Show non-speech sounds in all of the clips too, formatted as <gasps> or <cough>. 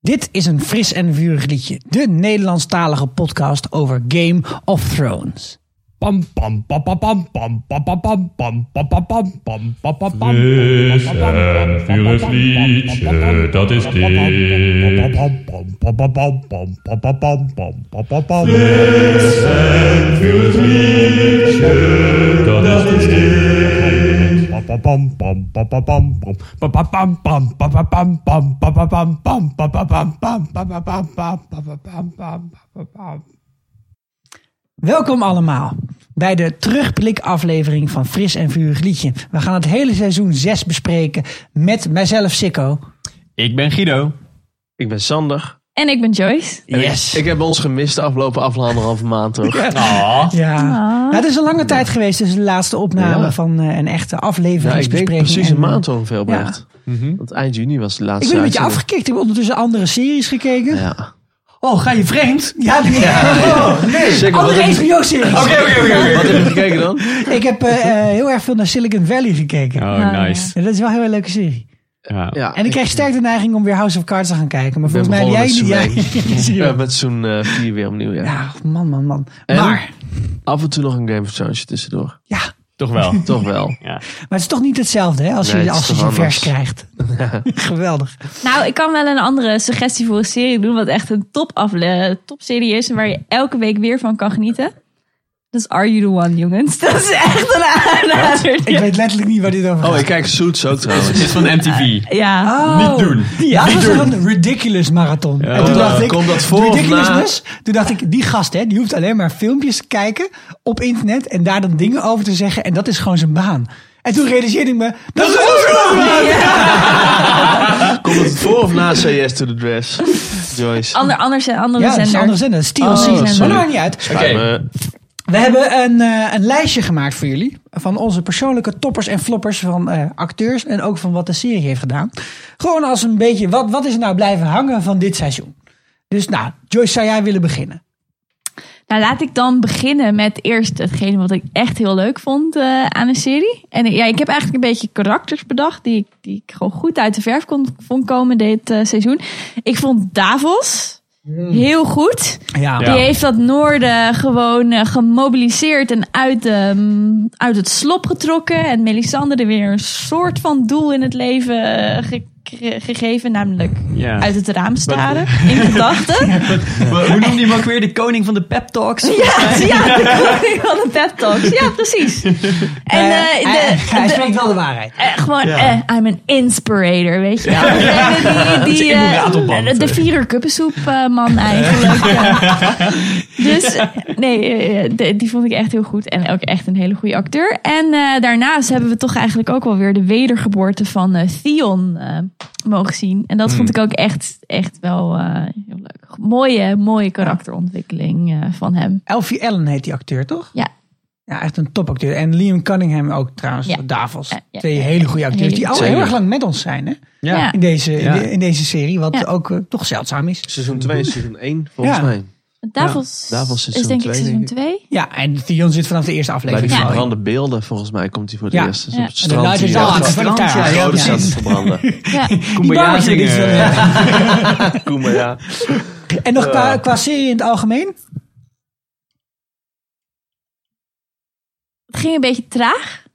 Dit is een fris en vurig liedje. De Nederlandstalige podcast over Game of Thrones. Pam pam pam pam pam pam pam pam pam pam pam pam pam pam pam pam pam Fris en vurig liedje, dat is dit. Fris en vurig liedje, dat is dit. Welkom allemaal bij de terugblikaflevering van Fris en Vurig Liedje. We gaan het hele seizoen 6 bespreken met mijzelf Sikko. Ik ben Guido. Ik ben Sander. En ik ben Joyce. En ik- Yes. Ik, heb ons gemist de afgelopen af- anderhalve maand toch? Ah, Ja. Nou, het is een lange tijd geweest tussen de laatste opname Ja. van eh, een echte Ja, ik denk afleveringsbespreking. precies en, een eh, maand ongeveer ja. Bert. Mhm. Want eind juni was de laatste Ik ben een beetje uitzending. afgekikt. Ik heb ondertussen andere series gekeken. Ja, Ja. Oh, ga je vreemd? nee. Oh, nee. Zeker, wat Andere heb je- HBO-series. Wat heb je gekeken <laughs> dan? Ik heb eh, <laughs> eh, heel erg veel naar Silicon Valley gekeken. Oh, nice. Ja, dat is wel een hele leuke serie. Ja. Ja, En ik krijg sterk de neiging om weer House of Cards te gaan kijken. Maar ben volgens mij heb jij niet. begonnen Jij, met <laughs> Zie je ja, wel. met zo'n eh, vier weer opnieuw. Ja. ja, man, man, man. En? Maar, Af en toe nog een Game of Thrones tussendoor. ja, maar Toch <laughs> wel. Toch wel. het is toch niet hetzelfde hè, als Nee, je het is als je toch zo'n vers anders. krijgt. <laughs> Geweldig. Nou, ik kan wel een andere suggestie voor een serie doen, wat echt een top afle- topserie is en waar je elke week weer van kan genieten. Dat is Are You The One, jongens. <laughs> Dat is echt een aanrader. Ik weet letterlijk niet waar dit over gaat. Oh, ik kijk Suits ook Het trouwens. is van MTV. Ja. Oh. Niet doen. Ja, dat was toch een ridiculous marathon. en toen Komt dacht dat- ik, komt dat voor of ridiculousness, toen dacht ik, die gast hè, die hoeft alleen maar filmpjes te kijken op internet en daar dan dingen over te zeggen en dat is gewoon zijn baan. En toen realiseerde ik me, dat is onze baan! Komt het voor of na CS to the Dress? Joyce. Ander, anders, eh, andere Ja, dat is een zender. andere zender, dat is TLC. Oh, maar dat sorry. maakt niet uit. Oké. Maar, eh, We hebben een, eh, een lijstje gemaakt voor jullie. Van onze persoonlijke toppers en floppers van eh, acteurs. En ook van wat de serie heeft gedaan. Gewoon als een beetje, wat, wat is er nou blijven hangen van dit seizoen? Dus nou, Joyce, zou jij willen beginnen? Nou, laat ik dan beginnen met eerst hetgene wat ik echt heel leuk vond eh, aan een serie. En eh, ja, ik heb eigenlijk een beetje karakters bedacht die, ik- die ik gewoon goed uit de verf kon, vond komen dit eh, seizoen. Ik vond Davos Mm. heel goed. Ja. Ja. Die heeft dat noorden gewoon eh, gemobiliseerd en uit, de, mm, uit het slop getrokken. En Melisandre weer een soort van doel in het leven eh, ge- gegeven, namelijk Ja. uit het raam staren in <laughs> gedachten. Maar Hoe noemde je hem ook weer? De koning van de pep talks? Ja, ja, de koning van de pep talks. Ja, <laughs> precies. En eh, hij, de, hij de- spreekt wel de waarheid. eh, gewoon, eh, I'm an inspirator, weet je wel. Degene die, die, een eh, ratelband. de vierer kuppensoep eh, man eigenlijk. eh. dus eh, nee, eh, eh, de- die vond ik echt heel goed. En ook echt een hele goede acteur. En eh, daarnaast hebben we toch eigenlijk ook wel weer de wedergeboorte van eh, Theon eh, mogen zien. En dat vond ik ook echt, echt wel eh, heel leuk. Mooie, mooie karakterontwikkeling eh, van hem. Elfie Allen heet die acteur, toch? Ja. Ja, echt een topacteur. En Liam Cunningham ook trouwens, Ja. Davos. Ja, ja, Twee ja, hele ja. goede acteurs Hele- die al Zeker. heel erg lang met ons zijn hè? Ja. In, deze, in Ja. de- in deze serie. Wat Ja. ook eh, toch zeldzaam is. Seizoen 2 en seizoen 1 volgens Ja. mij. Davos, Davos is seizoen denk twee, ik seizoen denk 2. Ja, en Theon zit vanaf de eerste Bij die aflevering. al in. verbrande beelden volgens mij komt hij voor het Ja. eerst. Dus Ja. op het En de strand. Night is hier. Out. Ja. Ah, van elkaar. ja, ja, Rode precies. staat te <laughs> verbranden. Ja. Kumbaya Die barretje, zingen. die is wel, eh, Kom maar ja. En nog qua, qua serie in het algemeen? Het ging een beetje traag.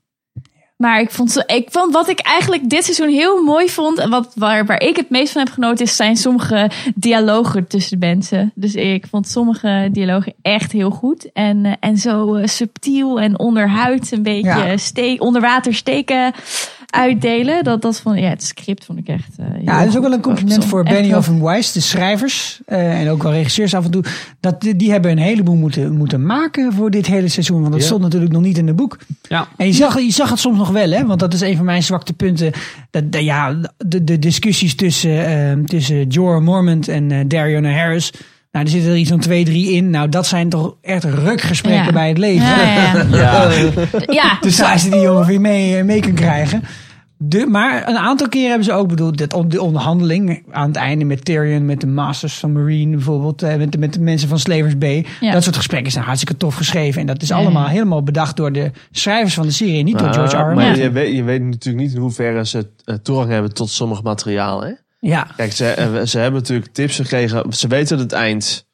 Maar ik vond, ze- ik vond wat ik eigenlijk dit seizoen heel mooi vond. En wat, waar, waar ik het meest van heb genoten, is zijn sommige dialogen tussen de mensen. Dus ik vond sommige dialogen echt heel goed. En, eh, en zo eh, subtiel en onderhuid een beetje Ja. steek, onder water steken uitdelen. Dat, dat vond, ja, het script vond ik echt. eh, heel Ja, dat is ook goed. wel een compliment Echt voor heel Benny goed. of Wise, de schrijvers eh, en ook wel regisseurs af en toe. Dat, die die hebben een heleboel moeten, moeten maken voor dit hele seizoen. Want dat Ja. stond natuurlijk nog niet in het boek. Ja. En je zag, je zag het soms nog wel, hè? want dat is een van mijn zwakte punten. Dat, dat- ja, de, de discussies tussen, eh, tussen Jorah Mormont en eh Darion Harris. Nou, er zitten er iets van twee, drie in. Nou, dat zijn toch echt rukgesprekken Ja. bij het leven. <laughs> Ja, ja, ja. ja. Dus hij ze die ongeveer mee, eh, mee kan krijgen. De, maar een aantal keren hebben ze ook bedoeld, dat on- de onderhandeling aan het einde met Tyrion, met de Masters van Marine bijvoorbeeld, eh, met de, met de mensen van Slavers Bay. Ja. Dat soort gesprekken zijn hartstikke tof geschreven. En dat is Ja, allemaal ja. helemaal bedacht door de schrijvers van de serie, niet door Ah, George R. R. Maar Martin. je, weet, je weet natuurlijk niet in hoeverre ze eh, toegang hebben tot sommig materiaal. Hè? Ja. Kijk, ze, eh, ze hebben natuurlijk tips gekregen. Ze weten het eind.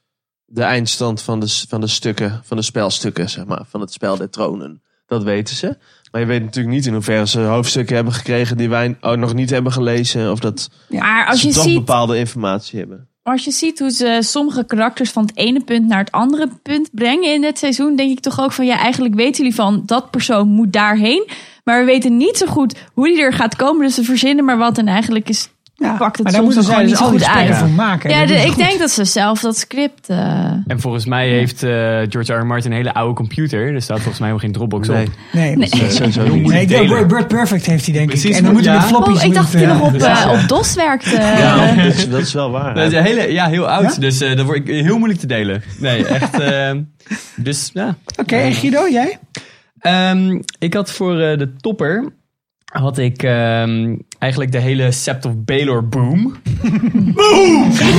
De eindstand van de, s- van de stukken, van de spelstukken, zeg maar. Van het spel der tronen. Dat weten ze. Maar je weet natuurlijk niet in hoeverre ze hoofdstukken hebben gekregen die wij ook nog niet hebben gelezen. Of dat Maar als ze je toch ziet bepaalde informatie hebben. Als je ziet hoe ze sommige karakters van het ene punt naar het andere punt brengen in dit seizoen, denk ik toch ook van ja, eigenlijk weten jullie van dat persoon moet daarheen. Maar we weten niet zo goed hoe die er gaat komen. Dus ze verzinnen maar wat. En eigenlijk is. ja. pakt het maar daar soms moeten ook zij gewoon dus niet al die goed uit. spelen voor maken. ja, Dat de- is ik goed. denk dat ze zelf dat script. eh, En volgens mij heeft eh, George R. R. Martin een hele oude computer. Er staat volgens mij helemaal geen Dropbox Nee, op. Nee, dat <laughs> is sowieso niet. Nee, delen. Bird- Bird Perfect heeft hij denk ik. Precies, en dan moeten we ja. met floppies... oh, ik dacht dat moeten, hij nog eh, op, eh, op DOS werkte. Eh, Ja, dat is, dat is wel waar. Dat is een hele, ja, heel oud. Ja? Dus eh, dat word ik heel moeilijk te delen. Nee, echt. eh, dus ja. Oké, en Guido, jij? Ehm, ik had voor eh, de topper had ik ehm, eigenlijk de hele Sept of Baylor boom.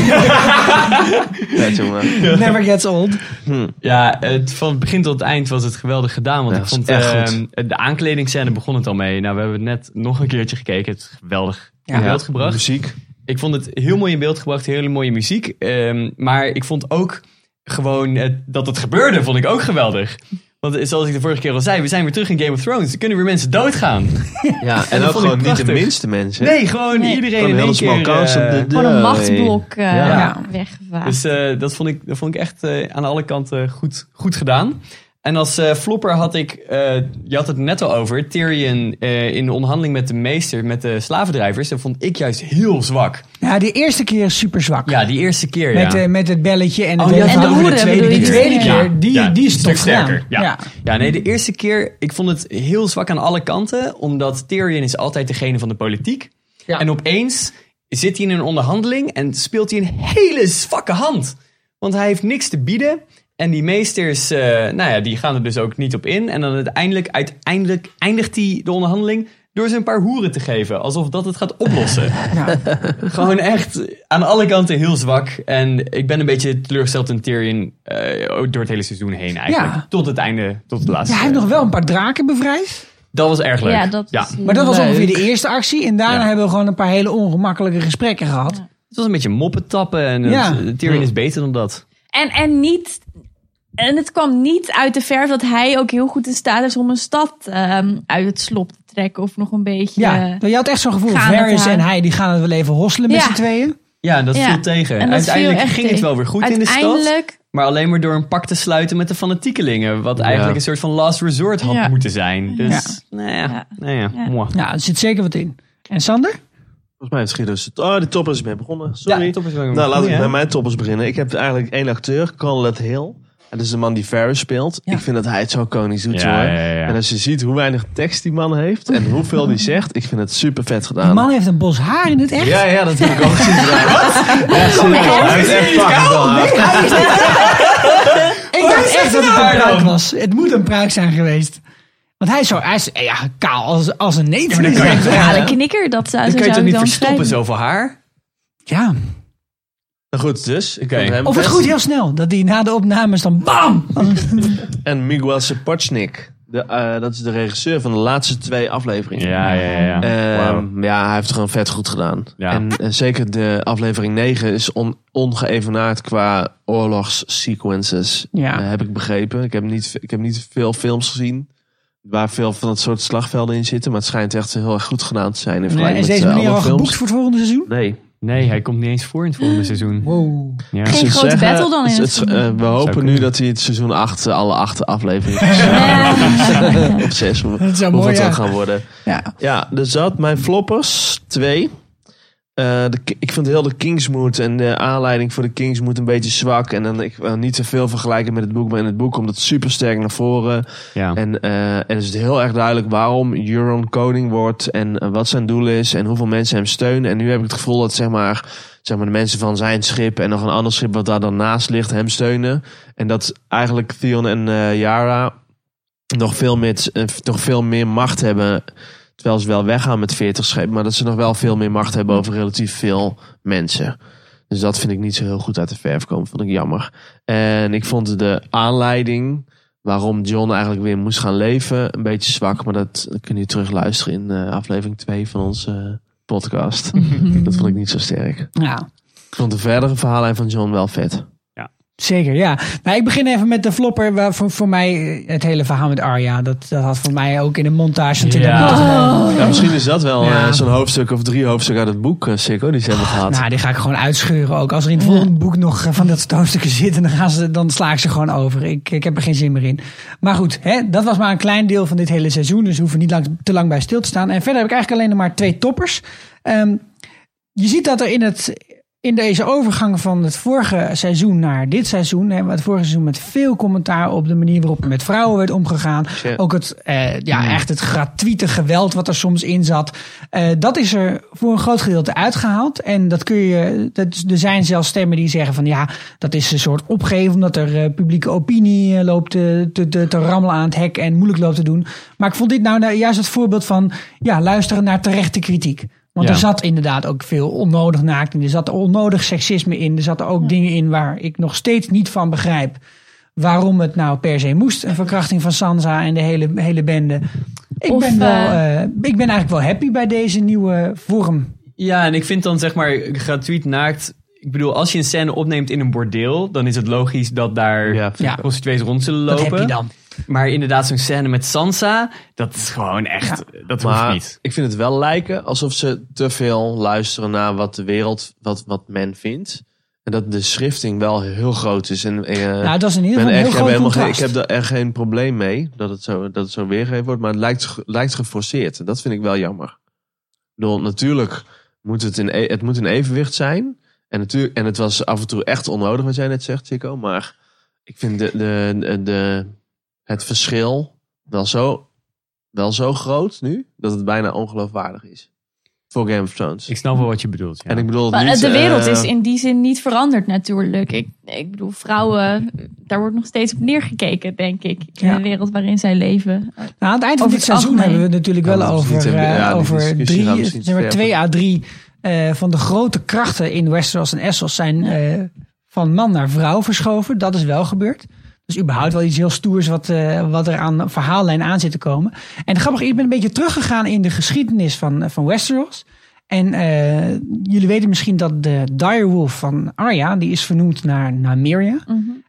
Ja, jongen. Never gets old. Ja, het, van het begin tot het eind was het geweldig gedaan. Want Ja, ik het was vond echt ehm, goed. de aankledingscène begon het al mee. Nou, we hebben het net nog een keertje gekeken. Het is geweldig in beeld gebracht. Muziek. Ik vond het heel mooi in beeld gebracht. Hele mooie muziek. Ehm, maar ik vond ook gewoon het- dat het gebeurde, vond ik ook geweldig. Want eh, zoals ik de vorige keer al zei, we zijn weer terug in Game of Thrones. Er kunnen weer mensen doodgaan. Ja, en dat ook vond ik gewoon niet de prachtig. minste mensen. hè? Nee, gewoon Nee. iedereen Gewoon in heel de één small keer. cast op eh, de Gewoon een deur. machtsblok eh Ja. weggevaagd. Dus eh, dat, vond ik, dat vond ik echt eh, aan alle kanten goed, goed gedaan. En als eh, flopper had ik, eh, je had het net al over, Tyrion eh, in de onderhandeling met de meester, met de slavendrijvers, dat vond ik juist heel zwak. Ja, de eerste keer is super zwak. Ja, die eerste keer, Met, ja. eh, met het belletje en, het Oh, ja, hele en de verhaal. hoeren tweede, bedoel die je? tweede Ja. keer, die, Ja, die een is stuk toch gedaan. sterker, ja. Ja, nee, de eerste keer, ik vond het heel zwak aan alle kanten, omdat Tyrion is altijd degene van de politiek. Ja. En opeens zit hij in een onderhandeling en speelt hij een hele zwakke hand. Want hij heeft niks te bieden. En die meesters, eh, nou ja, die gaan er dus ook niet op in. En dan uiteindelijk, uiteindelijk eindigt hij de onderhandeling door ze een paar hoeren te geven. Alsof dat het gaat <laughs> oplossen. Ja. Gewoon echt aan alle kanten heel zwak. En ik ben een beetje teleurgesteld in Tyrion eh, ook door het hele seizoen heen eigenlijk. Ja. Tot het einde, tot het laatste. Ja, hij heeft nog wel een paar draken bevrijd. Dat was erg leuk. ja, dat is Maar dat was leuk. ongeveer de eerste actie. En daarna Ja. hebben we gewoon een paar hele ongemakkelijke gesprekken gehad. Het was een beetje moppen tappen. En Ja. het- Tyrion is beter dan dat. En, en niet. En het kwam niet uit de verf dat hij ook heel goed in staat is om een stad ehm, uit het slop te trekken. Of nog een beetje. Ja, eh, je had echt zo'n gevoel. gaan met Varys haar. en hij die gaan het wel even hosselen met Ja. z'n tweeën. Ja, dat Ja. viel tegen. En dat uiteindelijk viel echt ging het tegen. wel weer goed in de stad. uiteindelijk. Maar alleen maar door een pak te sluiten met de fanatiekelingen. Wat eigenlijk een soort van last resort had Ja. moeten zijn. Dus, nou ja, Ja. nou ja, Ja. moi. Ja, er zit zeker wat in. En Sander? Volgens mij heeft Guido... z'n- Oh, de topper is mee begonnen. Sorry. Ja, top is wel een Nou, laat goeie, ik hè? bij mijn toppers beginnen. Ik heb eigenlijk één acteur, Conrad Hill. Dat is de man die Ferris speelt. Ik vind dat hij het zo konisch doet, Ja, hoor. ja, ja, ja. En als je ziet hoe weinig tekst die man heeft en hoeveel die zegt, ik vind het super vet Die gedaan. man heeft een bos haar in het echt. Ja, ja, dat heb ik ook gezien. Wat? Ja, serieus. Hij is echt fucking gedaan. Ik dacht Oh, echt dat het een pruik was. Het moet een pruik zijn geweest. Want hij is zo hij is, eh, ja, kaal als, als een neet. Ja, Ja, de knikker, dat zou, Dan zo kan je zou toch ik niet dan verstoppen schrijven. zoveel haar? Nou goed, dus. Ik Oké. vond hem Of het vet. goed heel snel. Dat hij na de opnames dan bam! En Miguel Sapochnik. De, eh, dat is de regisseur van de laatste twee afleveringen. Ja, ja, ja. Ehm, Ja, hij heeft het gewoon vet goed gedaan. Ja. En eh, zeker de aflevering 9 is on, ongeëvenaard qua oorlogssequences. Ja. Eh, heb ik begrepen. Ik heb, niet, ik heb niet veel films gezien waar veel van dat soort slagvelden in zitten. Maar het schijnt echt heel erg goed gedaan te zijn. In En vergelijking is met deze eh, meneer al andere geboekt films. voor het volgende seizoen? Nee. Nee, hij komt niet eens voor in het volgende seizoen. Wow. Ja. Geen Ze grote zeggen- battle dan in het- het het- eh, We hopen nu kunnen. dat hij het seizoen 8, alle <laughs> acht afleveringen <laughs> op 6. Dat zou Hoeveel mooi het ook zijn. gaan worden. Ja. Ja, er zat mijn floppers twee. Eh, de, ki- ik vind heel de Kingsmoed en de aanleiding voor de Kingsmoed een beetje zwak. En dan ik, wil niet te veel vergelijken met het boek, maar in het boek komt het super sterk naar voren. Ja. En, eh, en is het heel erg duidelijk waarom Euron koning wordt en eh, wat zijn doel is en hoeveel mensen hem steunen. En nu heb ik het gevoel dat zeg maar, zeg maar de mensen van zijn schip en nog een ander schip wat daar dan naast ligt hem steunen. En dat eigenlijk Theon en eh Yara nog veel, meer, eh, nog veel meer macht hebben. Terwijl ze wel weggaan met 40 schepen, maar dat ze nog wel veel meer macht hebben over relatief veel mensen. Dus dat vind ik niet zo heel goed uit de verf komen. Vond ik jammer. En ik vond de aanleiding waarom John eigenlijk weer moest gaan leven een beetje zwak. Maar dat kun je terug luisteren in eh, aflevering 2 van onze eh, podcast. dat vond ik niet zo sterk. Ja, Ik vond de verdere verhaallijn van John wel vet. zeker, ja. Maar ik begin even met de flopper. Waar voor, voor mij eh, het hele verhaal met Arya. Dat, dat had voor mij ook in de montage natuurlijk. Ja. Ah. moeten- Ja, Oh, misschien is dat wel Ja. eh, zo'n hoofdstuk of drie hoofdstukken uit het boek, eh, Sikko, die ze hebben gehad. Nou, die ga ik gewoon uitscheuren ook. Als er in het volgende boek nog eh, van dat soort hoofdstukken zitten, dan, gaan ze, dan sla ik ze gewoon over. Ik, ik heb er geen zin meer in. Maar goed, hè, dat was maar een klein deel van dit hele seizoen. Dus we hoeven niet lang, te lang bij stil te staan. En verder heb ik eigenlijk alleen nog maar twee toppers. Ehm, je ziet dat er in, het, in deze overgang van het vorige seizoen naar dit seizoen... Hè, het vorige seizoen met veel commentaar op de manier waarop er met vrouwen werd omgegaan. Shit. Ook het, eh, ja, echt het gratuite geweld wat er soms in zat. Eh, dat is er voor een groot gedeelte uitgehaald. En dat kun je. Dat, is- er zijn zelfs stemmen die zeggen van ja, dat is een soort opgeven. Omdat er eh, publieke opinie eh, loopt eh, te, te, te rammelen aan het hek en moeilijk loopt te doen. Maar ik vond dit nou, nou juist het voorbeeld van ja, luisteren naar terechte kritiek. Want Ja. er zat inderdaad ook veel onnodig naakt in. Er zat onnodig seksisme in. Er zaten ook dingen in waar ik nog steeds niet van begrijp waarom het nou per se moest. Een verkrachting van Sansa en de hele, hele bende. Ik, Of, ben wel, eh, eh, ik ben eigenlijk wel happy bij deze nieuwe vorm. Ja, en ik vind dan zeg maar gratuit naakt. Ik bedoel, als je een scène opneemt in een bordeel, dan is het logisch dat daar Ja, ja, vind ik ook. prostituees rond zullen Dat lopen. heb je dan. Maar inderdaad, zo'n scène met Sansa, dat is gewoon echt, dat hoeft Maar niet. ik vind het wel lijken alsof ze te veel luisteren naar wat de wereld, wat, wat men vindt. En dat de schrifting wel heel groot is. En, eh, Nou, dat is in ik, ieder geval een heel ben echt- ik heb groot helemaal geen- contrast. ik heb daar echt geen probleem mee dat het zo, dat het zo weergegeven wordt. Maar het lijkt, ge- lijkt geforceerd. En dat vind ik wel jammer. Ik bedoel, natuurlijk moet het in, e- het moet in evenwicht zijn. En, natuurlijk, en het was af en toe echt onnodig wat jij net zegt, Chico. Maar ik vind de, de, de, de- het verschil wel zo, wel zo groot nu dat het bijna ongeloofwaardig is. Voor Game of Thrones. Ik snap wel wat je bedoelt. Ja. en ik bedoel, Maar, eh, niet, de wereld eh, is in die zin niet veranderd natuurlijk. Ik, ik bedoel, vrouwen, daar wordt nog steeds op neergekeken, denk ik. In Ja. de wereld waarin zij leven. Nou, aan het eind van Over dit het seizoen algemeen. hebben we het natuurlijk Ja, wel dat is niet over, te- eh, ja, die over discussie drie, gaan we misschien zeg maar verder. twee à drie eh, van de grote krachten in Westeros en Essos zijn eh, van man naar vrouw verschoven. Dat is wel gebeurd. Dus überhaupt wel iets heel stoers wat, eh, wat er aan verhaallijn aan zit te komen. En grappig, ik ben een beetje teruggegaan in de geschiedenis van, eh, van Westeros. En eh, jullie weten misschien dat de direwolf van Arya, die is vernoemd naar Nymeria.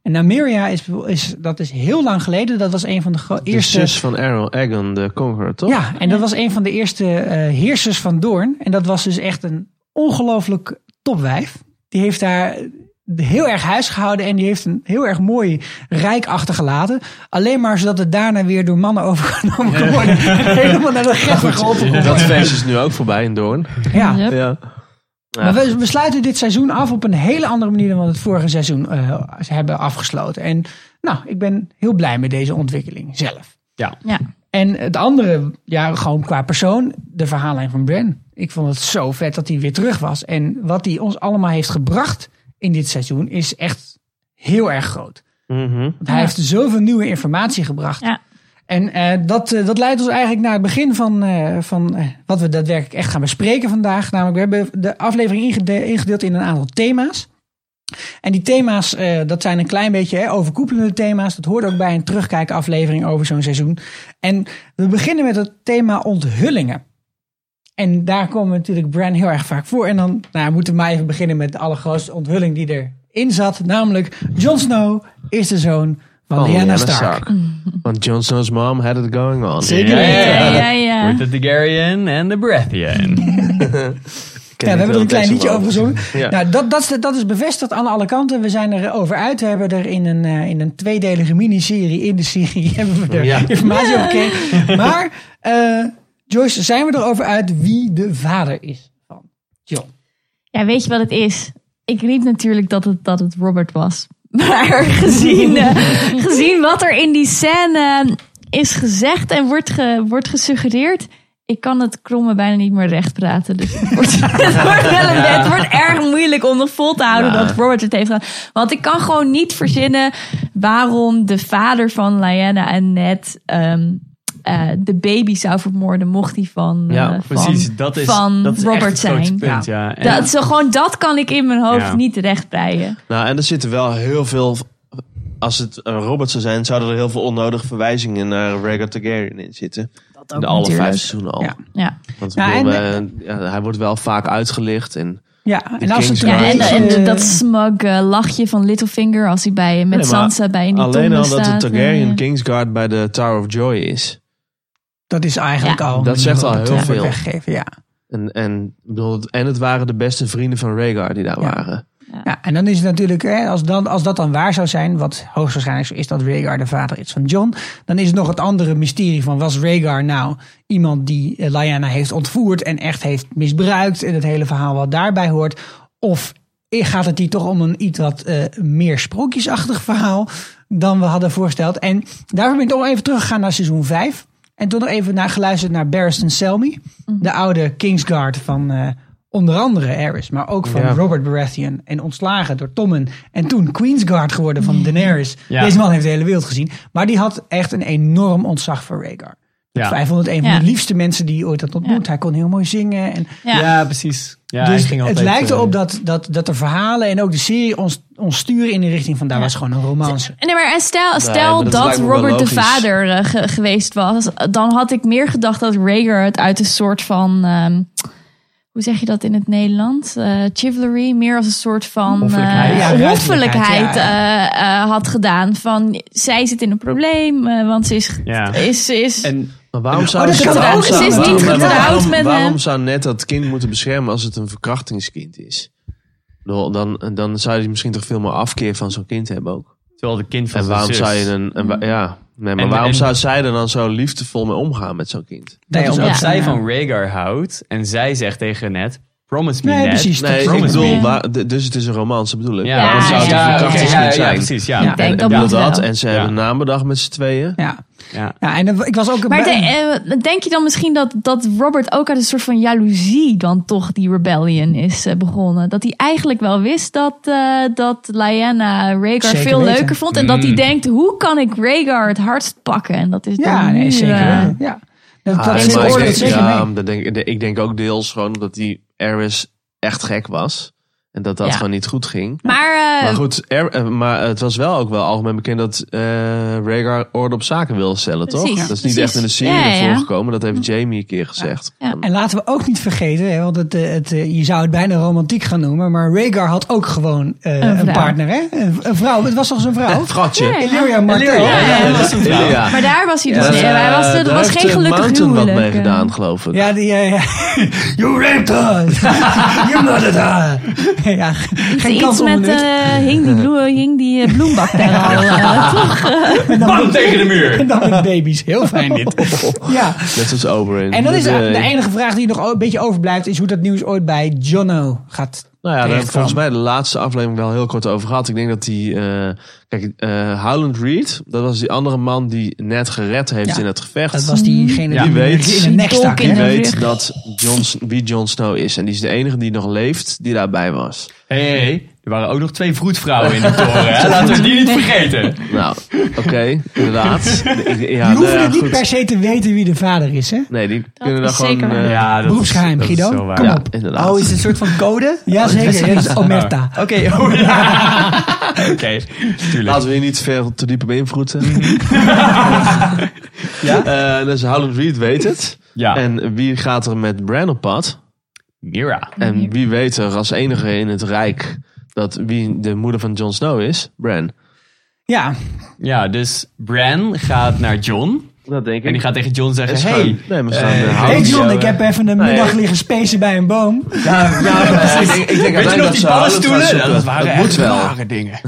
En Nymeria is, is, dat is heel lang geleden, dat was een van de gro- de eerste... zus van Aaron Egon, de Conqueror, toch? Ja, en dat was een van de eerste eh, heersers van Doorn. En dat was dus echt een ongelooflijk topwijf. Die heeft daar heel erg huis gehouden en die heeft een heel erg mooi rijk achtergelaten. Alleen maar zodat het daarna weer door mannen <laughs> overgenomen kan worden. Helemaal naar de greffer geholpen kon Dat worden. feest is nu ook voorbij in Doorn. Ja. Yep. Ja. Maar we, we sluiten dit seizoen af op een hele andere manier dan we het vorige seizoen eh, hebben afgesloten. En nou, ik ben heel blij met deze ontwikkeling zelf. Ja. En het andere, ja, gewoon qua persoon, de verhaallijn van Bran. Ik vond het zo vet dat hij weer terug was. En wat hij ons allemaal heeft gebracht in dit seizoen is echt heel erg groot. Mhm. Want hij Ja. heeft zoveel nieuwe informatie gebracht. Ja. En eh, dat, eh, dat leidt ons eigenlijk naar het begin van, eh, van eh, wat we daadwerkelijk echt gaan bespreken vandaag. Namelijk, we hebben de aflevering ingede- ingedeeld in een aantal thema's. En die thema's, eh, dat zijn een klein beetje hè, overkoepelende thema's. Dat hoort ook bij een terugkijkaflevering over zo'n seizoen. En we beginnen met het thema onthullingen. En daar komen natuurlijk Bran heel erg vaak voor. En dan nou, ja, moeten we maar even beginnen met de allergrootste onthulling die erin zat. Namelijk, Jon Snow is de zoon van Oh, Lyanna Lyanna Stark. Want Jon Snow's mom had it going on. Zeker. Ja, ja, ja. Eh. With the Targaryen en de Baratheon. Ken Ja, ik we hebben wel er een klein deze liedje man. over gezongen. <laughs> Ja. Nou, dat, dat, is, dat is bevestigd aan alle kanten. We zijn er over uit. We hebben er in een, eh, in een tweedelige miniserie in de serie <laughs> hebben we er Ja. informatie over <laughs> gekregen. Maar, eh, Joyce, zijn we erover uit wie de vader is van John? Ja, weet je wat het is? Ik riep natuurlijk dat het, dat het Robert was. <laughs> Maar gezien, eh, gezien wat er in die scène eh, is gezegd en wordt, ge- wordt gesuggereerd. Ik kan het kromme bijna niet meer recht praten. Dus het wordt, <laughs> het wordt, wel een, het wordt erg moeilijk om nog vol te houden dat Robert het heeft gedaan. Want ik kan gewoon niet verzinnen waarom de vader van Lyanna en Ned ehm, eh, de baby zou vermoorden mocht hij van, eh, Ja, van- Precies, dat is, van dat is Robert echt het zijn. grootste punt. Ja. En- Dat, zo, gewoon dat kan ik in mijn hoofd Ja. niet rechtbreien. Nou, en er zitten wel heel veel... Als het eh, Robert zou zijn, zouden er heel veel onnodige verwijzingen naar Rhaegar Targaryen in zitten. dat ook De alle natuurlijk. vijf seizoenen al. Ja. Ja. Want Ja, ik bedoel, en eh, ja, hij wordt wel vaak uitgelicht. En, Ja, De en als het Kingsguard. een Ja, en, beetje- en dat smug eh, lachje van Littlefinger als hij bij, met Nee, maar Sansa bij in die alleen tombe al dat de staat. Targaryen eh, Kingsguard bij de Tower of Joy is. dat is eigenlijk Ja. al. een Dat manier zegt al waarop heel het, eh, veel. wordt Weggegeven, ja. En, en, ik bedoel, en het waren de beste vrienden van Rhaegar die daar Ja. waren. Ja, en dan is het natuurlijk, hè, als, dan, als dat dan waar zou zijn, wat hoogstwaarschijnlijk zo is dat Rhaegar de vader is van John, dan is het nog het andere mysterie van was Rhaegar nou iemand die eh, Lyanna heeft ontvoerd en echt heeft misbruikt en het hele verhaal wat daarbij hoort, of gaat het hier toch om een iets wat eh, meer sprookjesachtig verhaal dan we hadden voorgesteld. En daarvoor ben ik nog even teruggegaan naar seizoen 5 en toen nog even naar geluisterd naar Barristan Selmy, Mhm. de oude Kingsguard van eh, onder andere Aerys, maar ook van Ja. Robert Baratheon en ontslagen door Tommen en toen Queensguard geworden van Daenerys. Ja. Deze man heeft de hele wereld gezien, maar die had echt een enorm ontzag voor Rhaegar. Ja. Hij vond het een van Ja. de liefste mensen die je ooit had ontmoet. Hij kon heel mooi zingen. En eh, Ja. precies. Ja, hij dus ging het altijd, lijkt eh, erop dat, dat, dat de verhalen en ook de serie ons, ons sturen in de richting van daar was gewoon een romance. Eh, Nee, maar en stel, maar stel dat dat lijkt me wel Robert de logisch. vader eh, ge- geweest was, dan had ik meer gedacht dat Rhaegar het uit een soort van, ehm, hoe zeg je dat in het Nederlands? Eh, chivalry, meer als een soort van Hoffelijkheid. eh, Ja, ruiterlijkheid, hoffelijkheid ja. eh, eh, had gedaan. Van, zij zit in een probleem, eh, want ze is... Ja. is, is En Maar waarom zou, dat is waarom getrouwd. zou- Ze is niet waarom- getrouwd waarom- met hem. Waarom zou net dat kind moeten beschermen als het een verkrachtingskind is? Ik bedoel, Dan, dan zou je misschien toch veel meer afkeer van zo'n kind hebben ook. terwijl de kind van En zijn waarom zus. zou je een. een wa- ja, nee, maar dus- En- waarom en- zou zij er dan zo liefdevol mee omgaan met zo'n kind? Dat Nee, is omdat ook- zij van Rhaegar houdt en zij zegt tegen Ned, promise me Nee, Ned. precies. dat Nee, is ik ook- bedoel, Ja. waar- d- dus het is een romance bedoel ik. Ja, Ja, waarom zou het ja, een oké, verkrachtingskind ja, ja, zijn? precies. Ja, Ja, En- kijk, Ik dat bedoel moet dat, wel. en ze hebben een naamdag met z'n tweeën. Ja. ja. ja, en dan- ik was ook... Maar de- eh, denk je dan misschien dat, dat Robert ook uit een soort van jaloezie dan toch die rebellion is eh, begonnen? Dat hij eigenlijk wel wist dat, eh, dat Lyanna Rhaegar Zeker veel weten. leuker vond. En dat Hmm. hij denkt, hoe kan ik Rhaegar het hardst pakken? En dat is ja, dan nee, nu, zeker. eh, weten. ja. Dat, Ah, dat en is maar een ik oorlog denk- zeker ja, mee. dat denk, ik- ik denk ook deels gewoon dat die Eris echt gek was. En dat dat Ja. gewoon niet goed ging. Maar, eh, Maar goed, er- eh, maar het was wel ook wel algemeen bekend dat eh Rhaegar orde op zaken wil stellen, toch? Precies, dat is niet precies. echt in de serie Ja, ja. voorgekomen. Dat heeft Jamie een keer gezegd. Ja. En laten we ook niet vergeten, hè, want het, eh, het, eh, je zou het bijna romantiek gaan noemen, maar Rhaegar had ook gewoon eh, Een een vrouw. partner, hè? Een, een vrouw, het was toch zijn vrouw? Gatje. nee, Illyria Martell. Ja, ja, ja. Ja. maar daar was hij dus. Ja, niet. daar- hij was, er daar was heeft, geen eh, gelukkig Mountain wat huwelijk. mee eh. gedaan, geloof ik. Ja, die, ja, ja. <laughs> You raped her! <laughs> you murdered her! <laughs> ja, geen kans Iets om met een eh hut. hing die, bloe- hing die eh, bloembak <laughs> daar al. eh, toch? Bam tegen de En muur. <laughs> dan met baby's. Heel fijn <laughs> dit. Oh. Ja. Net als Oberyn. En dan is Dat, eh, de enige vraag die nog een beetje overblijft, is hoe dat nieuws ooit bij Jono gaat. Nou ja, daar hebben we terechtkwam. volgens mij de laatste aflevering wel heel kort over gehad. Ik denk dat die... eh, kijk, eh Howland Reed, dat was die andere man die net gered heeft Ja. in het gevecht. Dat was diegene Ja, die, die weet. in de nek stak. Die die hè? in de weet rug. dat Jon, wie Jon Snow is. En die is de enige die nog leeft die daarbij was. Hé, hey, er waren ook nog twee vroedvrouwen in de toren. Hè? Laten we die niet vergeten. Nou, oké, inderdaad. Ik- Ja, Die nou hoeven ja, het niet goed. per se te weten wie de vader is, hè? Nee, die kunnen daar is gewoon... zeker waar. eh, ja, dat is- Beroepsgeheim, dat is Guido. zo waar. Kom op. inderdaad. Oh, is het een soort van <laughs> code? Jazeker, dat is Omerta. Oké, oh, ja. <laughs> Oké, tuurlijk. Laten we hier niet veel te diep beïnvloeden. <laughs> ja? dus Howland Reed weet het. Ja. En wie gaat er met Bran op pad? Mira. En wie weet er als enige in het Rijk dat wie de moeder van Jon Snow is? Bran. Ja, Ja, dus Bran gaat naar John. Dat denk ik. En die gaat tegen John zeggen, Is hey, gewoon- nee, maar ze gaan, eh, eh, hey Howland- John, ik heb even een middag liggen spacen bij een boom. ik denk, ik denk weet je nog die uiteindelijk dat ze Howland gaan paddenstoelen? zoeken. Dat waren het echt moet wel. rare dingen.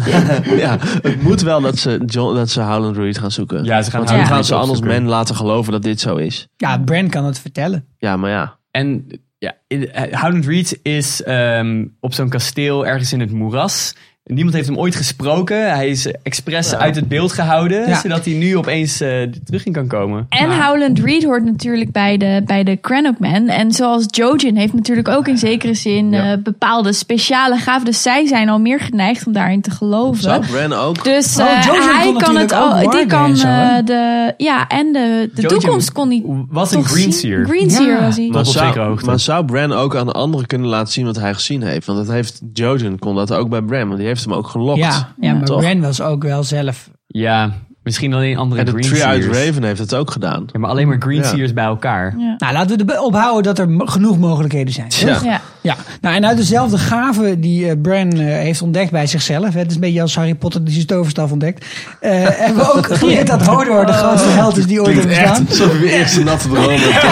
Ja, het moet wel dat ze, John, dat ze Howland Reed gaan zoeken. Ja, ze gaan Want Howland hoe gaan Reed ze anders opzoeken? men laten geloven dat dit zo is? Ja, Bran kan het vertellen. Ja, maar ja. En ja, in- eh, Howland Reed is ehm, op zo'n kasteel ergens in het moeras. Niemand heeft hem ooit gesproken. Hij is expres uit het beeld gehouden, Ja. zodat hij nu opeens eh, terug in kan komen. En Howland Reed hoort natuurlijk bij de, bij de Cranok Man. En zoals Jojen heeft natuurlijk ook in zekere zin eh, bepaalde speciale gaven. Dus zij zijn al meer geneigd om daarin te Zou geloven. Bran ook? Dus Oh, eh, Jojen kon hij kan natuurlijk het ook al. Die warden kan en zo, hè? eh, de. Ja, en de, de Jojen toekomst kon hij. Was een toch zien. Greenseer. Greenseer was hij. Maar Tot op zekere zou, hoogte. maar zou Bran ook aan anderen kunnen laten zien wat hij gezien heeft? Want dat heeft Jojen kon dat ook bij Bran, want die heeft hem ook gelokt. Ja, ja maar Toch? Bran was ook wel zelf Ja, Misschien alleen andere En de Green Tree-Eyed Seers. Raven heeft het ook gedaan. Ja, maar alleen maar Green Ja. Seers bij elkaar. Ja. Nou, laten we erbij ophouden dat er mo- genoeg mogelijkheden zijn. Tja. Ja. Ja, nou en uit dezelfde gave die eh, Bran eh, heeft ontdekt bij zichzelf. hè, Het is een beetje als Harry Potter die zijn toverstaf ontdekt. <laughs> eh, hebben we ook geleerd dat Hodor de grootste held is die ooit heeft Klinkt echt bestaan. alsof je weer eerst een natte droom hebt.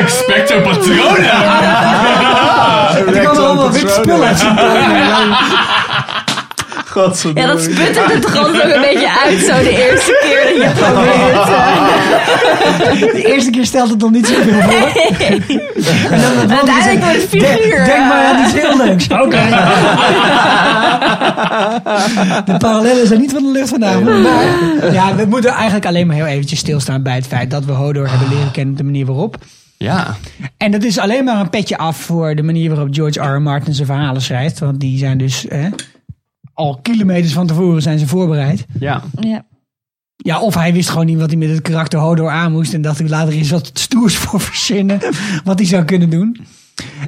Expecto Patronum! Er komen allemaal wit spullen uit zijn tuin. <laughs> ja, dat sputtert het er ook een beetje uit zo de eerste keer dat je probeert. De eerste keer stelt het nog niet zoveel voor. En dan het andere Uiteindelijk zegt, wordt het figuur. Denk, denk maar aan iets heel leuks. Oké. De parallellen zijn niet van de lucht vandaag. Maar ja, we moeten eigenlijk alleen maar heel eventjes stilstaan bij het feit dat we Hodor hebben leren kennen op de manier waarop. Ja. En dat is alleen maar een petje af voor de manier waarop George R. R. Martin zijn verhalen schrijft. Want die zijn dus eh, al kilometers van tevoren zijn ze voorbereid. ja. Ja. Ja, of hij wist gewoon niet wat hij met het karakter Hodor aan moest. En dacht ik later eens wat stoers voor verzinnen. Wat hij zou kunnen doen.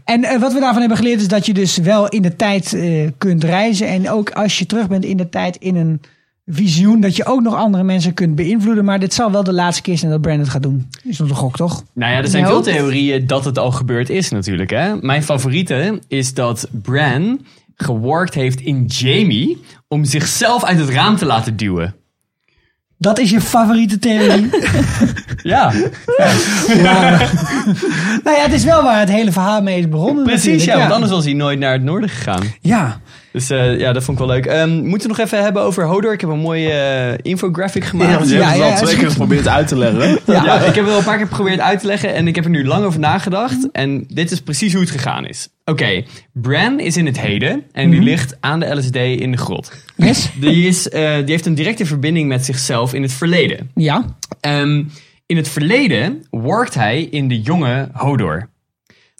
En eh, wat we daarvan hebben geleerd is dat je dus wel in de tijd eh, kunt reizen. En ook als je terug bent in de tijd in een visioen. Dat je ook nog andere mensen kunt beïnvloeden. Maar dit zal wel de laatste keer zijn dat Brandon het gaat doen. Is onze gok toch? Nou ja, er zijn Ja, veel ook. theorieën dat het al gebeurd is natuurlijk. Hè? Mijn favoriete is dat Bran geworkt heeft in Jamie om zichzelf uit het raam te laten duwen. Dat is je favoriete <laughs> theorie. Ja, nou ja, het is wel waar het hele verhaal mee is begonnen. precies. natuurlijk, Ja, want anders was hij nooit naar het noorden gegaan. Ja. Dus eh, ja, dat vond ik wel leuk. Ehm, moeten we nog even hebben over Hodor? Ik heb een mooie eh, infographic Ja, gemaakt. want je Ja, hebt ja, ja, het al is twee keer goed. geprobeerd uit te leggen. Ja. ik heb er al een paar keer geprobeerd uit te leggen en ik heb er nu lang over nagedacht. En dit is precies hoe het gegaan is. Oké, Bran is in het heden en die ligt aan de LSD in de grot. Yes? Die, is, eh, die heeft een directe verbinding met zichzelf in het verleden. Ja. Ehm, in het verleden worked hij in de jonge Hodor.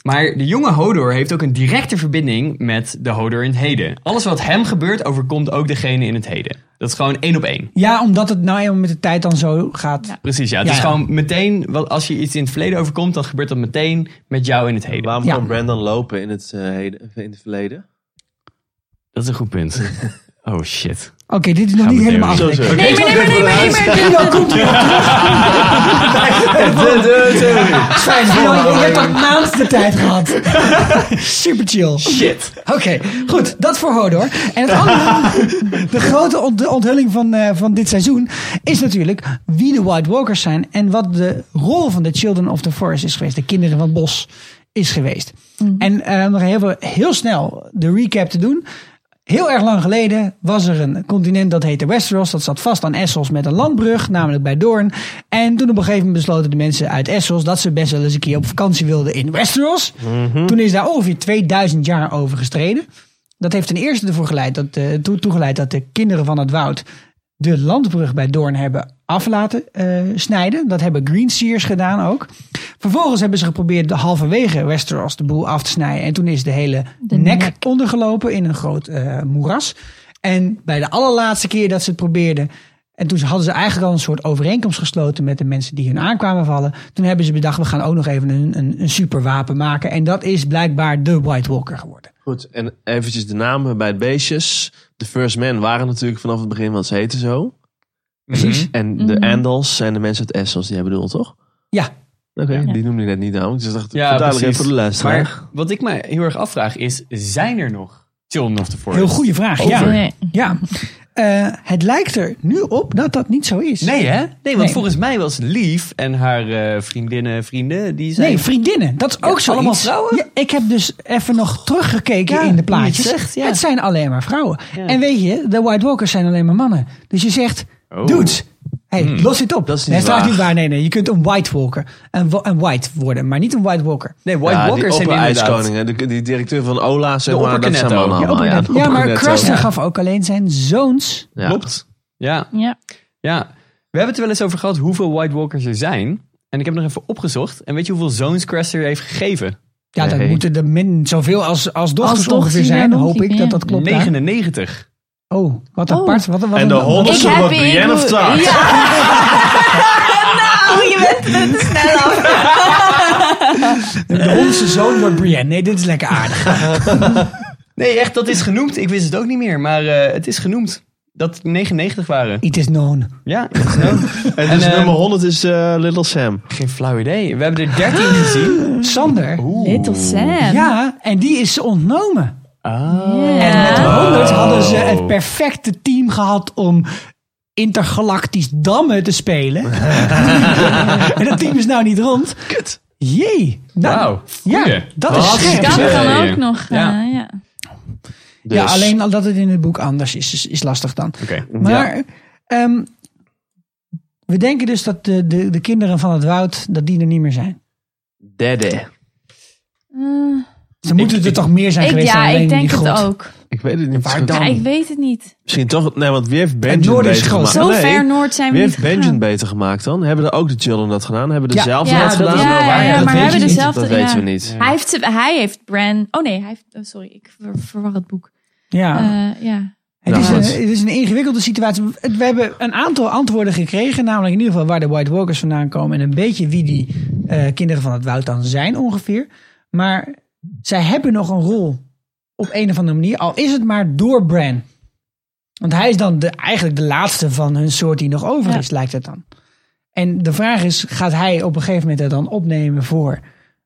Maar de jonge Hodor heeft ook een directe verbinding met de Hodor in het heden. Alles wat hem gebeurt, overkomt ook degene in het heden. Dat is gewoon één op één. Ja, omdat het nou eenmaal met de tijd dan zo gaat. Ja. Precies, ja. Het Ja, is ja. gewoon meteen, wel, als je iets in het verleden overkomt, dan gebeurt dat meteen met jou in het heden. Waarom Ja. kan Brandon lopen in het, eh, heden, in het verleden? Dat is een goed <laughs> punt. Oh shit. Oké, dit is nog niet we helemaal even- Zo, afgedekt. zo. Nee, maar nee, maar nee, maar nee, maar Ja, komt ie. <laughs> Schijn, je je hebt een maand de tijd gehad. <laughs> Super chill. Shit. Oké, goed. Dat voor Hodor. En het andere, <laughs> de grote ont- de onthulling van, eh, van dit seizoen is natuurlijk wie de White Walkers zijn en wat de rol van de Children of the Forest is geweest. De kinderen van het bos is geweest. En eh, om nog even heel snel de recap te doen. Heel erg lang geleden was er een continent dat heette Westeros. Dat zat vast aan Essos met een landbrug, namelijk bij Doorn. En toen op een gegeven moment besloten de mensen uit Essos dat ze best wel eens een keer op vakantie wilden in Westeros. Toen is daar ongeveer 2000 jaar over gestreden. Dat heeft ten eerste ervoor geleid dat, eh, toe- toegeleid dat de kinderen van het woud de landbrug bij Doorn hebben af laten eh, snijden. Dat hebben Green Seers gedaan ook. Vervolgens hebben ze geprobeerd de halverwege Westeros de boel af te snijden. En toen is de hele De nek, nek. ondergelopen in een groot eh, moeras. En bij de allerlaatste keer dat ze het probeerden. En toen hadden ze eigenlijk al een soort overeenkomst gesloten met de mensen die hun aankwamen vallen. Toen hebben ze bedacht, we gaan ook nog even een, een, een superwapen maken. En dat is blijkbaar de White Walker geworden. Goed, en eventjes de namen bij het beestjes. De First Men waren natuurlijk vanaf het begin, want ze heten zo. Mhm. Precies. En de Mhm. Andals zijn de mensen uit Essos, die hebben bedoeld, toch? Ja, Oké, die noemde ik net niet namelijk. Dus ik dacht, Ja, ja, verduidelijk precies. even voor de luisteraar. Maar wat ik me heel erg afvraag is, zijn er nog Children of the Forest? heel goede vraag. Ja. Nee. ja. Eh, het lijkt er nu op dat dat niet zo is. Nee hè? Nee, want Nee. volgens mij was Lief en haar eh, vriendinnen, vrienden, die zijn... Nee, vriendinnen. Dat is ook zo. allemaal vrouwen? ik heb dus even nog teruggekeken in de Ja, hoe je het plaatjes. zegt, ja. Het zijn alleen maar vrouwen. En weet je, de White Walkers zijn alleen maar mannen. Dus je zegt, Oh. dudes, hey, Hmm. los dit op. Dat is niet nee, dat waar. niet waar. Nee, nee, je kunt een White Walker, een, wa- een White worden, maar niet een White Walker. nee, White ja, Walkers die zijn inderdaad... opper-ijskoningen. De, die directeur van Ola, zeg De maar, dat zijn opperknetto. mannen Ja, allemaal. Ja, ja, de maar opperknetto. Craster gaf ook alleen zijn zoons. Ja. Klopt. Ja, Ja. ja. We hebben het er wel eens over gehad hoeveel White Walkers er zijn. En ik heb nog even opgezocht. En weet je hoeveel zoons Cresser heeft gegeven? Ja, dat Nee. moeten er min zoveel als, als dochters dochters, ongeveer ja, zijn. nog Hoop iets ik dat meer. dat klopt. daar. 99. Oh, wat Oh. apart. Wat, wat En een- de wat- honderd- Ik Zo heb wordt Brienne of Tarth. Ja. nou, je bent er te snel af. <laughs> De onze zoon wordt Brienne. Nee, dit is <laughs> lekker aardig. Nee, echt, dat is genoemd. Ik wist het ook niet meer, maar eh, het is genoemd. dat het 99 waren. It is known. Ja, ik weet <laughs> het niet. En, En, dus eh, nummer 100 is eh, Little Sam. geen flauw idee. We hebben er <gasps> 13 gezien. Sander. Little Sam. Ja, en die is ze ontnomen. Ja. En met 100 hadden ze het perfecte team gehad om intergalactisch dammen te spelen. en dat team is nou niet rond. Kut. Jee. Nou, Wauw. Ja, Goeie. dat is Wat? scherp. Dat Ja, ja, kan ja. ook nog. eh, Ja. ja. Dus. Ja, alleen al dat het in het boek anders is, is, is lastig dan. Oké. Maar ehm, we denken dus dat de, de, de kinderen van het woud, dat die er niet meer zijn. Dede. Eh, Ze moeten er toch meer zijn ik, geweest ja, dan alleen ik denk die het grot. ook. Ik weet het niet. Waar dan? Ja, ik weet het niet. Misschien toch... Nee, want wie heeft Benjen noorden is beter groot. gemaakt? Zo Nee, ver noord zijn we Wie niet heeft Benjen gegaan. beter gemaakt dan? Hebben er ook de children dat gedaan? Hebben de Ja. zelf Ja, dat dat- gedaan? ja, Maar waar- ja, dat maar weet hebben je niet. dezelfde... Dat ja. weten we niet. Hij heeft, ze- hij heeft Bran... Oh nee, hij heeft, oh, sorry, ik ver- verwar het boek. Ja. Eh, ja. Het Nou, is, goed. een, het is een ingewikkelde situatie. Het- We hebben een aantal antwoorden gekregen, namelijk in ieder geval waar de White Walkers vandaan komen en een beetje wie die eh, kinderen van het woud dan zijn ongeveer. Maar zij hebben nog een rol op een of andere manier, al is het maar door Bran. Want hij is dan de, eigenlijk de laatste van hun soort die nog over Ja. is, lijkt het dan. En de vraag is, gaat hij op een gegeven moment het dan opnemen voor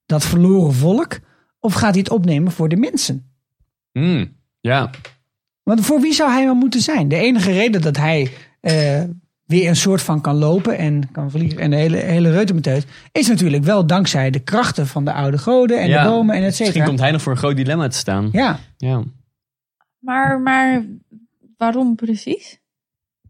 dat verloren volk? Of gaat hij het opnemen voor de mensen? Hmm, Ja. Want voor wie zou hij wel moeten zijn? De enige reden dat hij eh, weer een soort van kan lopen en kan vliegen en de hele, hele reutemeteut, is natuurlijk wel dankzij de krachten van de oude goden en Ja. de bomen en et Misschien cetera. komt hij nog voor een groot dilemma te staan. Ja, Ja. Maar, maar waarom precies?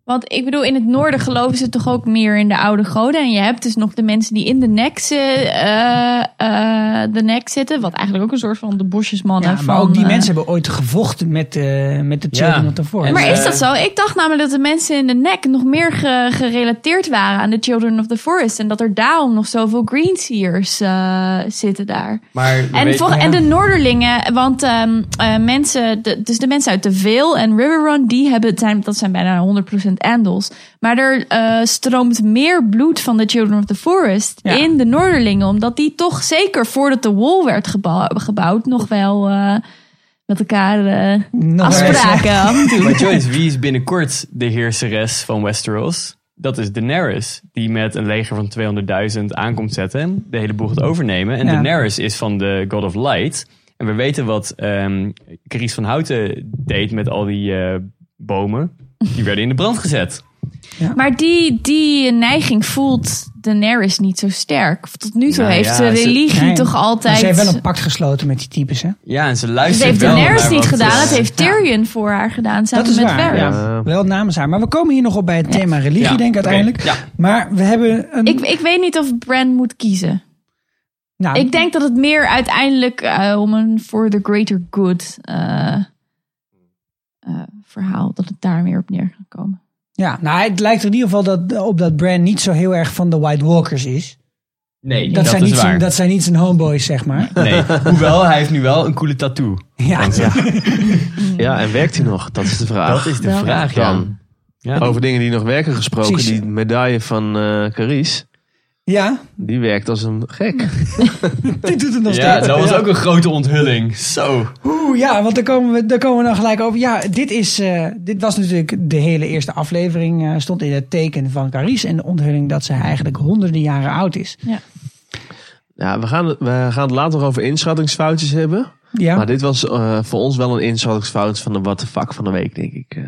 Want ik bedoel, in het noorden geloven ze toch ook meer in de oude goden. En je hebt dus nog de mensen die in de nek, zi- eh, eh, de nek zitten. Wat eigenlijk ook een soort van de bosjesmannen. ja van, maar ook die eh, mensen hebben ooit gevochten met, eh, met de Children Ja. of the Forest. En- Maar eh, is dat zo? Ik dacht namelijk dat de mensen in de nek nog meer ge- gerelateerd waren aan de Children of the Forest. En dat er daarom nog zoveel Greenseers eh zitten daar. Maar we En, weten- vol- en de Noorderlingen, want ehm, eh, mensen, de- dus de mensen uit de Veil en River Run, die hebben, het zijn, dat zijn bijna 100% Andals. Maar er eh, stroomt meer bloed van de Children of the Forest Ja. in de Noorderlingen, omdat die toch zeker voordat de wall werd gebouw- gebouwd, nog wel eh, met elkaar eh, Nog afspraken. hadden. Maar Joyce, wie is binnenkort de heerseres van Westeros? Dat is Daenerys, die met een leger van 200.000 aankomt zetten, de hele boel gaat overnemen. En Ja. Daenerys is van de God of Light. En we weten wat ehm Carice van Houten deed met al die eh, bomen. Die werden in de brand gezet. Maar die, die neiging voelt Daenerys niet zo sterk. Tot nu toe Nou heeft ja, de ze- religie Nee. toch Maar altijd... Ze hebben Dus wel een pact gesloten met die types, hè? Nou, Ja, en ze Dat luistert heeft wel Daenerys naar niet wat, gedaan. eh, Dat heeft Tyrion voor haar gedaan samen dat is met waar. Varys. Ja. Wel namens haar. Maar we komen hier nog op bij het thema religie, Ja, denk ik oké. uiteindelijk. Ja. Maar we hebben een. Ik, ik weet niet of Bran moet kiezen. nou, Ik denk dat het meer uiteindelijk eh, om een for the greater good eh, eh, verhaal, dat het daar meer op neer gaat komen. ja, nou, het lijkt er in ieder geval dat, op dat Bran niet zo heel erg van de White Walkers is. Nee, dat, Dat, zijn, is niet waar. zijn, dat zijn niet zijn homeboys, zeg maar. Nee. Hoewel, hij heeft nu wel een coole tattoo. <laughs> eh, Ja, ja. Ja, en werkt hij nog? Dat is de vraag. Dat is de Wel. vraag, ja. Dan. Ja. Over dingen die nog werken gesproken. Precies. Die medaille van eh Carice, die werkt als een gek. dit doet het nog Ja, steeds. dat was ook een grote onthulling. Zo. Oeh, ja, want daar komen, we, daar komen we dan gelijk over. Ja, dit, is, eh, dit was natuurlijk de hele eerste aflevering. eh, stond in het teken van Carice en de onthulling dat ze eigenlijk honderden jaren oud is. Ja, we gaan, we gaan het later nog over inschattingsfoutjes hebben. Ja, Maar dit was eh, voor ons wel een inschattingsfout van de what the fuck van de week, denk ik. Eh,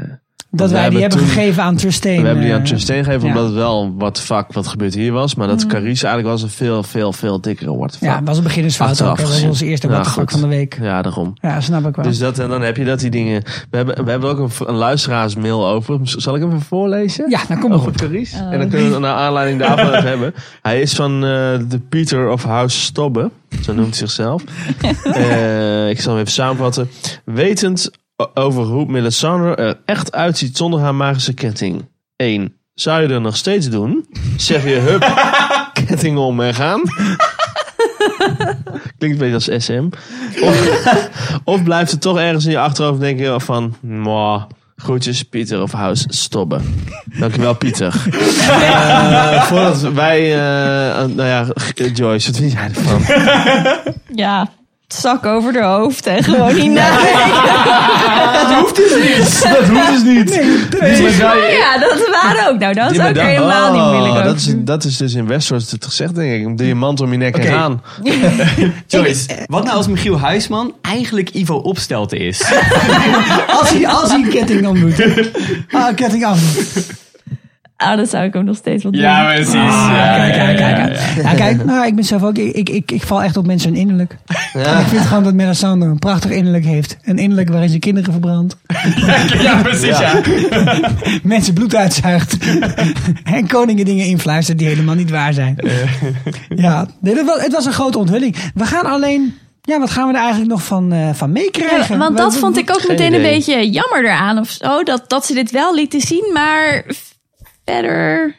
dat wij hebben die hebben toen- gegeven aan Tristain. we hebben die aan eh, Tristan gegeven, ja. omdat het wel een what the fuck wat gebeurd hier was. Maar dat Carice eigenlijk was een veel, veel, veel dikkere what the fuck. Ja, het was een beginnersfout ook. Achteraf hè. Dat was gezien. onze eerste Ja, wat the fuck goed. van de week. Ja, daarom. Ja, snap ik wel. Dus dat, en dan heb je dat die dingen. We hebben, we hebben ook een, v- een luisteraarsmail over. Z- Zal ik hem even voorlezen? ja, nou kom maar Over goed. Carice. En dan kunnen we naar aanleiding <laughs> daarvan het hebben. Hij is van eh, de Peter of House Stobbe. Zo noemt hij zichzelf. Eh, ik zal hem even samenvatten. Wetend o- over hoe Melisandre er echt uitziet zonder haar magische ketting. 1. Zou je er nog steeds doen? Zeg je hup, ketting om en gaan? Klinkt een beetje als SM. Of, of blijft het toch ergens in je achterhoofd denken van... Mwah, groetjes Pieter of House Stobbe. Dankjewel <laughs> Pieter. Eh, voordat wij... eh, nou ja, Joyce, wat vind jij ervan? Ja, <laughs> <laughs> zak over de hoofd en gewoon niet na. Dat hoeft dus dus niet. Die medaille- Oh Ja, dat waren ook. Nou, dat is die ook medaille- helemaal niet Oh, moeilijk. ook. Dat is, dat is dus in Westeros het gezegd, denk ik. Een diamant om je nek en Oké. aan. eh, Joyce, wat nou als Michiel Huisman eigenlijk Ivo Opstelten <laughs> is? Oh. Als hij, als hij een ketting om <laughs> doet. Ah, een ketting aan. Ah, dat zou ik hem nog steeds wat Ja, precies. ja, Ah, Kijk, ja, kijk, ja, kijk. ja. Ja, kijk, nou, ik ben zelf ook. Ik, ik, ik, ik val echt op mensen hun innerlijk. Ik vind gewoon dat Melisandre een prachtig innerlijk heeft. Een innerlijk waarin ze kinderen verbrandt. <laughs> Ja, precies, ja. <laughs> mensen bloed uitzuigt. <laughs> en koningen dingen influistert die helemaal niet waar zijn. Ja, nee, dat was, het was een grote onthulling. We gaan alleen. Ja, wat gaan we er eigenlijk nog van, eh, van Ja, meekrijgen? want dat Wat- vond ik ook meteen een idee. beetje jammer eraan of zo. Dat, dat ze dit wel lieten zien, maar verder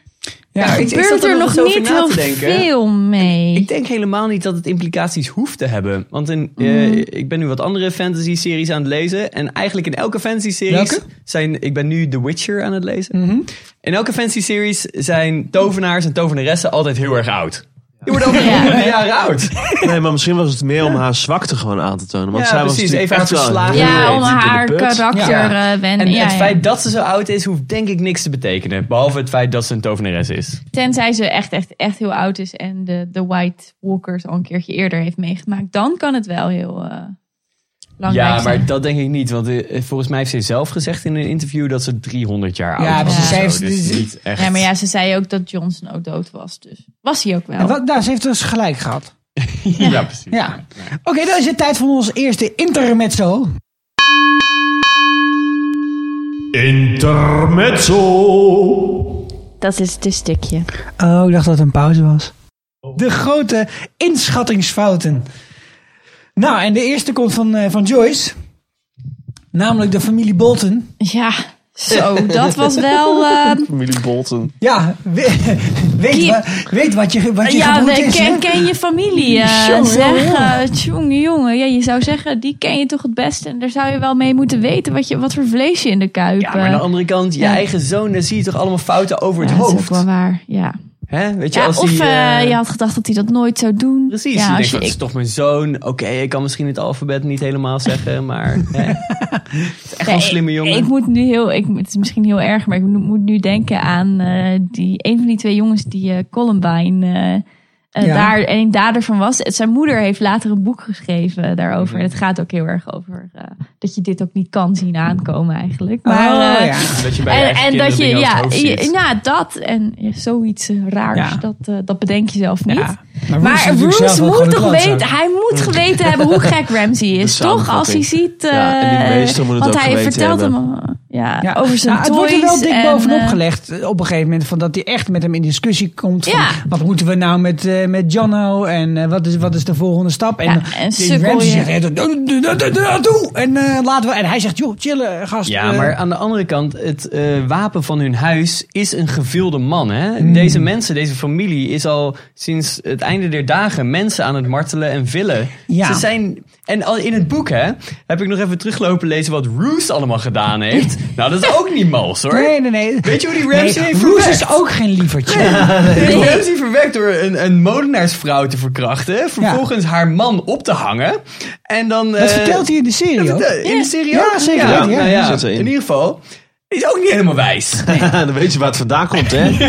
Ja, ik- zat gebeurt er nog er nog eens over niet na heel te denken. veel mee. Ik denk helemaal niet dat het implicaties hoeft te hebben. Want in, eh, Mhm. ik ben nu wat andere fantasy-series aan het lezen. En eigenlijk in elke fantasy-series Welke? zijn... Ik ben nu The Witcher aan het lezen. Mhm. In elke fantasy-series zijn tovenaars en tovenaressen altijd heel erg oud. Die worden ook <laughs> Ja. honderden jaren oud. Nee, maar misschien was het meer om haar zwakte gewoon aan te tonen. Want Ja, zij precies. was natuurlijk Even haar echt wel verslagen. heel ja, erg om diep in de haar put. karakter Ja. eh, wennen. En Ja, het ja. feit dat ze zo oud is, hoeft denk ik niks te betekenen. Behalve het feit dat ze een tovenares is. Tenzij ze echt, echt, echt heel oud is en de, de White Walkers al een keertje eerder heeft meegemaakt. Dan kan het wel heel eh belangrijk ja, maar zijn. dat denk ik niet. Want eh, volgens mij heeft ze zelf gezegd in een interview dat ze 300 jaar Ja, oud was. precies. of Zij zo. heeft- Dus niet echt. Ja, maar ja, ze zei ook dat Johnson ook dood was. Dus was hij ook wel. En wat, nou, ze heeft dus gelijk gehad. Ja, precies. Ja. Oké, dan is het tijd voor ons eerste intermezzo. Intermezzo. Dat is het stukje. Oh, ik dacht dat het een pauze was. De grote inschattingsfouten. Nou, en de eerste komt van, eh, van Joyce. Namelijk de familie Bolton. Ja, zo. Dat <laughs> was wel... eh, Familie Bolton. Ja, we- <laughs> weet, Die- wa- weet wat je, wat je Ja, gebroed nee, is. hè? ken, ken je familie. eh, Tjonge, zeg, jonge, eh, tjonge, jongen. Ja, je zou zeggen, die ken je toch het beste. En daar zou je wel mee moeten weten wat, je, wat voor vlees je in de kuip. Ja, maar aan de eh, andere kant, je Ja. eigen zoon, daar zie je toch allemaal fouten over het ja, dat is ook hoofd. wel waar. Ja. Hè? Weet je, Ja, als of die, eh, eh, je had gedacht dat hij dat nooit zou doen. Precies, Ja, je denkt, als dat je, is toch mijn zoon. Oké, ik kan misschien het alfabet niet helemaal zeggen, maar... <laughs> Hè? Het is echt wel een Nee, slimme jongen. Ik, moet nu heel, ik, het is misschien heel erg, maar ik moet- moet nu denken aan eh, die, een van die twee jongens die eh, Columbine eh, eh, Ja. daar een dader van was. Zijn moeder heeft later een boek geschreven daarover. Mhm. En het gaat ook heel erg over eh, dat je dit ook niet kan zien aankomen eigenlijk. Maar, Oh, eh, ja. dat je bij je En, eigen en kinderen dat je, dingen over het ja, hoofd ja, ziet. ja, dat en ja, zoiets eh, raars, Ja. dat, eh, dat bedenk je zelf niet. Ja. Maar Maar natuurlijk zelf Roos ook gewoon moet een toch klootzak. weten, hij moet geweten hebben hoe gek Ramsey <laughs> is, toch? samenvatting. Als hij ziet, eh, Ja, en die meester moet het want ook hij geweten vertelt hebben. hem eh, ja, Ja. over zijn nou, het toys. wordt er wel dik en, bovenop eh, gelegd eh, op een gegeven moment. Van dat hij echt met hem in discussie komt. Van, Ja. Wat moeten we nou met, eh met Jono? En eh, wat, is, wat is de volgende stap? En, Ja, dan- en die sukkel Ramsey je. zegt, eh, doe- doe- doe- doe- doe- doe. En eh, laten we... En hij zegt, joh, chillen, gast. Ja, eh, maar aan de andere kant, het eh, wapen van hun huis is een gevilde man. Hè? Hmm. Deze mensen, deze familie, is al sinds het einde der dagen mensen aan het martelen en villen. Ja. Ze zijn. En al in het boek, hè, heb ik nog even teruglopen lezen wat Roos allemaal gedaan <laughs> heeft. nou, dat is ook niet mals hoor. Nee, nee, nee. Weet je hoe die Ramsey heeft Roos verwerkt? is ook geen lievertje. <laughs> Die Ramsey verwerkt door een, een molenaarsvrouw te verkrachten. Vervolgens haar man op te hangen. En dan. Dat eh, vertelt hij in de serie ook. eh, In de serie Ja, ook? zeker Ja, weten, ja. nou ja, Die zit erin. In ieder geval. die is ook niet helemaal wijs. <laughs> dan weet je waar het vandaan komt, <laughs> hè? ja. nou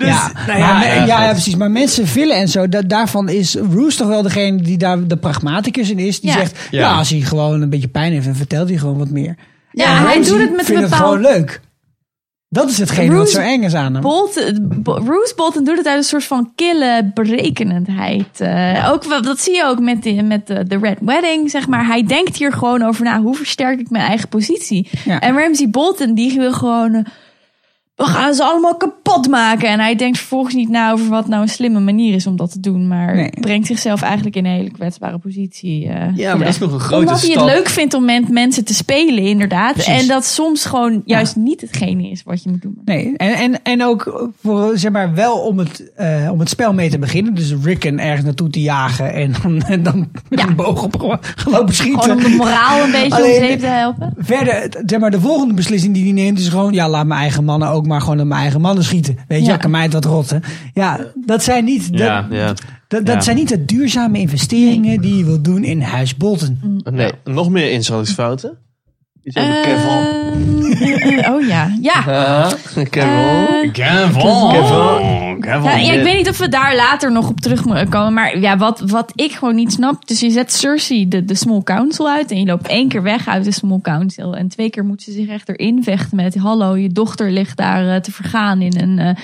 ja, ja, maar- ja, ja, goed. ja, precies. Maar mensen villen en zo, da- daarvan is Roos toch wel degene die daar de pragmaticus in is. Die Ja. zegt, ja. Ja. als hij gewoon een beetje pijn heeft, dan vertelt hij gewoon wat meer. eh, Ja, En hij Ramsey doet het met een vindt bepaald... het gewoon leuk. Dat is hetgene wat Roos- zo eng is aan hem. Bolton, Bo- Roose Bolton doet het uit een soort van kille berekenendheid. Eh, ook, wel- dat zie je ook met, die, met de, de Red Wedding, zeg maar. Hij denkt hier gewoon over na, hoe versterk ik mijn eigen positie? Ja. En Ramsey Bolton, die wil gewoon... eh, We gaan ze allemaal kapot maken. En hij denkt vervolgens niet na over wat nou een slimme manier is om dat te doen. Maar Nee. brengt zichzelf eigenlijk in een hele kwetsbare positie. <laughs> eh, Ja, maar dat terecht. is nog een grote Omdat hij het stap. leuk vindt om met mensen te spelen, inderdaad. En dat soms gewoon juist niet hetgene is wat je moet doen. Nee, en, en, en ook voor, zeg maar, wel om het, eh, om het spel mee te beginnen. Dus Ricken ergens naartoe te jagen en dan, <laughs> en dan met Ja. een boog op gewoon gelopen schieten. Gewoon om de moraal een beetje Alleen- om zeep te helpen. Verder, het- zeg maar, de volgende beslissing die hij neemt is gewoon... ja, laat mijn eigen mannen ook maar gewoon op mijn eigen mannen schieten. Weet je, Ja. ja. kan mij het wat rotten. Ja, dat zijn niet, dat, Ja. Ja. dat, dat Ja. zijn niet de Mm. duurzame investeringen die je wilt doen in huis Bolton. Nee, nog meer inschattingsfouten. Iets over Kevin. Eh, eh, oh ja, ja. Ah, Kevin. Eh, Gavon. Gavon. ja, ja, ik weet niet of we daar later nog op terug moeten komen. Maar ja, wat, wat ik gewoon niet snap. Dus je zet Cersei de, de Small Council uit. En je loopt één keer weg uit de Small Council. En twee keer moet ze zich echt erin vechten met... Hallo, je dochter ligt daar eh, te vergaan in een eh,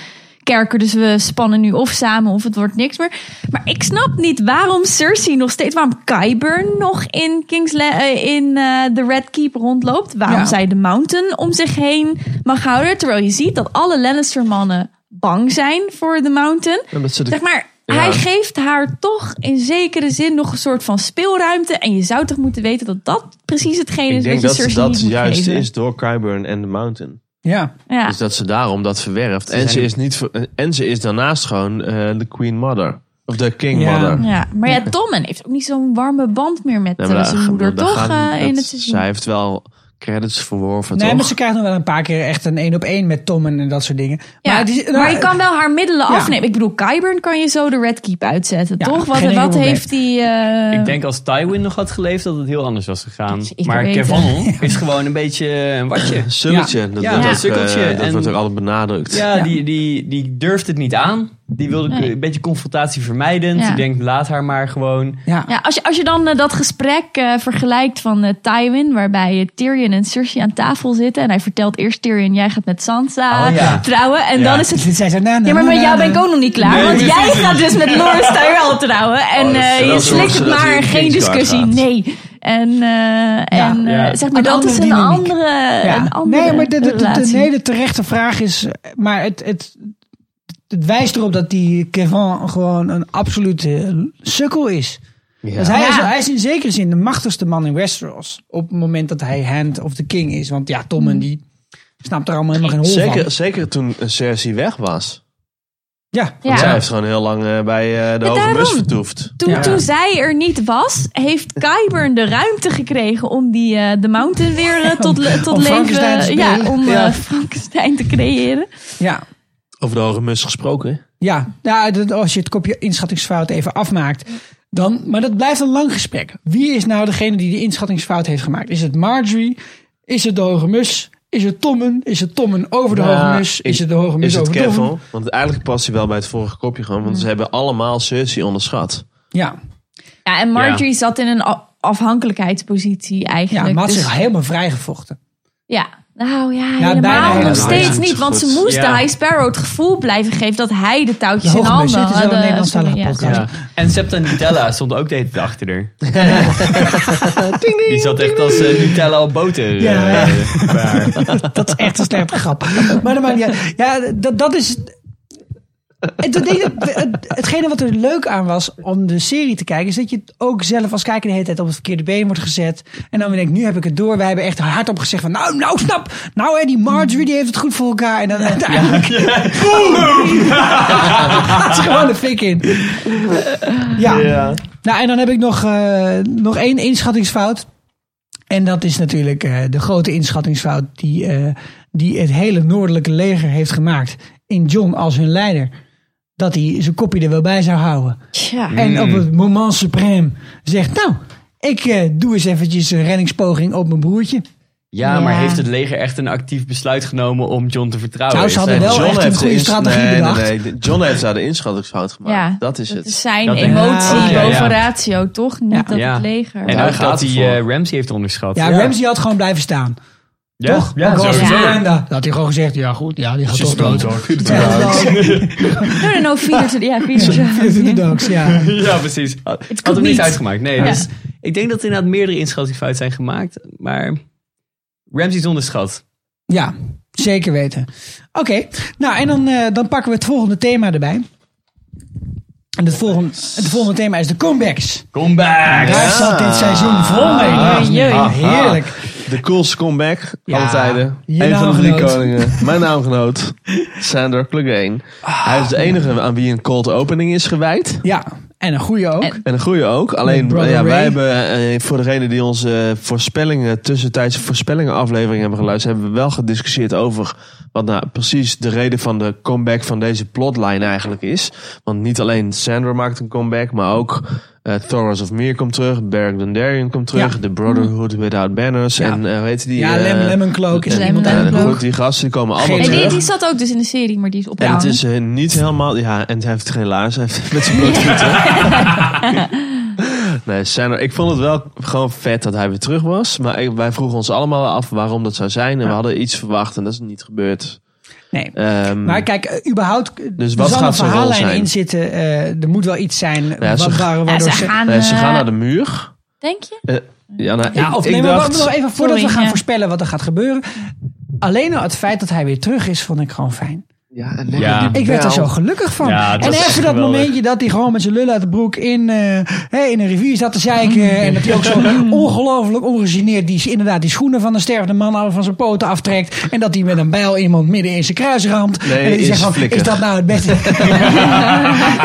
kerker. Dus we spannen nu of samen of het wordt niks meer. Maar ik snap niet waarom Cersei nog steeds... Waarom Qyburn nog in, King's La- eh, in eh, de Red Keep rondloopt. Waarom Ja. zij de Mountain om zich heen mag houden. Terwijl je ziet dat alle Lannister mannen bang zijn voor de Mountain. Omdat ze de- Zeg maar, Ja. hij geeft haar toch in zekere zin nog een soort van speelruimte. En je zou toch moeten weten dat dat precies hetgeen Ik is wat denk je dat ze Cersei dat niet moet juist geven. is door Kyburn en The Mountain. Ja. Ja. Dus dat ze daarom dat verwerft. en, ze zijn- is niet, ver- en ze is daarnaast gewoon eh, de Queen Mother. Of de King Ja. Mother. ja, maar ja, Tommen heeft ook niet zo'n warme band meer met Nee, eh, maar zijn daar- moeder, daar toch? gaan- eh, in dat- het seizoen. Zij heeft wel credits verworven, Nee, maar toch? ze krijgt nog wel een paar keer echt een één op één met Tom en dat soort dingen. ja, maar, maar, het is- je kan wel haar middelen Ja. afnemen. Ik bedoel, Kyburn kan je zo de Red Keep uitzetten, Ja, toch? geen Wat, enkel wat probleem. heeft die... eh, Ik denk als Tywin nog had geleefd dat het heel anders was gegaan. Zeker Maar weten. Kevon is gewoon een beetje een watje. Sulletje, Ja. dat, Ja, wordt ja. ook, eh, sukkeltje dat en- wordt ook altijd benadrukt. Ja, Die, die, die durft het niet aan. Die wilde Nee. een beetje confrontatie vermijdend. Ja. Die denkt, laat haar maar gewoon. Ja. Ja, als je, als je dan eh, dat gesprek eh, vergelijkt van eh, Tywin, waarbij eh, Tyrion en Cersei aan tafel zitten. En hij vertelt eerst Tyrion, jij gaat met Sansa Oh, ja. trouwen. En Ja. dan is het... "Hm." Zij zei, nou, nou, Ja, maar met nou, jou nou, ben ik ook nog niet klaar. want jij gaat dus met <laughs> Loris Tyrell trouwen. En Oh, dat is eh, wel je zo slikt dat het hij maar, in geen Kingsguard discussie. gaat. Nee. En, eh, en eh, Ja. zeg maar, Een dat andere is een dynamiek. andere, Ja. een andere nee, maar de, de, de- de, relatie. nee, de terechte vraag is. Maar het, het, het wijst erop dat die Kevin gewoon een absolute sukkel is. Dus hij, is, Ja. hij is in zekere zin de machtigste man in Westeros. Op het moment dat hij Hand of the King is. Want ja, Hmm. Tommen die snapt er allemaal helemaal geen hol Zeker, van. zeker toen eh, Cersei weg was. Ja, Want Ja. zij heeft gewoon heel lang eh, bij eh, de Ja, Hoge daarom. Mus vertoefd. Toen, Ja. toen zij er niet was, heeft Kyburn de ruimte gekregen om die, eh de mountain weer eh, tot, le- tot Om Frankenstein te leven... Ja, spelen. om Ja. eh, Frankenstein te creëren. ja. Over de Hoge Mus gesproken. Ja, nou, dat- als je het kopje inschattingsfout even afmaakt. Dan, maar dat blijft een lang gesprek. Wie is nou degene die die inschattingsfout heeft gemaakt? Is het Marjorie? Is het de Hoge Mus? Is het Tommen? Is het Tommen over de Nou, Hoge Mus? Is ik- het de Hoge Mus Mm. Is het over Tommen? Kevin? Want eigenlijk past hij wel bij het vorige kopje gewoon. Want ze hebben allemaal Cersei onderschat. Ja, Ja, en Marjorie zat in een a- afhankelijkheidspositie ja eigenlijk. maar had Dus- zich helemaal vrijgevochten. Ja, nou ja, bijna helemaal helemaal. nog steeds Ja, niet. Want ze moest Ja. de High Sparrow het gevoel blijven geven dat hij de touwtjes De in Hoge Mus, hè? handen Het is wel een de- Nederlandstalige ja, podcast. Ja. En Septa Nutella stond ook de hele tijd achter <laughs> haar. Die zat echt als eh, Nutella op boter. Ja, eh, bij haar. Dat is echt een slechte grap. Maar dat maakt niet uit. Ja, dat, dat is. Het, het- het- het- hetgene wat er leuk aan was om de serie te kijken, is dat je het ook zelf als kijker de hele tijd op het verkeerde been wordt gezet. En dan weer denkt, nu heb ik het door. Wij hebben echt hardop gezegd van, nou, nou, snap. Nou, hè, die Marjorie die heeft het goed voor elkaar. En dan <laughs> uiteindelijk gaat ze gewoon de fik in. Ja. Nou, en dan heb ik nog, eh, nog één inschattingsfout. En dat is natuurlijk eh, de grote inschattingsfout die, eh, die het hele noordelijke leger heeft gemaakt in John als hun leider. Dat hij zijn kopje er wel bij zou houden. Tja. En op het moment supreme zegt, nou, ik eh, doe eens eventjes een reddingspoging op mijn broertje. Ja, maar Ja. heeft het leger echt een actief besluit genomen om John te vertrouwen? Nou, ze Is hadden hij- wel echt een heeft goede de ins- strategie nee, nee, bedacht. nee, de- John heeft daar de inschattingsfout gemaakt. Ja, dat is Dat het. is zijn Dat denk ik. emotie Ja, oké, ja. boven ratio, toch? Niet dat Ja. het leger. En Daar ook gaat dat hij het eh, voor. Ramsey heeft onderschat. Ja, Ramsey had gewoon blijven staan. Ja, toch? Ja, Ook al was het sowieso. Ja. Miranda. Dat had hij gewoon gezegd, ja goed, ja, die gaat toch dood. Oh, No, no, no, vier to- ja, vier to- Vier de dogs, ja. <laughs> Ja, precies. Had could hem niet niet. uitgemaakt. Nee, Ja. dus ik denk dat er inderdaad meerdere inschattingsfouten zijn gemaakt. Maar Ramsey is onderschat. Ja, zeker weten. Oké, nou en dan, eh, dan pakken we het volgende thema erbij. En het volgende, het volgende thema is de comebacks. Comeback! Daar zat dit seizoen vol mee. Jee. Ah, Heerlijk. De coolste comeback alle tijden. je Een van de drie naamgenoot. koningen. Mijn naamgenoot. Sander Clegane. Ah. Hij is de enige aan wie een cold opening is gewijd. Ja, en een goede ook. En- En een goede ook. Alleen Brother ja, Ray. wij hebben eh, voor degenen die onze eh, voorspellingen, tussentijdse voorspellingen aflevering hebben geluisterd, hebben we wel gediscussieerd over wat nou precies de reden van de comeback van deze plotline eigenlijk is. Want niet alleen Sandra maakt een comeback, maar ook eh Thoros of Mir komt terug. Beric Dondarrion komt terug. Ja. Mm. The Brotherhood Without Banners. Ja. En eh hoe heet die? ja, eh, Lem, Lemon Cloak is eh, er iemand Lemon eh, aan. Cloak. goed, die gasten die komen allemaal Geen- Nee, die, terug. die zat ook dus in de serie, maar die is En het opgehouden. is eh, niet helemaal... Ja, en hij heeft geen laars. Hij heeft met zijn blote voeten. nee, zijn er, ik vond het wel gewoon vet dat hij weer terug was. Maar ik- wij vroegen ons allemaal af waarom dat zou zijn. En we hadden iets verwacht en dat is niet gebeurd. Nee. Ehm, Maar kijk, eh, überhaupt, eh, Dus er wat zal gaat een zijn rol verhaallijn zijn? in zitten. eh, er moet wel iets zijn ja, wat, ze- waar- Ja, waardoor ze ze... gaan, nee, ze eh, gaan naar de muur. Denk je? Ja, nou, Ja, ik, of ik nee, maar wacht dacht... nog even voordat Sorry, we gaan ja. voorspellen wat er gaat gebeuren. Alleen al het feit dat hij weer terug is, vond ik gewoon fijn. Ja, en lekker Ja. die Ik werd er bel. zo gelukkig van. Ja, en dat is even dat geweldig. momentje dat hij gewoon met zijn lul uit de broek in, eh, hè, in een rivier zat te Mm. zeiken. En dat hij <laughs> ook zo ongelooflijk ongegeneerd die, inderdaad die schoenen van een stervende man al van zijn poten aftrekt. En dat hij met een bijl iemand midden in zijn kruis ramt. Nee, en dat hij is zegt van, flikker. is dat nou het <laughs> beste?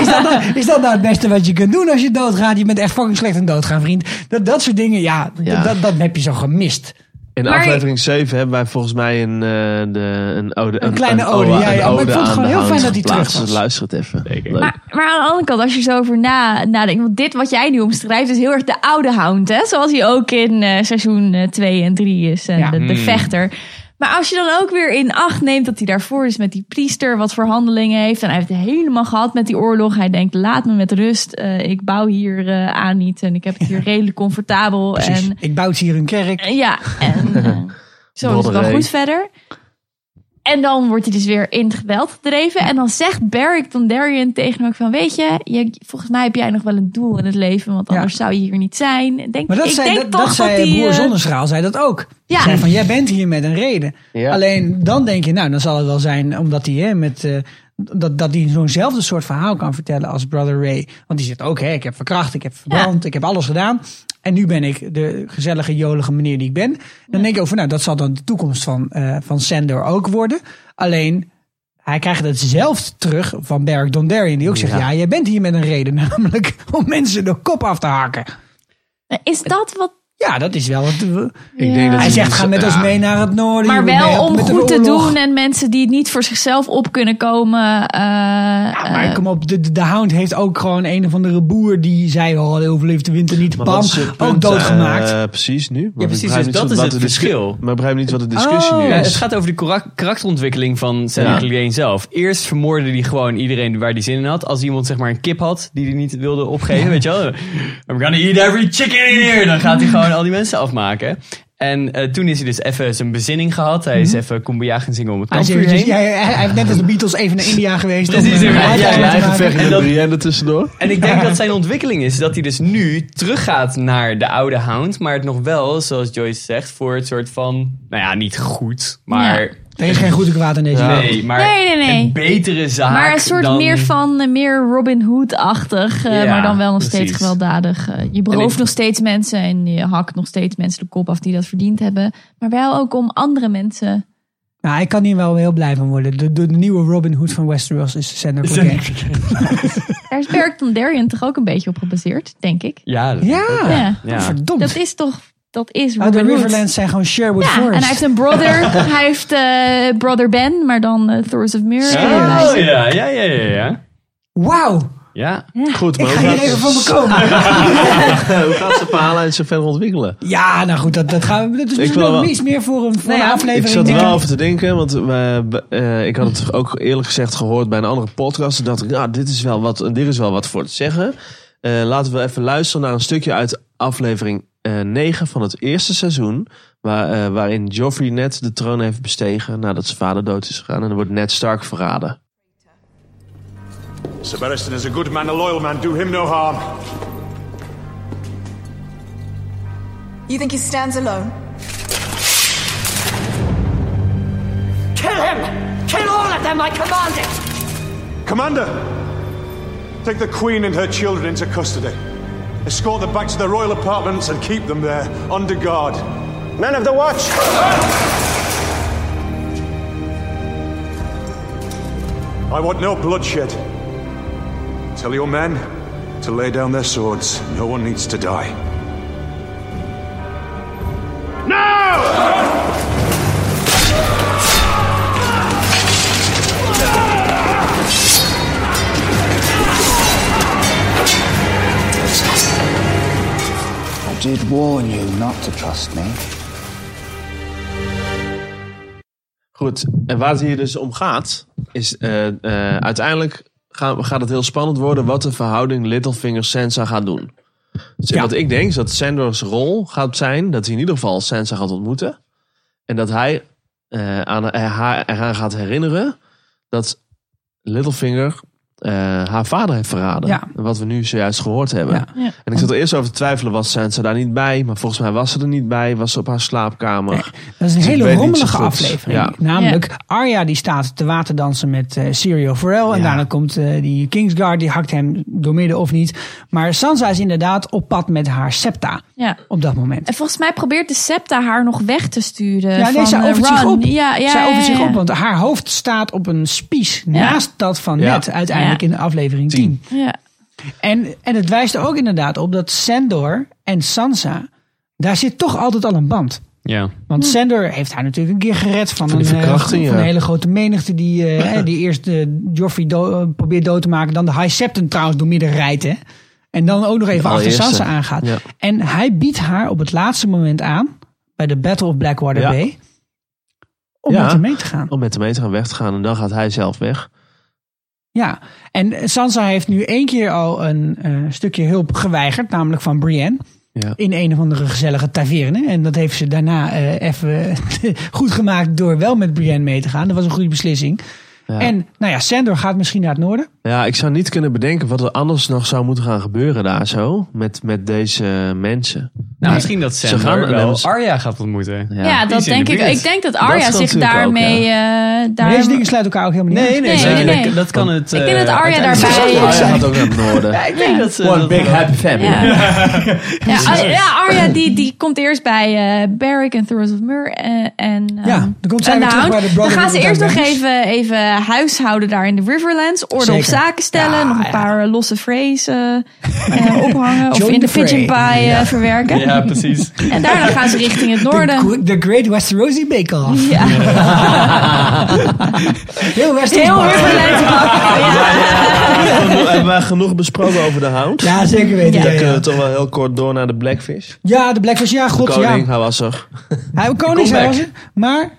is, dat nou, is dat nou het beste wat je kunt doen als je doodgaat? Je bent echt fucking slecht in doodgaan, vriend. Dat, dat soort dingen, ja, Ja. Dat, dat heb je zo gemist. In Maar- aflevering 7 hebben wij volgens mij een, eh, de, een ode. Een kleine ode, ja, ja, maar ik vond het aan gewoon de heel hand fijn dat hij geplaatst. terug was. Dus Luister het even. Leuk. Maar, maar aan de andere kant, als je zo over na, nadenkt. Want dit wat jij nu omschrijft is heel erg de oude hound. Hè? Zoals hij ook in eh, seizoen 2 en 3 is. En Ja. de, de vechter. Maar als je dan ook weer in acht neemt dat hij daarvoor is met die priester. Wat voor handelingen heeft. En hij heeft het helemaal gehad met die oorlog. Hij denkt, laat me met rust. eh, ik bouw hier eh, aan niet. En ik heb het hier redelijk comfortabel. Precies. En ik bouw hier een kerk. Eh, Ja, <laughs> en eh, zo is het wel Modderij. goed verder. En dan wordt hij dus weer in het geweld gedreven. En dan zegt Beric Dondarrion tegen hem ook van... Weet je, je, volgens mij heb jij nog wel een doel in het leven. Want Ja. anders zou je hier niet zijn. Denk, Maar dat ik zei, denk dat, toch dat zei dat die, broer eh, Zonnestraal zei dat ook. Ja. Zei van, jij bent hier met een reden. Ja. Alleen dan denk je, nou, dan zal het wel zijn omdat hij hè, met... eh, dat, dat hij zo'nzelfde soort verhaal kan vertellen als Brother Ray. Want die zegt ook, hè, ik heb verkracht, ik heb verbrand, ik heb alles gedaan. En nu ben ik de gezellige, jolige meneer die ik ben. Dan denk ik over, nou, dat zal dan de toekomst van, eh van Sandor ook worden. Alleen, hij krijgt het zelf terug van Beric Dondarrion. Die ook zegt, ja. jij bent hier met een reden. <laughs> Namelijk om mensen de kop af te hakken. nou, Is dat wat... Ja, dat is wel wat... Ik denk dat Hij zegt, niet- ga met ons Dus- ja. mee naar het noorden. Maar jullie wel helpen om met de goed te oorlog. doen. En mensen die het niet voor zichzelf op kunnen komen. eh, Ja, maar eh, kom op, de, de, de hound heeft ook gewoon een of andere boer die zei, oh, hij overleeft de winter niet. Maar Bam, wat is het ook punt, doodgemaakt. eh, precies nu. Want ik precies, begrijp dus niet dat wat- is wat het de discu- verschil. Maar ik begrijp niet wat de discussie Oh. nu Ja, dus- is. het gaat over de karak- karakterontwikkeling van Sam Killeen zelf. Eerst vermoorde hij gewoon iedereen waar hij zin in had. Als iemand zeg maar een kip had die hij niet wilde opgeven, weet je wel. I'm gonna eat every chicken in here. Dan <laughs> gaat hij gewoon al die mensen afmaken. En eh, toen is hij dus even zijn bezinning gehad. Hij Mhm. is even Kumbaya gaan zingen om het Hij, is kampvuur dus- eventjes- heen. ja, dus, eh, hij, hij heeft net als de Beatles even naar India geweest. Precies, om, eh, inderdaad. een Ja, item te ja, hij maken. vervecht- Vechten en de dat- Brienne tussendoor. En ik <laughs> denk dat zijn ontwikkeling is dat hij dus nu teruggaat naar de oude hound. Maar het nog wel, zoals Joyce zegt, voor het soort van... Nou ja, niet goed, maar... Ja. Er is geen goed en kwaad in deze wereld. Nee, maar Nee, nee, nee. een betere zaak Maar een soort dan... meer van eh, meer Robin Hood-achtig, eh, Ja, maar dan wel nog steeds precies. gewelddadig. Eh, je En berooft ik- nog steeds mensen en je hakt nog steeds mensen de kop af die dat verdiend hebben. Maar wel ook om andere mensen. Nou, ik kan hier wel heel blij van worden. De, de, de nieuwe Robin Hood van Westeros is Sander Cocaine. Daar is Beric Dondarrion toch ook een beetje op gebaseerd, denk ik. Ja, dat- Ja, Ja. ja. verdomd. Dat is toch, dat is Oh, de Robin Hood. Riverlands zijn gewoon Sherwood Ja, en Forest. hij heeft een brother. <laughs> hij heeft eh, brother Ben, maar dan eh, Thor's of Mirror. Oh, ja, ja, ja, ja, ja. Nou, Wauw, Ja, Goed, ik maar ga hoe hier even van gaat, <laughs> me komen. hoe gaat zijn verhaallijn zich verder ontwikkelen? Ja, nou goed, dat, dat, gaan we, dat is misschien wil nog wel- iets meer voor een, voor Nou een ja, aflevering. Ik zat er denk wel ik. over te denken, want eh, b- eh, ik had het ook eerlijk gezegd gehoord bij een andere podcast. Toen dacht ik, nou, dit is wel wat, dit is wel wat voor te zeggen. Eh, laten we even luisteren naar een stukje uit aflevering eh 9 van het eerste seizoen. Waar, eh, waarin Joffrey net de troon heeft bestegen nadat zijn vader dood is gegaan. En er wordt Ned Stark verraden. Sir Barristan is a good man, a loyal man. Do him no harm. You think he stands alone? Kill him! Kill all of them, I command it! Commander, take the Queen and her children into custody. Escort them back to their royal apartments and keep them there, under guard. Men of the Watch! I want no bloodshed. Tell your men to lay down their swords. No one needs to die. sworn you not to trust me. Goed, en waar het hier dus om gaat, is eh, eh, uiteindelijk gaan, gaat het heel spannend worden wat de verhouding Littlefinger-Sansa gaat doen. Dus Wat ik denk is dat Sandor's rol gaat zijn dat hij in ieder geval Sansa gaat ontmoeten. En dat hij eh, aan, eh, haar eraan gaat herinneren dat Littlefinger eh, haar vader heeft verraden. Ja. Wat we nu zojuist gehoord hebben. Ja. En ik zat er eerst over te twijfelen, was Sansa daar niet bij? Maar volgens mij was ze er niet bij, was ze op haar slaapkamer. Dat is een Dus ik weet hele niet zo rommelige goed. aflevering. Ja. Namelijk, Arya die staat te waterdansen met eh Sirio Forel. En daarna komt eh, die Kingsguard, die hakt hem doormidden of niet. Maar Sansa is inderdaad op pad met haar septa Ja. op dat moment. En volgens mij probeert de septa haar nog weg te sturen. Ja, nee, van, zij eh, offert zich Ron. op. Ja, ja, zij ja, offert zich ja. op, want haar hoofd staat op een spies Ja. naast dat van Ja. net uiteindelijk Ja. in de aflevering 10. Ja. En, en het wijst er ook inderdaad op dat Sandor en Sansa, daar zit toch altijd al een band. Ja. Want Sandor heeft haar natuurlijk een keer gered van, Van die een, eh, verkrachting, van een ja. hele grote menigte die, eh, hè, die eerst eh, Joffrey do- eh, probeert dood te maken. Dan de High Septon trouwens door midden rijdt. Hè? En dan ook nog even achter allereerste. Sansa aangaat. Ja. En hij biedt haar op het laatste moment aan, bij de Battle of Blackwater Ja. Bay, om Ja. met hem mee te gaan. Om met hem mee te gaan weg te gaan en dan gaat hij zelf weg. Ja, en Sansa heeft nu één keer al een eh, stukje hulp geweigerd, namelijk van Brienne. Ja. In een of andere gezellige taverne. En dat heeft ze daarna eh, even <laughs> goed gemaakt door wel met Brienne mee te gaan. Dat was een goede beslissing. Ja. En nou ja, Sandor gaat misschien naar het noorden. Ja, ik zou niet kunnen bedenken wat er anders nog zou moeten gaan gebeuren daar zo. Met, met deze mensen. Nou, misschien dat Sam gaan- wel nee, ze- Arya gaat ontmoeten. Ja, dat denk ik. Ik denk dat Arya kan zich natuurlijk ook, daarmee... eh, daar... Maar deze dingen sluiten elkaar ook helemaal niet Nee, nee, Nee, zeker. nee, nee. Dat, dat kan het... Ik denk eh, dat Arya uiteindelijk- daarbij- Ja, Arya gaat ook naar het noorden. Ja, ik denk dat ze... One dat- big happy family. Ja. <laughs> Ja, Ar- ja, Arya die, die komt eerst bij eh, Beric en Thoros of Mur. eh, en, ehm, Ja, dan komt zij en weer de terug Hound. bij de Brotherhood Dan gaan ze of eerst nog Darkness. even, even huishouden daar in de Riverlands. Orde op Zeker. zaken stellen. Ja, nog een ja. paar eh, losse vrees eh, <laughs> eh, ophangen. of Join in de the fray. pigeon pie eh, verwerken. Ja, precies. En daarna gaan ze richting het noorden. The, the Great West Rosie Bake Off. Ja. <laughs> Heel West Heel Riverlands bakken, ja. Hebben we genoeg besproken over de hout? Ja, zeker weten. Ja, Dan ja, kunnen we toch wel heel kort door naar de Blackfish. Ja, de Blackfish. Ja, god, Koning, ja. hij was er. Hij koning Comeback. zijn ze. Maar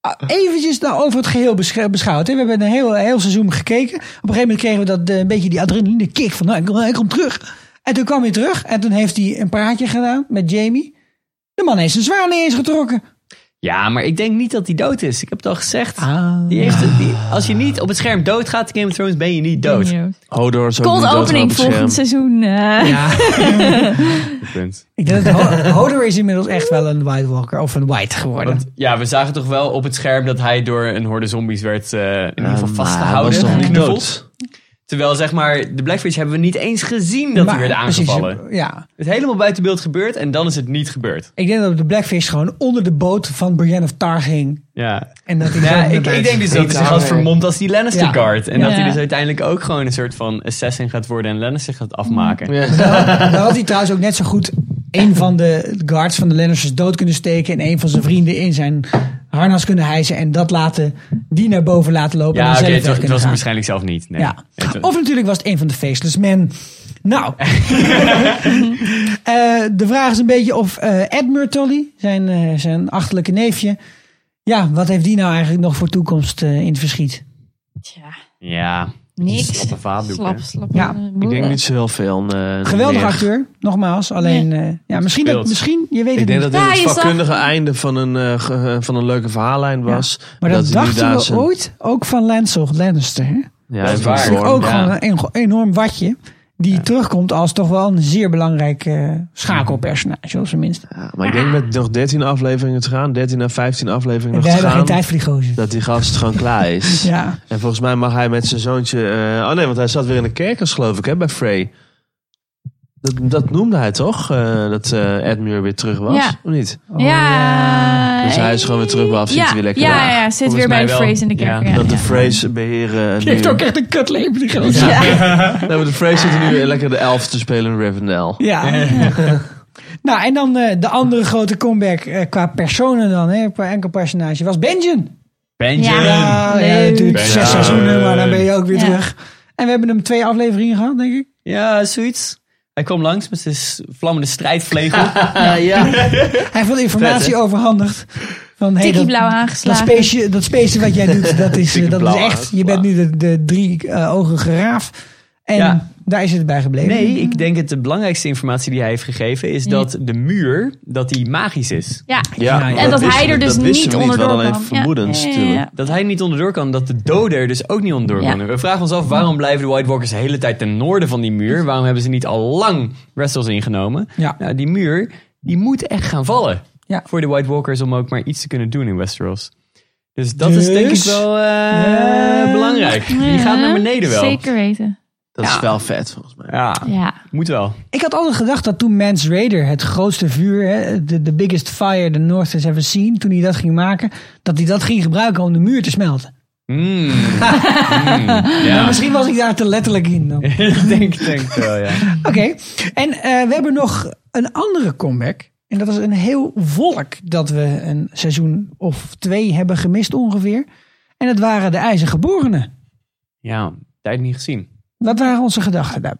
ah, eventjes nou over het geheel besch- beschouwd. Hè. We hebben een heel, heel seizoen gekeken. Op een gegeven moment kregen we dat, eh, een beetje die adrenaline kick van nou, ik, kom, ik kom terug. En toen kwam hij terug en toen heeft hij een praatje gedaan met Jamie. De man heeft zijn zwaar niet eens getrokken. Ja, maar ik denk niet dat hij dood is. Ik heb het al gezegd. Ah. Die heeft, die- als je niet op het scherm doodgaat in Game of Thrones, ben je niet dood. Hodor zo Cold opening volgend seizoen. eh. <laughs> Ik denk dat Ho- Hodor is inmiddels echt wel een White Walker of een White geworden. Ja, we zagen toch wel op het scherm dat hij door een horde zombies werd eh, in ieder geval Hij vastgehouden. was toch niet Geknuffeld. dood? Terwijl zeg maar, de Blackfish hebben we niet eens gezien dat Maar- hij werd precies, aangevallen. ja. Het is helemaal buiten beeld gebeurd en dan is het niet gebeurd. Ik denk dat de Blackfish gewoon onder de boot van Brienne of Tar ging. Ja. En dat hij zo Ja, naar ik, ik buiten- denk dus dat hij zich had vermomd als die Lannister Ja. guard. En Ja. dat hij Ja. dus uiteindelijk ook gewoon een soort van assassin gaat worden en Lannister gaat afmaken. Dan had hij trouwens ook net zo goed een van de guards van de Lannisters dood kunnen steken. En een van zijn vrienden in zijn harnas kunnen hijsen. En dat laten, die naar boven laten lopen. en Ja, dan oké, zelf het weg was, het kunnen was gaan. waarschijnlijk zelf niet. Nee. Ja. Nee, het- Of natuurlijk was het een van de faceless men. <laughs> Nou, Eh, de vraag is een beetje of eh Edmure Tully, zijn, eh, zijn achterlijke neefje, ja, wat heeft die nou eigenlijk nog voor toekomst eh, in het verschiet? Tja, ja. niks. Slappe vaatdoek, Slap, hè. slap. Ja. eh, Ik denk moeder. niet zo heel veel. eh, Geweldig meer. acteur, nogmaals. Alleen, eh, ja, misschien, dat, Speelt. misschien, je weet het Ik denk dat niet. dit Ja, het je zag- vakkundige einde van een, eh, ge- eh, van een leuke verhaallijn was. Maar dat, hij nu dachten daar we zijn- ooit ook van Lancel Lannister. hè? Dus Ja, Dat is in waar. vorm, ook ja. gewoon een eng- enorm watje. Die terugkomt als toch wel een zeer belangrijk eh, schakelpersonage, op zijn minst. Ja, maar ik denk met nog 13 afleveringen te gaan, 13 à 15 afleveringen En nog we te hebben geen gaan, tijd voor die gozer. dat die gast gewoon klaar <laughs> is. Ja. En volgens mij mag hij met zijn zoontje... eh, oh nee, want hij zat weer in de kerkers geloof ik, hè, bij Frey. Dat, dat noedde hij toch, eh, dat eh Edmure weer terug was? Ja. Of niet? Oh, ja. Dus hij is gewoon weer terug bij Afzien, ja, weer lekker Ja, daar. ja, ja, zit Volgens weer bij mij de wel. Freys in de Ja. kerk. Ja, dat de ja. Freys beheren... Die heeft nu- ook echt een kutleven, die gozer. Ja. Ja. Nee, maar de Freys zitten nu lekker de elf te spelen in Rivendell. <laughs> nou, en dan eh, de andere grote comeback eh, qua personen dan, hè, qua enkel personage, was Benjen. Ah, Benjen. Ja. Ja, leuk. ja, natuurlijk Benjen. zes seizoenen, maar dan ben je ook weer Ja. terug. En we hebben hem twee afleveringen gehad, denk ik. Ja, zoiets. Hij kwam langs met zijn vlammende strijdvlegel. <laughs> <laughs> Hij heeft wel informatie Vet, hè? overhandigd. Van, hey, Tikkie dat- blauw aangeslagen. Dat speesje, dat speesje wat jij doet, dat <laughs> is, eh, dat is blauw echt. Je bent nu de, de drie eh, ogen geraaf. En Ja. daar is het bij gebleven. Nee, ik denk dat de belangrijkste informatie die hij heeft gegeven is dat de muur dat die magisch is. Ja. en dat, hij er dus niet onderdoor kwam. Ja. Ja, ja, ja. Dat hij niet onderdoor kan, dat de doden er dus ook niet onderdoor Ja. kunnen. We vragen ons af waarom blijven de White Walkers de hele tijd ten noorden van die muur? Waarom hebben ze niet al lang Wrestles ingenomen? Ja. Nou, die muur die moet echt gaan vallen Ja. voor de White Walkers om ook maar iets te kunnen doen in Westeros. Dus dat is denk ik Dus? wel eh, belangrijk. Ja. Die gaat naar beneden wel. Zeker weten. Dat is wel vet volgens mij. Ja, Ja. moet wel. Ik had altijd gedacht dat toen Mans Raider, het grootste vuur, hè, de, de biggest fire the North has ever seen, toen hij dat ging maken, dat hij dat ging gebruiken om de muur te smelten. <laughs> Mm. Maar ja. misschien was ik daar te letterlijk in. dan. Oké, <laughs> Ik denk, denk wel, ja. en eh, we hebben nog een andere comeback. En dat is een heel volk dat we een seizoen of twee hebben gemist ongeveer. En dat waren de IJzergeborenen. Ja, tijd niet gezien. Wat waren onze gedachten daar?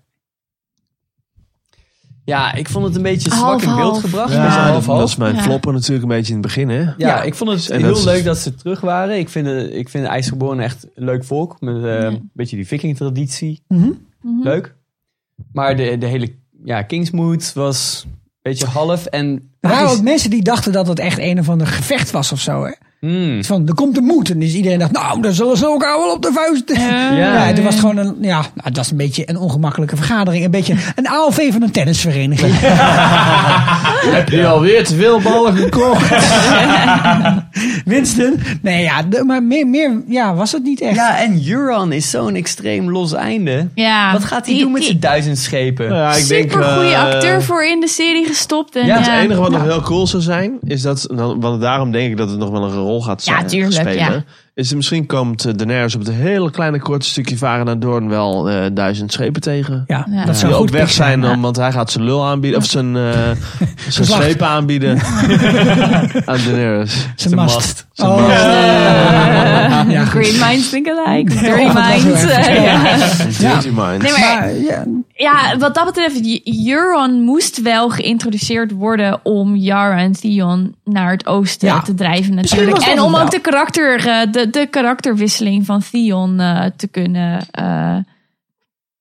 Ja, ik vond het een beetje zwak Half, in beeld half. gebracht. Ja, maar zo dat- half, half. Dat is mijn Ja. floppen natuurlijk een beetje in het begin, hè? Ja, ik vond het En heel dat is- leuk dat ze terug waren. Ik vind, eh, ik vind de IJsgeborenen echt een leuk volk. Met eh, een beetje die viking-traditie. Mhm. Leuk. Maar de, de hele ja, Kingsmood was een beetje half. En Er waren Wat is- ook mensen die dachten dat het echt een of ander gevecht was of zo. Hè? Hmm. Iets Van, er komt een moed. En dus iedereen dacht, nou, dan zullen ze elkaar wel op de vuist. <laughs> Ja, het was gewoon een, ja, nou, het was een beetje een ongemakkelijke vergadering. Een beetje een AOV van een tennisvereniging. <laughs> Heb je alweer te veel ballen gekocht? <laughs> Winston. Nee, ja, de- maar meer, meer ja, was het niet echt. Ja, en Euron is zo'n extreem los einde. Ja. Wat gaat hij Die- doen met die- zijn duizend schepen? Ja, ik denk, Super goede eh, acteur voor in de serie gestopt. En, Ja, ja, Het enige <laughs> wat nog heel cool zou zijn, is dat, dan- want daarom denk ik dat het nog wel een rol gaat Ja, zijn- tuurlijk, spelen. ja. Is er misschien komt eh, Daenerys op het hele kleine korte stukje varen naar Doorn wel eh, duizend schepen tegen. Ja, Ja. dat zou die ook goed weg pick zijn, om, want hij gaat zijn lul aanbieden, of zijn, <laughs> eh, zijn Geslacht. schepen aanbieden aan Daenerys. Zijn mast. Zijn Oh. mast. Ja, Ja, Oh, goed. Green minds think alike. Dirty dat was heel minds. erg. <laughs> eh, ja. Dirty mind. Nee, maar Maar, ja, Ja, wat dat betreft, J- Euron moest wel geïntroduceerd worden om Yara en Theon naar het oosten Ja. te drijven Misschien natuurlijk. was dat En om het ook de, wel. karakter, eh, de, de karakterwisseling van Theon eh, te kunnen eh,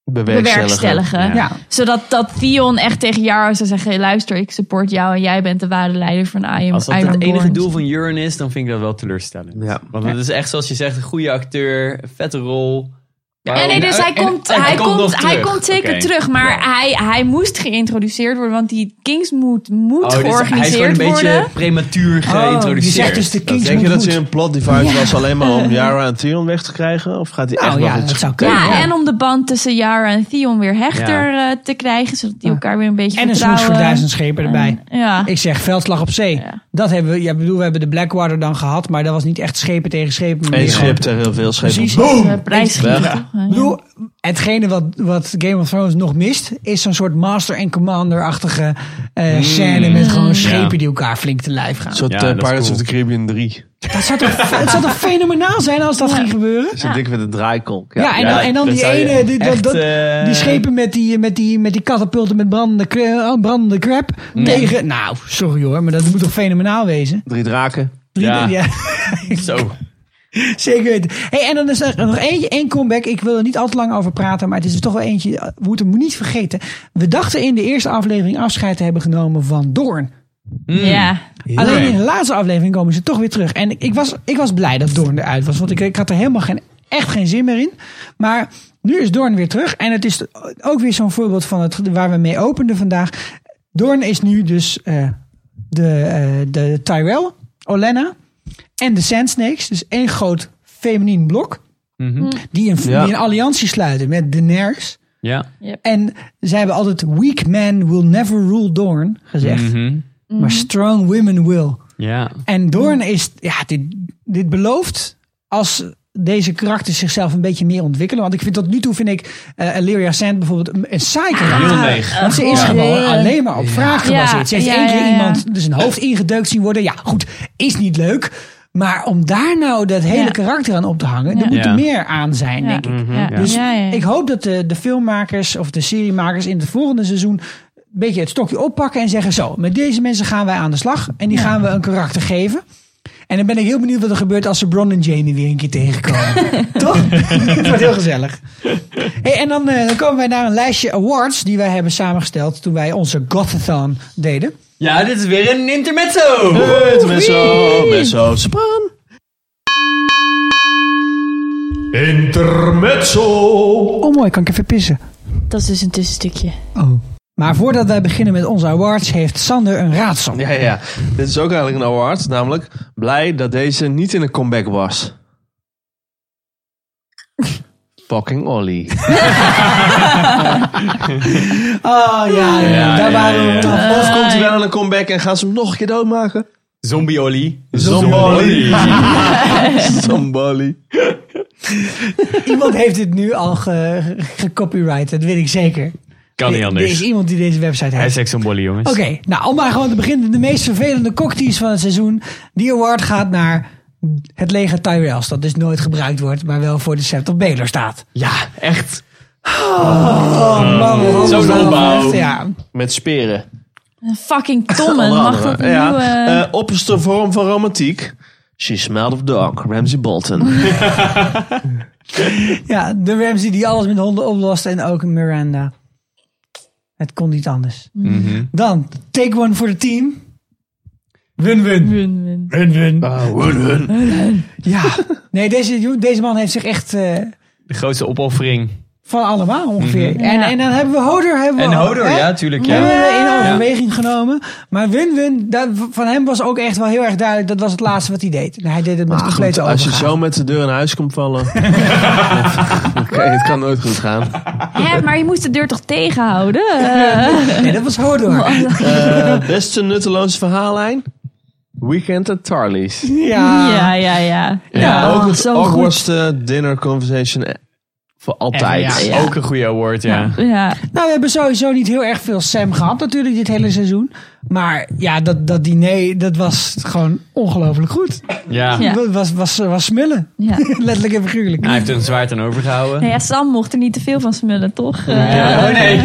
bewerkstelligen. Ja. ja. Zodat dat Theon echt tegen Yara zou zeggen, luister, ik support jou en jij bent de ware leider van I am Als dat het Ironborn." enige doel van Euron is, dan vind ik dat wel teleurstellend. Ja. Want het is echt, zoals je zegt, een goede acteur, een vette rol. Ja, nee, dus hij komt, hij komt, hij komt zeker terug. Maar hij, hij moest geïntroduceerd worden, want die Kingsmoed moet georganiseerd Oh, Hij is gewoon een worden. beetje prematuur Oh, geïntroduceerd. die zegt dus de Kings Nou, Denk je moet dat goed. ze een plot device was alleen maar <laughs> om Yara en Theon weg te krijgen? Of gaat hij echt Nou nog ja, iets dat zou kunnen. Ja, en om de band tussen Yara en Theon weer hechter eh, te krijgen, zodat die elkaar weer een beetje En een smoes vertrouwen. Mm, voor duizend schepen erbij. Ja. Ik zeg veldslag op zee. Ja. Dat hebben we, ja, ik bedoel, we hebben de Blackwater dan gehad, maar dat was niet echt schepen tegen schepen. maar Eén meer schip tegen heel veel schepen. Precies. Eh, prijsgeven, Weg. toch? Eh, ja. Ik bedoel, hetgene wat, wat Game of Thrones nog mist, is zo'n soort Master en Commander-achtige eh scène met Hmm. gewoon schepen Ja. die elkaar flink te lijf gaan. Een soort Ja, eh, dat is Pirates cool. of the Caribbean 3. Dat zou toch, het <laughs> zou toch fenomenaal zijn als dat ging gebeuren? Zo dik met een draaikolk. Ja, en, ja, dan, en dan dat die zou je ene, die, dat- echt, dat- eh, die schepen met die, met die, met die katapulten met brandende, kra- eh, brandende crap tegen... Nou, sorry hoor, maar dat moet toch fenomenaal wezen? Drie draken. <laughs> Ja. Ja, Zo. zeker weten. Hey, en dan is er nog eentje, één comeback. Ik wil er niet al te lang over praten, maar het is er toch wel eentje. eh, We moeten hem niet vergeten. We dachten in de eerste aflevering afscheid te hebben genomen van Doorn. Ja. Alleen in de laatste aflevering komen ze toch weer terug. En ik was, ik was blij dat Doorn eruit was. Want ik, ik had er helemaal geen, echt geen zin meer in. Maar nu is Doorn weer terug. En het is ook weer zo'n voorbeeld van het, waar we mee openden vandaag. Doorn is nu dus eh, de, eh, de Tyrell, Olenna en de Sand Snakes. Dus één groot feminien blok. Die, een, Ja. die een alliantie sluiten met Daenerys. Ja. En zij hebben altijd weak men will never rule Dorn gezegd. Mhm. Hm? Maar strong women will. Ja. En Doorn is, ja, dit, dit belooft als deze karakters zichzelf een beetje meer ontwikkelen. Want ik vind tot nu toe, vind ik eh Illyria Sand bijvoorbeeld een, een saai karakter. Heel leeg. Want ze is Ja. gewoon Ja. alleen maar op vraag gebaseerd. Ze heeft Ja, één ja, keer ja, ja. iemand dus een hoofd ingedeukt zien worden. Ja, goed, is niet leuk. Maar om daar nou dat hele karakter aan op te hangen, Ja. er moet Ja. er meer aan zijn, Ja. denk ik. Mhm. Ja. Dus Ja, ja, ja. ik hoop dat de, de filmmakers of de seriemakers in het volgende seizoen een beetje het stokje oppakken en zeggen: Zo, met deze mensen gaan wij aan de slag en die gaan we een karakter geven. En dan ben ik heel benieuwd wat er gebeurt als ze Bron en Jane weer een keer <laughs> tegenkomen. Toch? <laughs> Het wordt heel gezellig. Hey, en dan, eh, dan komen wij naar een lijstje awards die wij hebben samengesteld toen wij onze Gothethon deden. Ja, dit is weer een intermezzo. Intermezzo, mezzo, span. Intermezzo. Oh mooi, kan ik even pissen. Dat is dus een tussenstukje. Oh. Maar voordat wij beginnen met onze awards, heeft Sander een raadsel. Ja, ja, ja. Dit is ook eigenlijk een award. Namelijk, blij dat deze niet in een comeback <laughs> was. Fucking Olly. Oh ja, ja, Ja, daar ja, waren we ja, vanaf. Eh. ja. Of komt hij wel aan een comeback en gaan ze hem nog een keer doodmaken? Zombie Olly. Zombie. <laughs> Zombie. Iemand heeft dit nu al ge- ge- gecopyright, dat weet ik zeker. Kan niet Er- anders. Er is iemand die deze website heeft. Hashtag Zombie, jongens. Oké, nou om maar gewoon te beginnen. De meest vervelende cocktails van het seizoen. Die award gaat naar het lege Tyrells. Dat dus nooit gebruikt wordt, maar wel voor de Sept op Baylor staat. Ja, echt. Oh man, wat Zo'n was dat opbouw. echt, Ja. Met speren. Een fucking tommen. Onder Mag andere. dat opnieuw... ja. eh, Eh, opperste vorm van romantiek. She smelled of dog, Ramsey Bolton. ja, de Ramsey die alles met honden oplost en ook Miranda. Het kon niet anders. Mhm. Dan, take one voor het team. Win-win. win, win. Win-win. hun. Ja. Nee, deze, deze man heeft zich echt eh, De grootste opoffering. van allemaal ongeveer. Mhm. en, Ja. en dan hebben we Hodor. Hebben we En al, Hodor, hè? ja, tuurlijk. Die Ja. hebben we in overweging genomen. Maar win-win, dat- van hem was ook echt wel heel erg duidelijk. Dat was het laatste wat hij deed. Hij deed het met Maar goed, complete als je overgave. zo met de deur in huis komt vallen. Oké, het kan nooit goed gaan. Hè, maar je moest de deur toch tegenhouden? Eh, Nee, dat was Hodor. Eh, beste nutteloze verhaallijn. Weekend at Tarly's. Ja. ja, ja, ja. Ja, ook Oh, het zo goed. awkwardste eh, dinner conversation eh, voor altijd. Echt, ja. Ook een goede award, ja. Ja, Nou, we hebben sowieso niet heel erg veel Sam gehad natuurlijk dit hele seizoen. Maar ja, dat, dat diner, dat was gewoon ongelooflijk goed. Ja. Ja. Dat was, was, was smullen. ja. <laughs> Letterlijk en figuurlijk. Hij heeft er een zwaard aan overgehouden. Nou ja, Sam mocht er niet te veel van smullen, toch? Eh, Oh nee.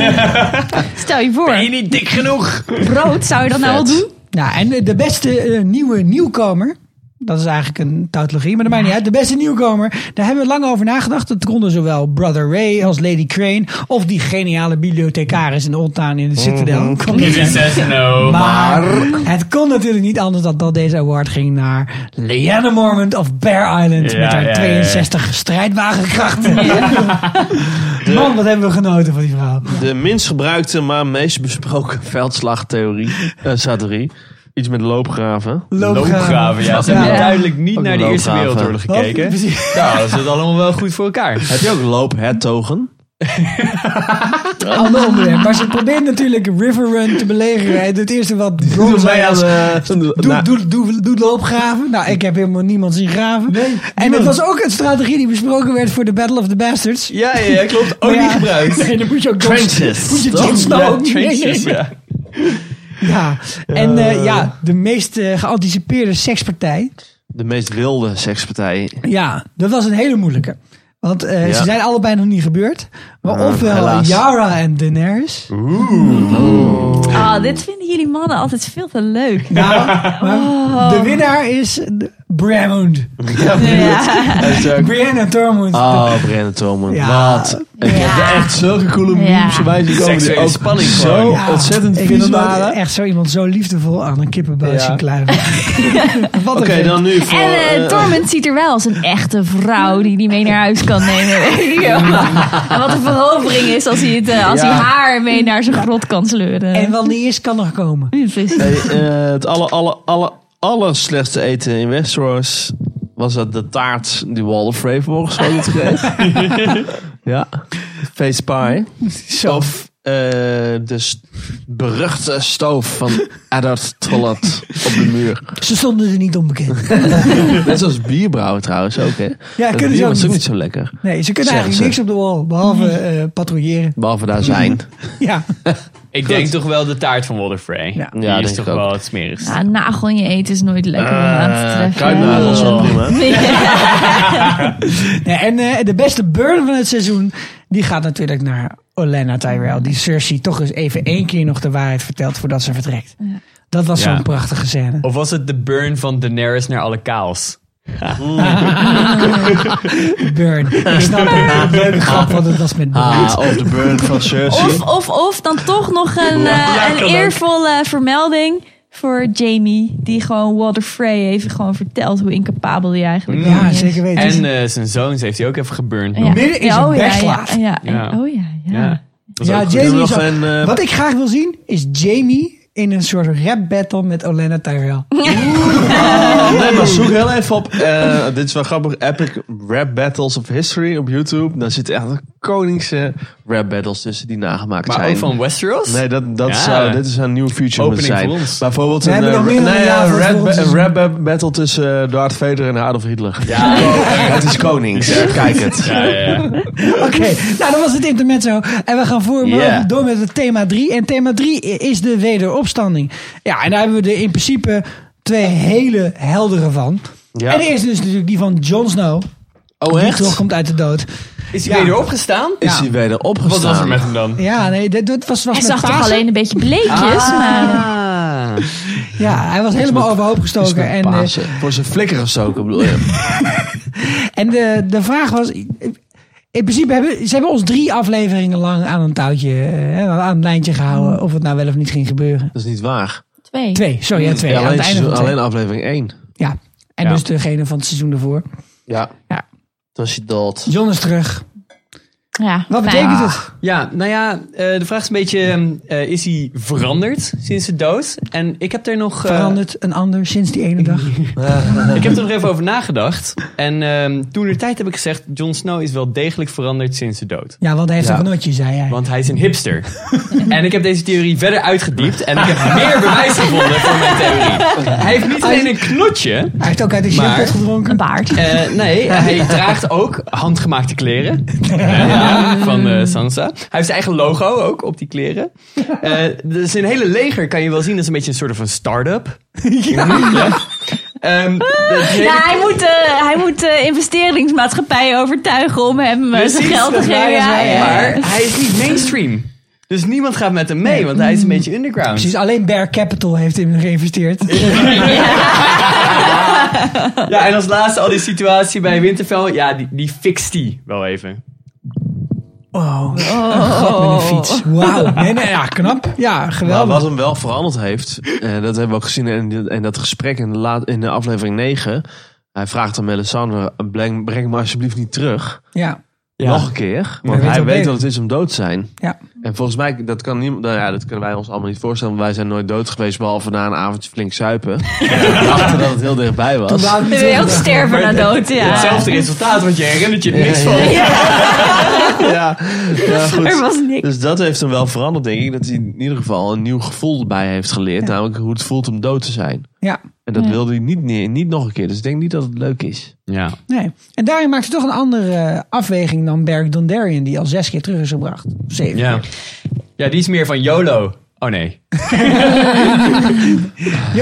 <laughs> Stel je voor, Ben je niet dik genoeg? brood, zou je dat nou wel doen? Nou, en de beste eh, nieuwe nieuwkomer. Dat is eigenlijk een tautologie, maar dat maakt niet uit. De beste nieuwkomer, daar hebben we lang over nagedacht. Dat konden zowel Brother Ray als Lady Crane. Of die geniale bibliothecaris in de Oldtown in de Citadel. Mhm. Kon niet zijn. no. Maar het kon natuurlijk niet anders dan dat deze award ging naar Leanne Mormont of Bear Island. Ja, met haar ja, ja, ja. 62 <laughs> strijdwagenkrachten. Man, wat hebben we genoten van die vrouw. De minst gebruikte, maar meest besproken veldslagtheorie. eh, theorie. Iets met loopgraven. Loopgraven, ja. Ze Ja. hebben duidelijk niet Ook naar de een Eerste loopgraven. Wereldoorlog Wat? gekeken. Precies. Nou, dat is het allemaal wel goed voor elkaar. Heb je ook loophertogen? ander onderwerp. Maar ze probeert natuurlijk River Run te belegeren. En het eerste wat Bron zei was... Nou, Doe, doe, doe, doe de opgraven. Nou, ik heb helemaal niemand zien graven. en dat was ook een strategie die besproken werd voor de Battle of the Bastards. Ja, ja, ja, klopt. Ook Maar ja, niet gebruikt. <laughs> Nee, dan <laughs> moet je ook John- Trenches. Moet je John Snow Ja, ook niet trenches, meenemen. ja. Ja, en eh, ja, de meest eh, geanticipeerde sekspartij. De meest wilde sekspartij. Ja, dat was een hele moeilijke. Want eh, Ja. ze zijn allebei nog niet gebeurd. Maar Eh, ofwel helaas. Yara en Daenerys. Ah, dit vinden jullie mannen altijd veel te leuk. Nou, maar de winnaar is Bramond. Ja, Ja. <laughs> Brianna Tormund. Oh, Brennan Thoman. Ja. Wat. Ik heb echt zulke coole Ja. memes voorbij zien komen. Die Seksuele ook spanning zo gewoon. Ja, Oh, ontzettend ik vies vind dat waren. Echt zo iemand zo liefdevol aan een kippenbout zien kluiven. Wat een Oké, vent. dan nu voor... En eh, eh, Tormund ziet er wel als een echte vrouw die die mee naar huis kan nemen. <laughs> weet je wel. en wat een verovering is als hij, het, eh, als hij haar mee naar zijn grot kan sleuren. En wel de eerste kan nog komen. Precies. eh, eh, het aller, aller, aller, aller slechtste eten in Westeros was dat de taart die Wall of Rave volgens mij niet <laughs> gegeten. ja, face pie. Zo. Of eh, de s- beruchte stoof van Eddard Trollat op de muur. Ze stonden er niet onbekend. Net zoals bierbrouwen trouwens ook, hè? Dat kunnen ze bier ook was niet. ook niet zo lekker. Nee, ze kunnen Zeggen eigenlijk ze. niks op de wal. Behalve eh patrouilleren. Behalve daar zijn. Ja. Ik denk toch wel de taart van Walter Frey. Ja, die Ja, is denk toch ik ook. wel het smerigst. Ja, een nagel in je eten is nooit lekker om aan te treffen. kruidnagels zijn <laughs> prima. Nee, en eh, de beste burn van het seizoen, die gaat natuurlijk naar Olena Tyrell. Die Cersei toch eens even één keer nog de waarheid vertelt voordat ze vertrekt. Dat was Ja. zo'n prachtige scène. Of was het de burn van Daenerys naar alle kaals? Burn. Ik snap het. Leuke grap, want het was met burn. Ah, of de burn van Cersei. Of, of, of dan toch nog een, eh, Ja, een kan ook. eervolle vermelding voor Jamie. Die gewoon Walter Frey heeft gewoon verteld hoe incapabel hij eigenlijk Ja, gewoon is. zeker weten. En eh, zijn zoons heeft hij ook even geburnt. Ja. Midden in Ja, zijn oh, ja, backlash. ja, ja, ja. Ja. Oh ja, ja. Dat is Ja, ook goed. Jamie Nog is ook- een, eh, Wat ik graag wil zien is Jamie in een soort rap battle met Olena Tyrell. Oh, Nee, maar zoek heel even op. eh, <laughs> dit is wel grappig. Epic Rap Battles of History op YouTube. Daar zitten echt koningse rap battles tussen die nagemaakt Maar zijn. ook van Westeros? Nee, dat, dat Ja. zou, dit is een nieuw feature moeten Opening zijn. voor ons. Bijvoorbeeld We een, hebben nog eh, meer nee, materiaal ja, voor het rap, volgende een rap ba- battle tussen eh, Darth Vader en Adolf Hitler. Ja. <laughs> Het is konings. Kijk het. Ja, ja, ja. Oké, nou dat was het intermezzo. En we gaan voor, Yeah. door met het thema 3. En thema 3 is de wederopstanding. Ja, en daar hebben we er in principe twee hele heldere van. Ja. En de eerste is natuurlijk die van Jon Snow. Oh, die echt? terugkomt uit de dood. Is hij Ja. weer opgestaan? Is hij weder opgestaan? Wat was er met hem dan? Ja, nee, dit, dit was, was Hij met zag toch Pasen. alleen een beetje bleekjes, maar... eh, Ah. Ja, hij was helemaal overhoop Is gestoken. met En, eh, Pasen. Voor zijn flikker gestoken bedoel je? en de, de vraag was... In principe hebben ze hebben ons drie afleveringen lang aan een touwtje, eh, aan een lijntje Mm. gehouden. Of het nou wel of niet ging gebeuren. Dat is niet waar. Twee. Twee, sorry, ja, twee. Mm. Ja, aan het alleen, einde van seizoen- twee. alleen aflevering 1. Ja, en Ja. dus degene van het seizoen ervoor. Ja. Ja. Dat is je dood. John is terug. Ja, Wat nou betekent ja. het? Ja, nou ja, eh, de vraag is een beetje, eh, is hij veranderd sinds de dood? En ik heb er nog... eh, Verandert een ander sinds die ene <laughs> dag? Ik heb er nog even over nagedajd. En ehm, toen de tijd heb ik gezegd, Jon Snow is wel degelijk veranderd sinds de dood. Ja, want hij heeft Ja. een genotje, zei hij. Want hij is een hipster. en ik heb deze theorie verder uitgediept. En ik heb meer bewijs gevonden voor mijn theorie. Hij heeft niet alleen een knotje. Hij heeft ook uit de Maar- shampoo gedronken. Een baard. eh, nee, <laughs> hij draagt ook handgemaakte kleren. Eh, ja, van eh, Sansa. Hij heeft zijn eigen logo ook op die kleren. Eh dus zijn hele leger kan je wel zien. Dat is een beetje een soort van start-up. Ja. Ehm, dat hele Ja, hij moet, eh, hij moet eh, investeringsmaatschappijen overtuigen om hem eh, zijn Precies, geld te dat geven. waren ze Ja, wel. ja. Maar hij is niet mainstream. Dus niemand gaat met hem mee, want hij is een beetje underground. Precies, alleen Bear Capital heeft hem <laughs> geïnvesteerd. Ja, en als laatste al die situatie bij Winterfell. Ja, die, die fixt die wel even. Oh. Wow, Oh, een gat met een fiets. Wauw, nee, nee, ja, knap. Ja, Maar geweldig. wat hem wel veranderd heeft, eh, dat hebben we ook gezien in, dit- in dat gesprek in de, laat, in de aflevering 9. Hij vraagt aan Melisandre, breng, breng me alsjeblieft niet terug. Ja, Nog een keer. weet Want wat hij het weet is. wat het is om dood te zijn. ja. En volgens mij, dat, kan niemand, nou ja, dat kunnen wij ons allemaal niet voorstellen. Want wij zijn nooit dood geweest, behalve na een avondje flink zuipen. <laughs> We dachten dat het heel dichtbij Toen was. wou ik Dan niet wil je ook zeggen. sterven na dood, ja. Hetzelfde resultaat, want je herinnert je er niks van. Ja, ja, goed. Er was niks. Dus dat heeft hem wel veranderd, denk ik. Dat hij in ieder geval een nieuw gevoel erbij heeft geleerd. Namelijk hoe het voelt om dood te zijn. Ja, En dat wilde hij niet, neer- niet nog een keer. Dus ik denk niet dat het leuk is. Ja. nee. En daarin maakt ze toch een andere eh, afweging dan Berg Dondarrion, die al zes keer terug is gebracht. Zeven. ja. Ja, die is meer van YOLO. Oh nee. You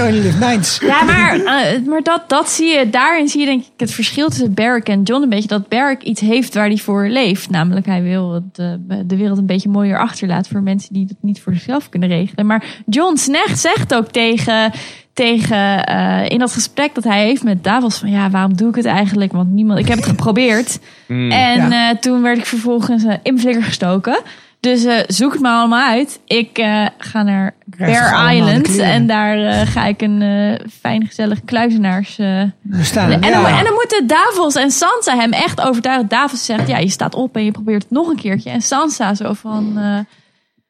only live nights. Ja, maar, eh, maar dat, dat zie je, daarin zie je denk ik het verschil tussen Barrick en John een beetje. Dat Barrick iets heeft waar hij voor leeft. Namelijk hij wil eh, de, de wereld een beetje mooier achterlaten voor mensen die dat niet voor zichzelf kunnen regelen. Maar John Snecht zegt ook tegen, tegen eh, in dat gesprek dat hij heeft met Davos van ja, waarom doe ik het eigenlijk? Want niemand, ik heb het geprobeerd. En Ja. eh, toen werd ik vervolgens eh, in mijn flikker gestoken. Dus eh, zoek het maar allemaal uit. Ik eh, ga naar Krijg toch allemaal de Bear Island. kleren? En daar eh, ga ik een eh, fijn, gezellig kluizenaars. eh, We staan. en, dan, ja. en dan moeten Davos en Sansa hem echt overtuigen. Davos zegt: Ja, je staat op en je probeert het nog een keertje. En Sansa zo van: eh,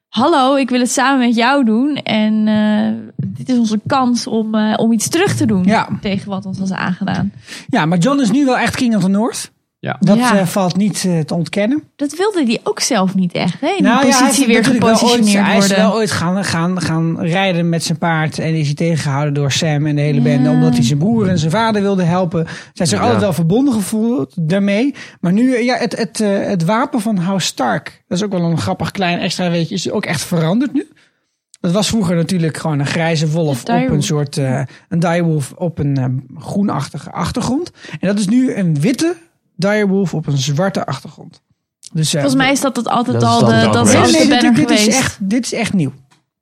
Hallo, ik wil het samen met jou doen. En eh, dit is onze kans om, eh, om iets terug te doen Ja. tegen wat ons was aangedaan. ja, maar John is nu wel echt King of the North. Ja. Dat Ja. eh, valt niet eh, te ontkennen. Dat wilde hij ook zelf niet echt. Hè? In Nou die ja, hij is positie weer natuurlijk wel ooit- gepositioneerd Hij is worden. wel ooit gaan, gaan, gaan rijden met zijn paard. En is hij tegengehouden door Sam en de hele Ja. bende. Omdat hij zijn broer en zijn vader wilde helpen. Zij hebben zich altijd wel verbonden gevoeld daarmee. Maar nu, ja, het, het, eh, het wapen van House Stark. Dat is ook wel een grappig klein extra weetje. Is ook echt veranderd nu. Dat was vroeger natuurlijk gewoon een grijze wolf Een op een direwolf. soort eh een direwolf op een eh, groenachtige achtergrond. En dat is nu een witte direwolf op een zwarte achtergrond. Dus, eh, Volgens mij is dat, dat altijd Dat is al dan de, ook dat is wel. altijd Nee, de nee, banner dit, dit geweest. Is echt, dit is echt nieuw.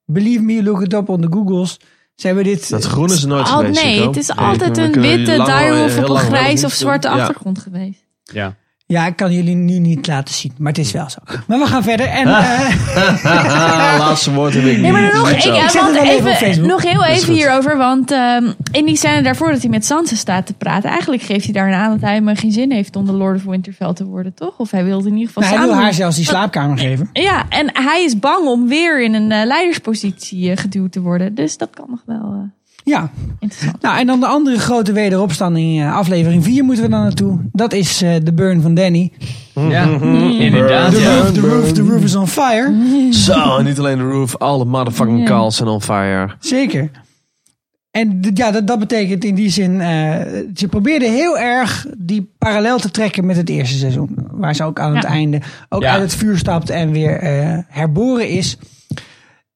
Believe me, look it up on the Googles. Ze hebben dit... Dat groen is er nooit Al- geweest. nee, Jacco. het is Nee, altijd we een kunnen witte lang- direwolf eh, heel op een lang wel grijs niet of zwarte doen. Ja. achtergrond geweest. Ja. Ja, ik kan jullie nu niet laten zien, maar het is wel zo. Maar we gaan verder. En, Ah. eh, Laatste woord heb ik Nee, maar niet. nog, Goed ik, zo. eh, want wel even op even, Facebook. nog heel Dat is even goed. hierover. Want ehm, in die scène daarvoor dat hij met Sansa staat te praten. Eigenlijk geeft hij daarna aan dat hij maar geen zin heeft om de Lord of Winterfell te worden, toch? Of hij wilde in ieder geval nou, hij samen wil haar doen. zelfs die slaapkamer geven. Ja, en hij is bang om weer in een eh, leiderspositie eh, geduwd te worden. Dus dat kan nog wel. eh, Ja. Nou, en dan de andere grote wederopstanding, eh, aflevering 4 moeten we dan naartoe. Dat is eh, de burn van Danny. Ja, inderdaad. The Ja. roof, the roof, the roof is on fire. Zo, en niet alleen de roof. Alle motherfucking Ja. calls zijn on fire. Zeker. En d- ja, dat, dat betekent in die zin, eh, ze probeerden heel erg die parallel te trekken met het eerste seizoen. Waar ze ook aan het einde ook Ja. uit het vuur stapt en weer eh, herboren is.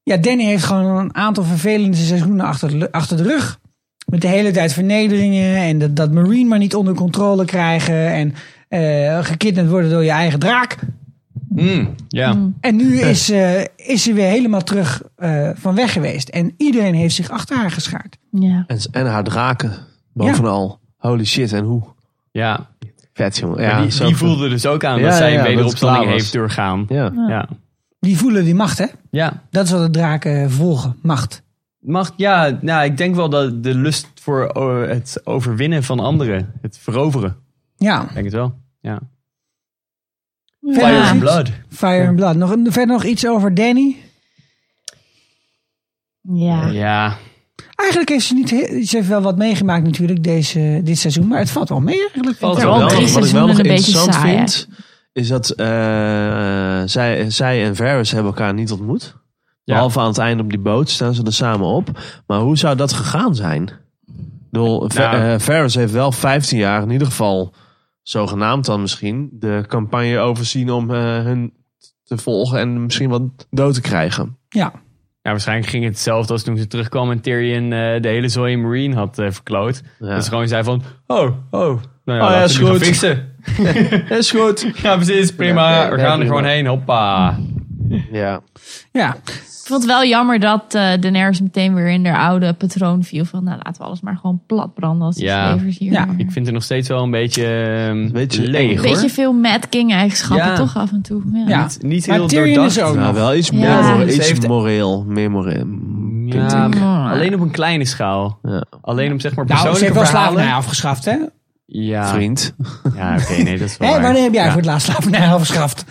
Ja, Danny heeft gewoon een aantal vervelende seizoenen achter de, lu- achter de rug. Met de hele tijd vernederingen en dat, dat Marine maar niet onder controle krijgen. En eh gekidnapt worden door je eigen draak. Mm, ja. En nu is, eh, is ze weer helemaal terug eh, van weg geweest. En iedereen heeft zich achter haar geschaard. Ja. En, en haar draken. Bovenal. Holy shit, en hoe? ja. Vet, jongen. Maar Ja, die, zo die vet. voelde dus ook aan Ja, dat zij ja, een dat het wederopstanding klaar was. heeft doorgaan. Ja. Ja. Die voelen die macht, hè? ja. Dat is wat de draken volgen, macht. Mag, ja, nou, ik denk wel dat de lust voor eh, het overwinnen van anderen, het veroveren, Ja. ik denk het wel. Ja. Verder nog iets? blood. Fire and Blood. Nog, een- verder nog iets over Danny? Ja. Ja. Eigenlijk heeft ze, niet, he- ze heeft wel wat meegemaakt natuurlijk deze, dit seizoen. Maar het valt wel mee eigenlijk. Valt Wat ik wel- wat ik wel nog interessant saai, hè? vind, is dat eh, zij, zij en Varys hebben elkaar niet ontmoet. Behalve aan het einde op die boot staan ze er samen op. Maar hoe zou dat gegaan zijn? Door, Nou. Varys eh, heeft wel 15 jaar, in ieder geval zogenaamd dan misschien, de campagne overzien om eh, hun te volgen en misschien wat dood te krijgen. Ja. Ja, waarschijnlijk ging het hetzelfde als toen ze terugkwam en Tyrion eh, de hele zooi Marine had eh, verkloot. Dat ze gewoon zei van, oh, oh. Nou ja, Oh ja, laten we is die gaan goed. fixen. Is goed. Ja, precies, prima. Ja, ja, we ja, gaan er prima. gewoon heen, hoppa. Ja. Ja. Ik vond het wel jammer dat eh Daenerys meteen weer in haar oude patroon viel. Van nou laten we alles maar gewoon plat branden als de Ja. slevers hier. Ja. Ik vind het nog steeds wel een beetje, ehm, Beetje leeg, hoor. Beetje veel Mad King eigenschappen Ja. toch af en toe. Ja. ja. Niet, niet Maar heel Tyrion is doordacht. ook Nou, nog. wel iets, Ja. meer, Ja, ze iets heeft- moreel. Meer moreel. vind Ja, ik. maar alleen op een kleine schaal. Ja. Alleen om zeg maar Nou, ze persoonlijke heeft wel verhalen. slavernij afgeschaft, hè? ja, Vriend. Ja, oké, nee, dat is <laughs> wel Hé, waar. wanneer heb jij Ja, Nou. voor het laatst slavernij afgeschaft?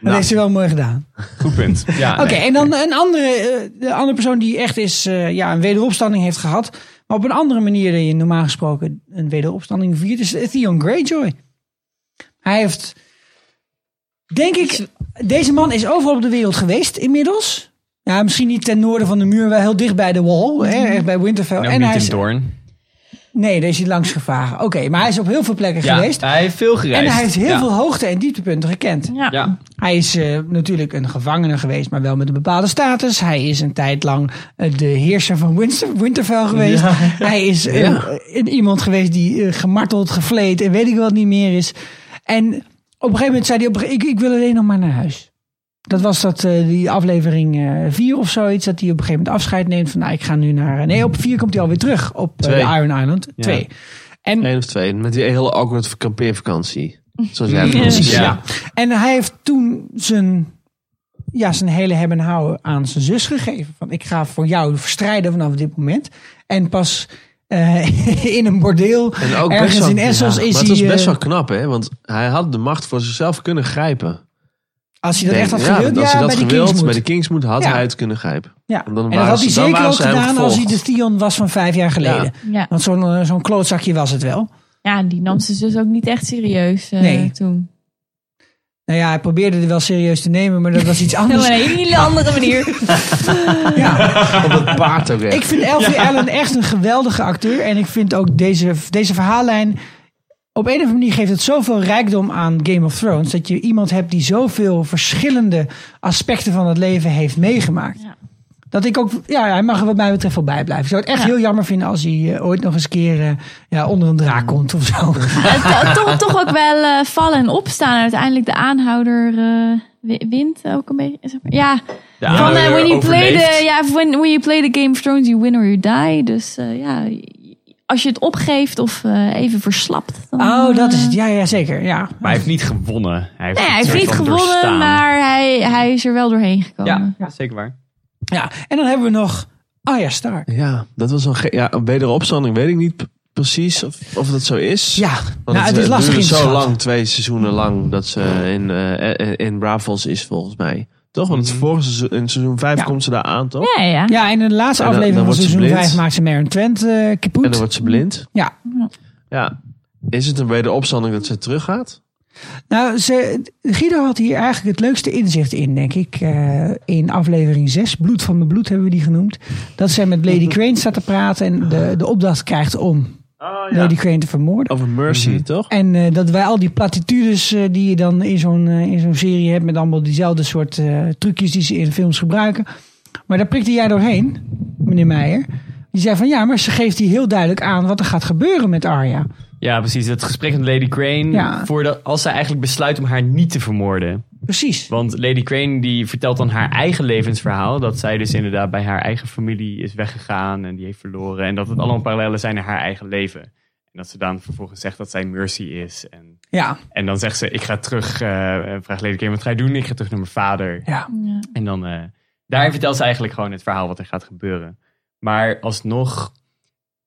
Dat heeft ze wel mooi gedaan. Goed punt. Ja, Oké, Ah, nee. en dan een andere, eh, de andere persoon die echt is, eh, ja, een wederopstanding heeft gehad. Maar op een andere manier dan je normaal gesproken een wederopstanding viert, is Theon Greyjoy. Hij heeft, denk ik, deze man is overal op de wereld geweest inmiddels. Ja, misschien niet ten noorden van de muur, wel heel dicht bij de wall, hè, echt bij Winterfell. En en ook Mhm. Nou, hij niet is, in Doorn. nee, daar is hij langs gevaren. Oké, maar hij is op heel veel plekken Ja, geweest. hij heeft veel gereisd. En hij heeft heel Ja. veel hoogte- en dieptepunten gekend. Ja. Ja, Hij is eh, natuurlijk een gevangene geweest, maar wel met een bepaalde status. Hij is een tijd lang eh, de heerser van Winster- Winterfell geweest. Hij is eh, een- iemand geweest die eh, gemarteld, gevleed en weet ik wat niet meer is. En op een gegeven moment zei hij, op een gege- ik, ik wil alleen nog maar naar huis. Dat was dat, eh, die aflevering 4 of zoiets, dat hij op een gegeven moment afscheid neemt van, nou, ik ga nu naar... Nee, op 4 komt hij alweer terug op eh, Twee. de Iron Island 2. En Eén of twee. Met die hele awkward kampeervakantie. Zoals jij het noemt. Ja. Ja. En hij heeft toen zijn, ja, zijn hele hebben en houden aan zijn zus gegeven. Van ik ga voor jou strijden vanaf dit moment. En pas eh, <laughs> in een bordeel En ook ergens best wel, in Essos ja, is maar hij... het was best eh, wel knap, hè? Want hij had de macht voor zichzelf kunnen grijpen. als hij dat echt had ja, gewild, ja, als hij dat bij die gewild, Kingsmoot. bij de Kingsmoed had Ja. hij het kunnen grijpen. ja. dan En dat waren had ze- hij dan zeker waren ook ze hem gedaan als hij de gevolgd. Theon was van vijf jaar geleden. Ja. Ja. Want zo'n eh, zo'n klootzakje was het wel. Ja, die nam ze dus ook niet echt serieus eh, Nee. toen. Nou ja, hij probeerde er wel serieus te nemen, maar dat was <laughs> iets <laughs> Op een anders. hele andere <laughs> manier. Ja. Op <laughs> het paard ook echt. Ik vind Elfie Allen echt een geweldige acteur. En ik vind ook deze, deze verhaallijn. Op een of andere manier geeft het zoveel rijkdom aan Game of Thrones. Dat je iemand hebt die zoveel verschillende aspecten van het leven heeft meegemaakt. Ja. Dat ik ook, ja, hij mag er wat mij betreft wel bij blijven. Ik zou het echt heel jammer vinden als hij eh, ooit nog eens keer eh, ja, onder een draak komt of zo. Eh, to- toch, toch ook wel eh, vallen en opstaan. Uiteindelijk de aanhouder eh, wi- wint ook een beetje. zeg maar. Ja, De van, eh, aanhouder when, you play overleeft. the, ja when, when you play the Game of Thrones, you win or you die. Dus eh, ja, als je het opgeeft of eh, even verslapt. Dan, Oh, dat eh, nou is het. Ja, ja zeker. Ja. Maar hij heeft niet gewonnen. Hij heeft, Nee, hij het heeft soort niet van gewonnen, doorstaan. maar hij, hij is er wel doorheen gekomen. Ja, zeker waar. Ja, en dan hebben we nog Arya Stark. Ja, dat was een, ge- ja, een wederopstanding. Weet ik niet p- precies of, of dat zo is. Ja, nou, het eh, is lastig duurde in te zo schatten. lang, twee seizoenen lang, dat ze in, eh, eh, in Bravos is volgens mij. Toch? Want het vorige seizoen, in seizoen 5 komt ze daar aan, toch? Ja, ja. Mhm. Ja, en in de laatste En dan- aflevering van dan wordt ze seizoen blind. 5 maakt ze Maren Twent eh kapot. En dan wordt ze blind. Ja, Ja. Is het een wederopstanding dat ze teruggaat? nou, ze, Guido had hier eigenlijk het leukste inzicht in, denk ik. eh, in aflevering 6, Bloed van mijn bloed hebben we die genoemd. Dat zij met Lady Crane staat te praten en de, de opdracht krijgt om Lady Crane te vermoorden. Over Mercy, toch? En eh, dat wij al die platitudes eh, die je dan in zo'n eh, in zo'n serie hebt... met allemaal diezelfde soort eh, trucjes die ze in films gebruiken. Maar daar prikte jij doorheen, meneer Meijer. Die zei van ja, maar ze geeft hier heel duidelijk aan... wat er gaat gebeuren met Arya. Ja, precies. Dat gesprek met Lady Crane. Ja. Voordat, als zij eigenlijk besluit om haar niet te vermoorden. Precies. Want Lady Crane die vertelt dan haar eigen levensverhaal. Dat zij dus inderdaad bij haar eigen familie is weggegaan. En die heeft verloren. En dat het allemaal parallellen zijn naar haar eigen leven. En dat ze dan vervolgens zegt dat zij Mercy is. En, Ja, en dan zegt ze, ik ga terug. eh, en vraagt Lady Crane, wat ga je doen? Ik ga terug naar mijn vader. ja. En dan, eh daar vertelt ze eigenlijk gewoon het verhaal wat er gaat gebeuren. Maar alsnog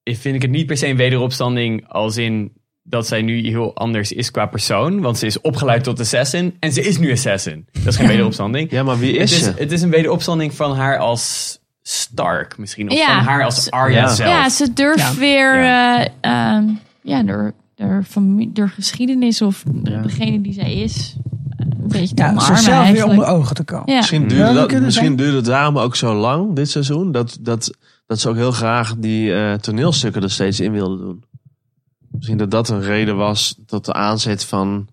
vind ik het niet per se een wederopstanding als in dat zij nu heel anders is qua persoon. Want ze is opgeleid tot assassin en ze is nu assassin. Dat is <laughs> geen wederopstanding. Ja, maar wie is het, ze? is, het is een wederopstanding van haar als Stark misschien. Of Ja. van haar als Arya Ja. zelf. Ja, ze durft Ja. weer eh, ehm, ja, door, door, familie, door geschiedenis of degene die zij is, eh, een beetje te ja omarmen ze zelf weer eigenlijk. onder ogen te komen. Ja. Misschien Ja, duurde, dat dat, kunnen misschien zijn. duurde het daarom ook zo lang, dit seizoen, dat, dat, dat ze ook heel graag die eh, toneelstukken er steeds in wilden doen. Misschien dat dat een reden was tot de aanzet van,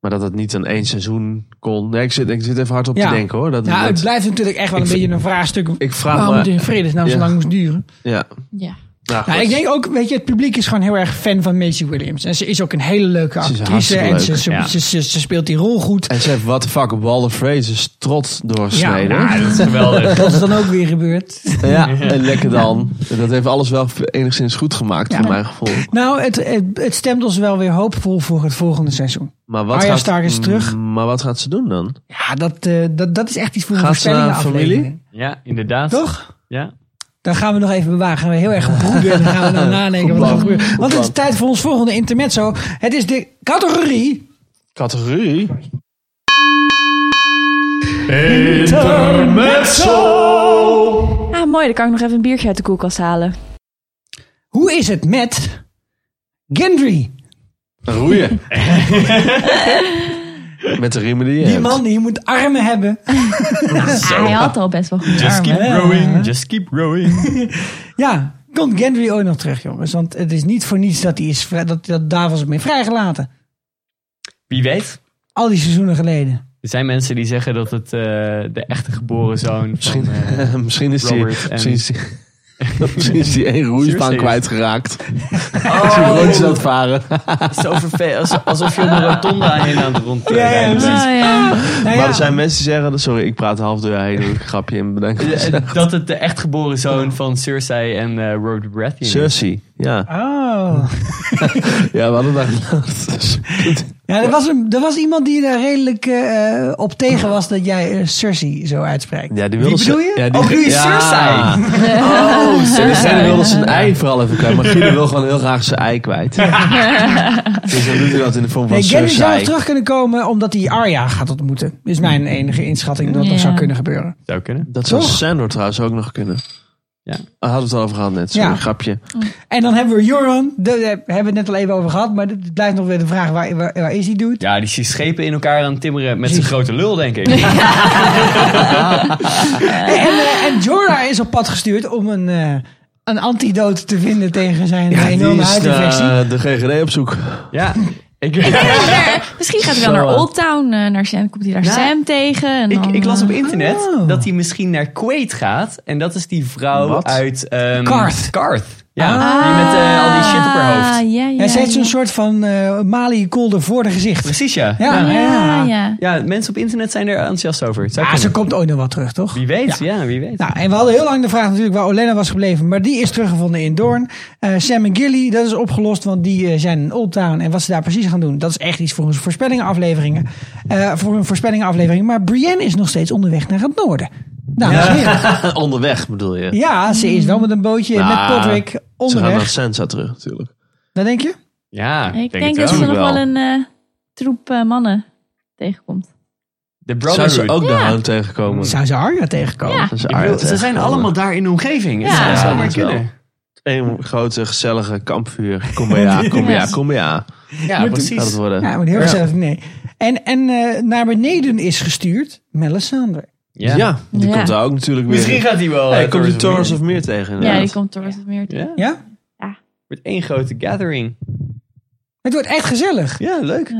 maar dat het niet in één seizoen kon. Nee, ik zit, ik zit even hard op Ja. te denken hoor. Dat, Ja, dat- het blijft natuurlijk echt wel Ik een vind- beetje een vraagstuk. ik vraag waarom me- het in vredesnaam zo Ja. lang moest duren. ja. Ja. Nou, Nou, goed. ik denk ook, weet je, het publiek is gewoon heel erg fan van Macy Williams. En ze is ook een hele leuke Ze is actrice. hartstikke En ze, leuk, ze, ja. ze, ze- ze speelt die rol goed. <laughs> En ze heeft what the fuck Walter Fraser's trots doorsneden. Ja, Ja, dat is geweldig. Dat is dan ook weer gebeurd. en lekker dan. Dat heeft alles wel enigszins goed gemaakt, voor mijn gevoel. Nou, het, het, het stemt ons wel weer hoopvol voor het volgende seizoen. Maar wat, Arya gaat, Mm, Stark is terug. maar wat gaat ze doen dan? Ja, dat, eh, dat, dat is echt iets voor een Gaat ze voorspellingen naar familie? aflevering. Ja, inderdaad. Toch? Ja. Dan gaan we nog even bewaren. Gaan we heel erg broeden. En dan gaan we <laughs> dan nadenken wat er gaat gebeuren. Want het is tijd voor ons volgende intermezzo. Het is de categorie... Categorie? Ah, mooi, dan kan ik nog even een biertje uit de koelkast halen. Hoe is het met... Gendry? Roeien. <laughs> Met de riemen die je Die hebt. man die moet armen hebben. Ah, hij had al best wel goed. Just keep hè? growing, just keep growing. Ja, komt Gendry ooit nog terug, jongens? Want het is niet voor niets dat hij is vrij- dat, dat daar was mee vrijgelaten. Wie weet. Al die seizoenen geleden. Er zijn mensen die zeggen dat het eh, de echte geboren zoon van, Misschien, eh, <laughs> misschien is die, Robert en- misschien is die, <laughs> misschien is die één roeispan Seriously? kwijtgeraakt. Oh. <laughs> Als je rondjes aan het varen. Zo vervelend. Alsof je om een rotonda heen aan het Ja, ja, rondrijden bent. precies. Oh, ja. Nou Maar ja, er zijn mensen die zeggen, dat- sorry, ik praat half door je heen, doe ik een grapje in bedenken. Eh, Dat het de echtgeboren zoon van Cersei en eh, Robert Baratheon is. Cersei, ja. Oh. Ja, we hadden daar gedacht. <laughs> Ja, er was, een, er was iemand die daar redelijk eh, op tegen was dat jij eh, Cersei zo uitspreekt. Ja, die Wie wilde bedoel ze- je? Ja, die, oh, bedoel je ja. Cersei? Oh, Cersei. En wilde zijn ei vooral even kwijt. Maar Guido wil gewoon heel graag zijn ei kwijt. Dus dan doet hij dat in de vorm van Nee, Gendry zou nog Cersei. Mm. terug kunnen komen omdat hij Arya gaat ontmoeten. Is mijn enige inschatting dat Ja. dat zou kunnen gebeuren. Zou kunnen. Dat zou Toch? Sandor trouwens ook nog kunnen. Ja. We hadden het al over gehad net, sorry, Ja. grapje. En dan hebben we Euron. Daar hebben we het net al even over gehad. Maar het blijft nog weer de vraag, waar, waar, waar is die dude? Ja, die ziet schepen in elkaar aan het timmeren met zijn Zie- grote lul, denk ik. En, eh, en Jorah is op pad gestuurd om een, eh, een antidote te vinden tegen zijn eh, Ja, enorme die is eh, huidinfectie. naar de GGD op zoek. <laughs> Ja. Ik, Ik denk dat er- Eh, misschien gaat hij wel Zo. naar Old Town, eh, naar Sam, komt hij daar Ja. Sam tegen. En Ik, dan, ik las op eh, internet dat hij misschien naar Kuwait gaat. En dat is die vrouw Wat? uit... ehm, Karth. Karth. Ja, die met eh, al die shit op haar hoofd. Ah, ja, ja, ze heeft ja. zo'n soort van eh Mali kolder voor de gezicht. Precies, ja. Ja, ja. Ja, ja. Ja, mensen op internet zijn er enthousiast over. Het zou Ah, ze kunnen. komt ooit nog wel terug, toch? Wie weet, ja. wie weet. Nou, en we hadden heel lang de vraag natuurlijk waar Olena was gebleven. Maar die is teruggevonden in Doorn. Eh, Sam en Gilly, dat is opgelost, want die eh, zijn in Old Town. En wat ze daar precies gaan doen, dat is echt iets voor hun voorspellingenafleveringen. Eh, voor hun voorspellingenaflevering. Maar Brienne is nog steeds onderweg naar het noorden. Nou, ja. Onderweg bedoel je? ja, ze is wel met een bootje met Nou, Podrick Ze gaan naar onderweg. Sansa terug natuurlijk. Dat denk je? Ja, Ik denk, dat ze nog wel een eh, troep eh, mannen tegenkomt. De Zou Brotherhood. ze ook de Ja. hound tegenkomen? Zou ze Arya tegenkomen? Ja. Zou ze Ik Arya bedoel, ze zijn tegenkomen? allemaal daar in de omgeving. Het Ja. zou- Ja, zou maar dat wel. kunnen. Eén grote gezellige kampvuur. Kom maar ja, kom maar ja, kom maar ja. Ja, Gaat het precies. worden. Ja, maar heel gezellig, nee. En, en eh, naar beneden is gestuurd Melisandre. Ja, die Ja. komt daar ook natuurlijk weer. Misschien gaat hij wel... Hij eh, komt die Taurus Meer. of Meer tegen. Ja, inderdaad. die komt door het meer. Ja, Ja? wordt één grote gathering. Het wordt echt gezellig. Ja, leuk.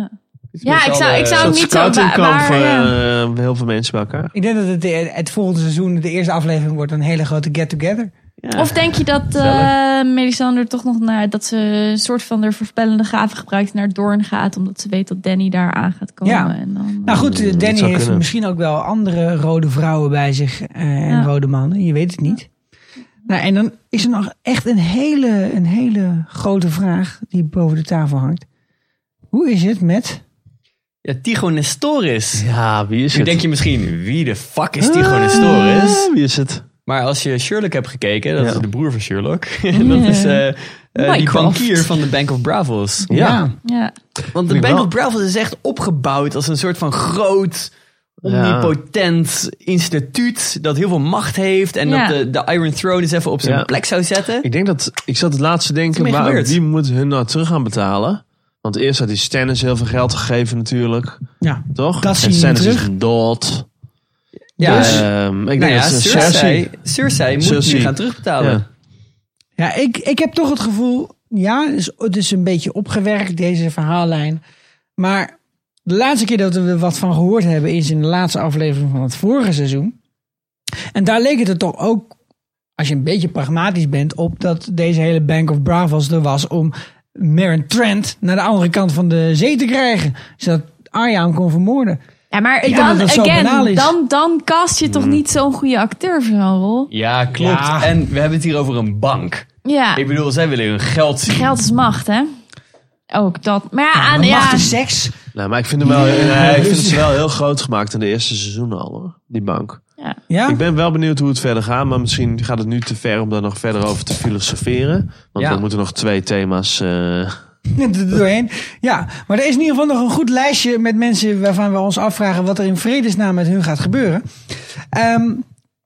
Ja, ik zou, ik Een soort zou hem niet zo... wa- scoutingkamp Waar, voor ja. eh, heel veel mensen bij elkaar. Ik denk dat het, de- het volgende seizoen, de eerste aflevering, wordt een hele grote get-together. Ja. Of denk je dat eh Melisandre toch nog naar dat ze een soort van de voorspellende gave gebruikt en naar Doorn gaat, omdat ze weet dat Danny daar aan gaat komen. Ja. En dan, eh, Nou goed, Mm, dat Danny zou heeft kunnen. misschien ook wel andere rode vrouwen bij zich eh, en Ja. rode mannen. Je weet het niet. Nou, en dan is er nog echt een hele, een hele grote vraag die boven de tafel hangt. Hoe is het met... Ja, Tycho Nestoris. Ja, wie is Nu het? denk je misschien, wie de fuck is Tycho Nestoris? Ah, Wie is het? Maar als je Sherlock hebt gekeken, dat Ja. Mm. is de broer van Sherlock. <laughs> En dat is eh, eh, die Mycroft. bankier van de Bank of Bravos. Ja. ja. Want de Vind ik Bank wel. of Bravos is echt opgebouwd als een soort van groot, Ja. omnipotent instituut dat heel veel macht heeft. En Ja. dat de, de Iron Throne eens even op zijn Ja. plek zou zetten. Ik denk dat, ik zat het laatste te Wat denken, is ermee maar gebeurd? wie moet hun nou terug gaan betalen? Want eerst had die Stannis heel veel geld gegeven natuurlijk, Ja, toch? Dat en zien we Stannis terug. is dood. Ja, Dus, eh, ehm, ik nou denk ja, dat ze Cersei, Cersei. Cersei moet Cersei. nu gaan terugbetalen. Ja. ja ik, ik heb toch het gevoel... Ja, het is, het is een beetje opgewerkt, deze verhaallijn. Maar de laatste keer dat we er wat van gehoord hebben... is in de laatste aflevering van het vorige seizoen. En daar leek het er toch ook, als je een beetje pragmatisch bent... op dat deze hele Bank of Bravos er was... om Maren Trent naar de andere kant van de zee te krijgen. Zodat Arya hem kon vermoorden. ja, maar Ik denk dan, dat het zo banaal again, is. dan, dan cast je toch niet zo'n goede acteur voor zo'n rol? Ja, klopt. Ja. En we hebben het hier over een bank. Ja, Ik bedoel, zij willen hun geld zien. geld is macht, hè? Ook dat. Maar ja, aan, Macht ja. en seks. Nou, maar ik vind <laughs> hem wel, nee, ik vind het ze wel heel groot gemaakt in de eerste seizoenen al, hoor. Die bank. ja. Ja? Ik ben wel benieuwd hoe het verder gaat, maar misschien gaat het nu te ver om daar nog verder over te filosoferen. Want Ja. we moeten nog twee thema's. eh, Net <laughs> er doorheen. Ja, maar er is in ieder geval nog een goed lijstje met mensen waarvan we ons afvragen wat er in vredesnaam met hun gaat gebeuren. Ehm,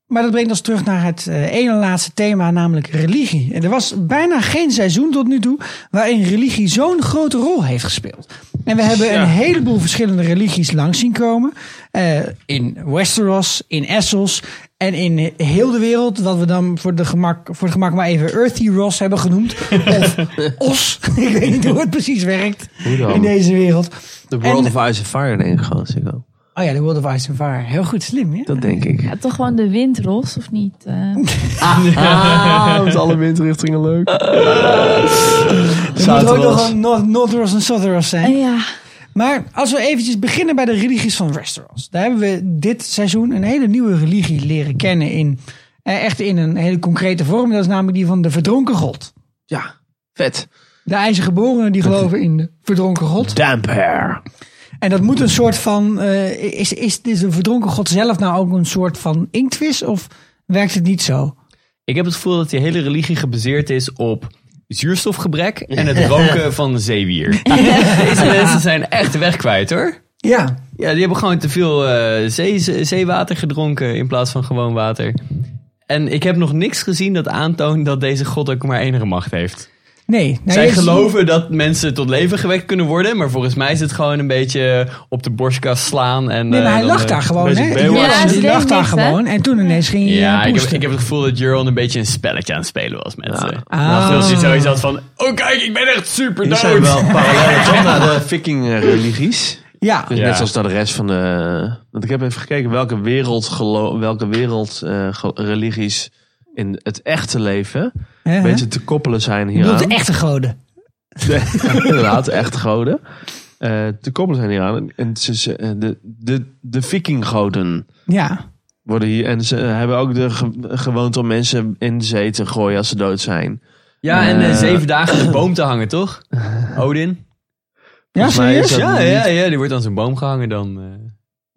maar dat brengt ons terug naar het eh, ene laatste thema, namelijk religie. En er was bijna geen seizoen tot nu toe waarin religie zo'n grote rol heeft gespeeld. En we hebben een heleboel verschillende religies langs zien komen. Eh, in Westeros, in Essos en in heel de wereld. Wat we dan voor, de gemak, voor het gemak maar even Earthy Ross hebben genoemd. Of Os. <laughs> Ik weet niet hoe het precies werkt Hoe dan? in deze wereld. The World En- of Ice and Fire denk ik gewoon, zeg ik ook. Oh ja, de World of Ice and Fire. Heel goed, slim. Ja? Dat denk ik. Ja, toch gewoon de wind, Ros, of niet? Eh, Ah, met alle windrichtingen <laughs> leuk. Het moet ook nog een North, Northros en Southros zijn. eh, ja. Maar als we eventjes beginnen bij de religies van Westeros. Daar hebben we dit seizoen een hele nieuwe religie leren kennen. In, eh, echt in een hele concrete vorm. Dat is namelijk die van de verdronken god. Ja, vet. De ijzergeborenen die geloven in de verdronken god. Damp hair. En dat moet een soort van... eh, is, is, is de verdronken god zelf nou ook een soort van inktvis? Of werkt het niet zo? Ik heb het gevoel dat die hele religie gebaseerd is op zuurstofgebrek en het roken van zeewier. Deze mensen zijn echt de weg kwijt hoor. Ja. Ja, die hebben gewoon te veel eh, zee, zee- zeewater gedronken in plaats van gewoon water. En ik heb nog niks gezien dat aantoont dat deze god ook maar enige macht heeft. Nee. nou, Zij Jezus- geloven dat mensen tot leven gewekt kunnen worden, maar volgens mij is het gewoon een beetje op de borstkast slaan. En, eh, Nee, maar hij lag lacht daar gewoon, hè? hij lag daar gewoon. En toen ineens ging hij Ja, ja, ik heb, poesten. ik heb het gevoel dat Juron een beetje een spelletje aan het spelen was met ze. Ah. Dus hij sowieso had van, oh kijk, ik ben echt super Die dood. zijn wel <laughs> parallel toch naar de <laughs> viking-religies. Ja. Dus Ja. net zoals naar de rest van de... Want ik heb even gekeken welke wereld, gelo- welke wereld eh, ge- religies in het echte leven Ja, een hè? beetje te koppelen zijn Ik bedoel, hieraan. de echte goden. De- <laughs> inderdaad, echt goden. Eh, te koppelen zijn hieraan. En het is, eh, de, de, de vikinggoden Ja. worden hier... En ze hebben ook de ge- gewoonte om mensen in de zee te gooien als ze dood zijn. Ja, en eh, Eh, zeven dagen aan de boom te hangen, toch? Odin? Ja, Volgens mij is serieus? dat- Ja, Ja, ja, ja, ja, die wordt aan zijn boom gehangen dan. eh,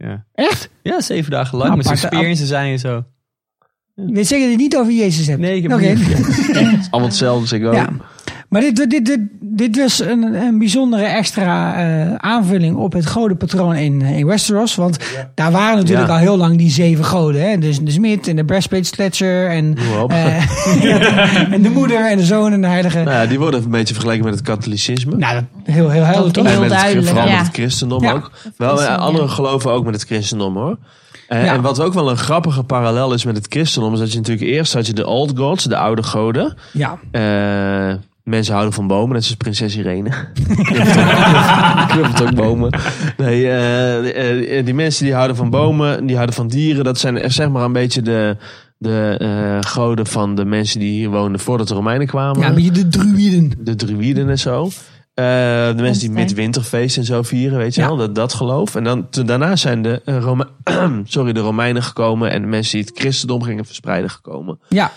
ja. Echt? Ja, zeven dagen lang Nou, met zijn aparte- speer in zijn zij en zo. Je weet zeker dat je het niet over Jezus hebt. Nee, ik heb het <laughs> niet Het is allemaal hetzelfde als ik ook. Ja. Maar dit, dit, dit, dit was een, een bijzondere extra eh, aanvulling op het godenpatroon in, eh, in Westeros. Want daar waren natuurlijk Ja. al heel lang die zeven goden. Hè? Dus de smid en de breastplate sletcher en, Noem op. eh, en de moeder en de zoon en de heilige. <laughs> Nou ja, die worden een beetje vergeleken met het katholicisme. Nou, dat, heel, heel helder toch? en met het, duidelijk, Vooral ja. met het christendom Ja. ook. Wel, eh, anderen geloven ook met het christendom hoor. Eh, Ja. En wat ook wel een grappige parallel is met het christendom... is dat je natuurlijk eerst had je de old gods, de oude goden. Ja. Eh, mensen houden van bomen, net zoals prinses <laughs> Irene. Knuffelt ook bomen. Nee, eh, eh, die mensen die houden van bomen, die houden van dieren. Dat zijn eh, zeg maar een beetje de, de eh, goden van de mensen die hier woonden voordat de Romeinen kwamen. ja, een beetje de druïden. De druïden en zo. Eh, de mensen die Einstein. midwinterfeest en zo vieren, weet je Ja. wel, dat, dat geloof. En dan, toen daarna zijn de, eh, Rome- <clears throat> sorry, de Romeinen gekomen en de mensen die het christendom gingen verspreiden gekomen. Ja.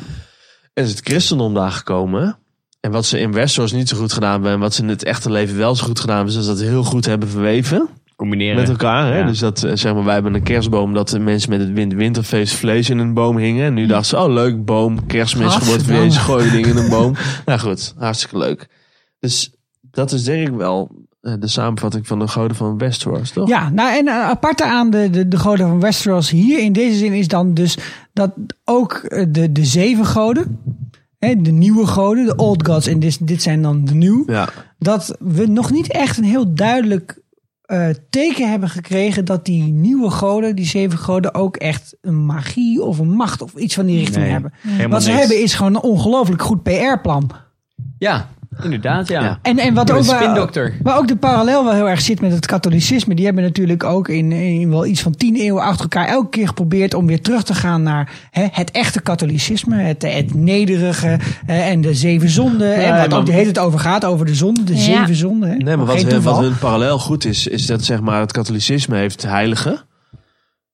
En is het christendom daar gekomen. En wat ze in Westeros niet zo goed gedaan hebben en wat ze in het echte leven wel zo goed gedaan hebben, is dat ze dat heel goed hebben verweven Combineren. met elkaar. Hè? Ja. Dus dat, eh, zeg maar, wij hebben een kerstboom dat de mensen met het win- winterfeest vlees in een boom hingen. En nu dachten ze, oh leuk, boom, kerstmis, geboorte van Gadverdamme. Jezus, gooien dingen in een <laughs> boom. nou goed, hartstikke leuk. Dus dat is denk ik wel eh, de samenvatting van de goden van Westeros, toch? Ja, nou en eh, aparte aan de, de, de goden van Westeros hier in deze zin is dan dus dat ook eh, de, de zeven goden, hè, de nieuwe goden, de old gods en dit, dit zijn dan de nieuw, Ja. dat we nog niet echt een heel duidelijk eh, teken hebben gekregen dat die nieuwe goden, die zeven goden, ook echt een magie of een macht of iets van die richting Nee, hebben. helemaal Wat ze niks. hebben is gewoon een ongelooflijk goed PR-plan. Ja, inderdaad, ja. Ja. En, en wat Een ook wel- spindokter. Waar ook de parallel wel heel erg zit met het katholicisme. Die hebben natuurlijk ook in, in wel iets van tien eeuwen achter elkaar elke keer geprobeerd om weer terug te gaan naar hè, het echte katholicisme. Het, het nederige hè, en de zeven zonden. en wat maar- ook de hele tijd over gaat, over de zonde, de Ja. zeven zonden. Hè. Nee, maar wat, Geen hun- toeval. wat hun parallel goed is, is dat zeg maar het katholicisme heeft heiligen.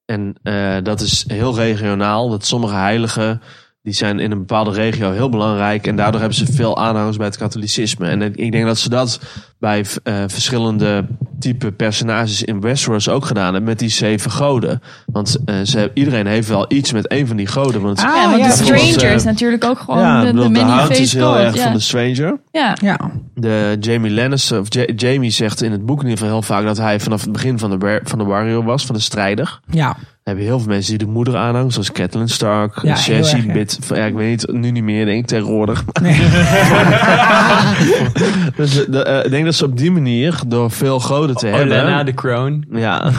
En eh, dat is heel regionaal. Dat sommige heiligen, die zijn in een bepaalde regio heel belangrijk. En daardoor hebben ze veel aanhangers bij het katholicisme. En ik denk dat ze dat bij eh, verschillende type personages in Westeros ook gedaan hebben. Met die zeven goden. Want eh, ze, iedereen heeft wel iets met één van die goden. Want Ah, ja, want ja, de bijvoorbeeld, Stranger is eh, natuurlijk ook gewoon ja, de, ik de bedoel, de many hound is face heel god. erg van Ja. de Stranger. Ja. Ja, De Jamie Lannister, of Ja- Jamie zegt in het boek in ieder geval heel vaak dat hij vanaf het begin van de, wer- van de warrior was, van de strijder. <laughs> ja. Dan heb je heel veel mensen die de moeder aanhangen, zoals Catelyn Stark, Ja, heel Cersei, erg, ja. Bit, ja, ik weet niet, nu niet meer denk ik tegenwoordig. <laughs> dus eh, de- eh, ik denk dat ze op die manier, door veel goden Oh, te hebben... Olena Oh, de Crown. Ja,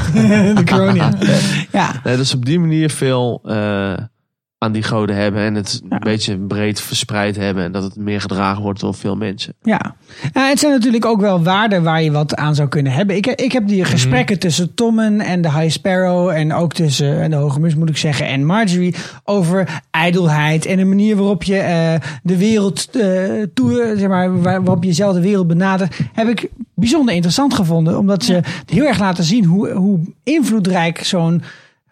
de corona. Ja, nee, dat ze op die manier veel eh, aan die goden hebben en het een beetje breed verspreid hebben. En dat het meer gedragen wordt door veel mensen. ja. ja. Het zijn natuurlijk ook wel waarden waar je wat aan zou kunnen hebben. Ik, he- ik heb die gesprekken tussen Tommen en de High Sparrow. En ook tussen eh, de Hoge Mus, moet ik zeggen, en Marjorie. Over ijdelheid en de manier waarop je eh, de wereld eh, toe, eh, zeg maar, waar- waarop je zelf de wereld benadert. Heb ik bijzonder interessant gevonden. Omdat ze heel erg laten zien hoe, hoe invloedrijk zo'n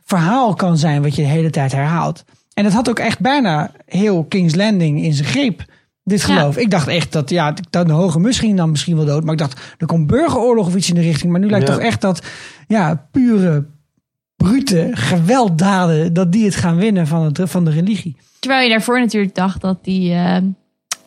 verhaal kan zijn. Wat je de hele tijd herhaalt. En dat had ook echt bijna heel King's Landing in zijn greep. Dit Ja. geloof. Ik dacht echt dat, ja, dat de hoge mus ging dan misschien wel dood. Maar ik dacht, er komt burgeroorlog of iets in de richting. Maar nu lijkt Ja. toch echt dat, ja, pure, brute gewelddaden, dat die het gaan winnen van, het, van de religie. Terwijl je daarvoor natuurlijk dacht dat die... eh,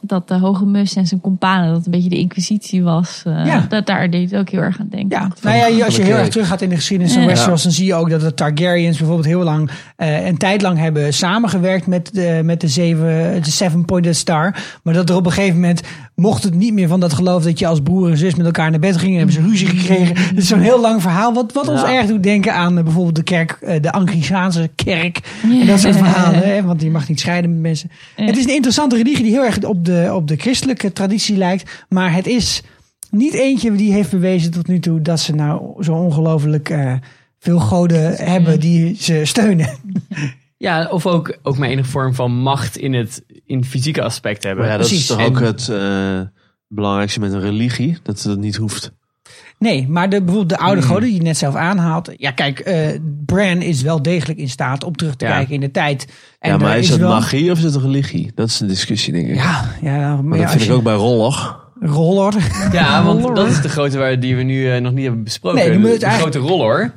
dat de Hoge Mus en zijn kompanen, dat het een beetje de Inquisitie was. eh, Ja. Dat daar deed het ook heel erg aan denken. Ja, nou ja, je- als je de heel kerk. erg teruggaat in de geschiedenis van Ja. Westeros, dan zie je ook dat de Targaryens bijvoorbeeld heel lang, eh, een tijd lang hebben samengewerkt met de, met de, zeven, de Seven Pointed Star. Maar dat er op een gegeven moment mocht het niet meer van dat geloof dat je als broer en zus met elkaar naar bed ging en hebben ze ruzie gekregen. Het is zo'n heel lang verhaal. Wat, wat ons Ja. erg doet denken aan eh, bijvoorbeeld de kerk, eh, de Anglicaanse kerk. En dat soort verhalen. Hè? Want je mag niet scheiden met mensen. Het is een interessante religie die heel erg op de, op de christelijke traditie lijkt. Maar het is niet eentje die heeft bewezen tot nu toe dat ze nou zo ongelooflijk eh, veel goden hebben die ze steunen. Ja, of ook, ook maar enige vorm van macht in het in fysieke aspect hebben. Maar ja, dat is toch En- ook het eh, belangrijkste met een religie, dat dat niet hoeft. Nee, maar de, bijvoorbeeld de oude Hmm. goden die je net zelf aanhaalt. Ja, kijk, eh, Bran is wel degelijk in staat om terug te Ja. kijken in de tijd. ja, maar er is het wel- magie of is het een religie? Dat is de discussie, denk ik. Ja, ja, maar, maar ja, dat als vind ik je- ook bij Rollag. Roller. <laughs> Ja, want dat is de grote waar die we nu eh, nog niet hebben besproken. Nee, dan moet de het de eigenlijk- grote roller.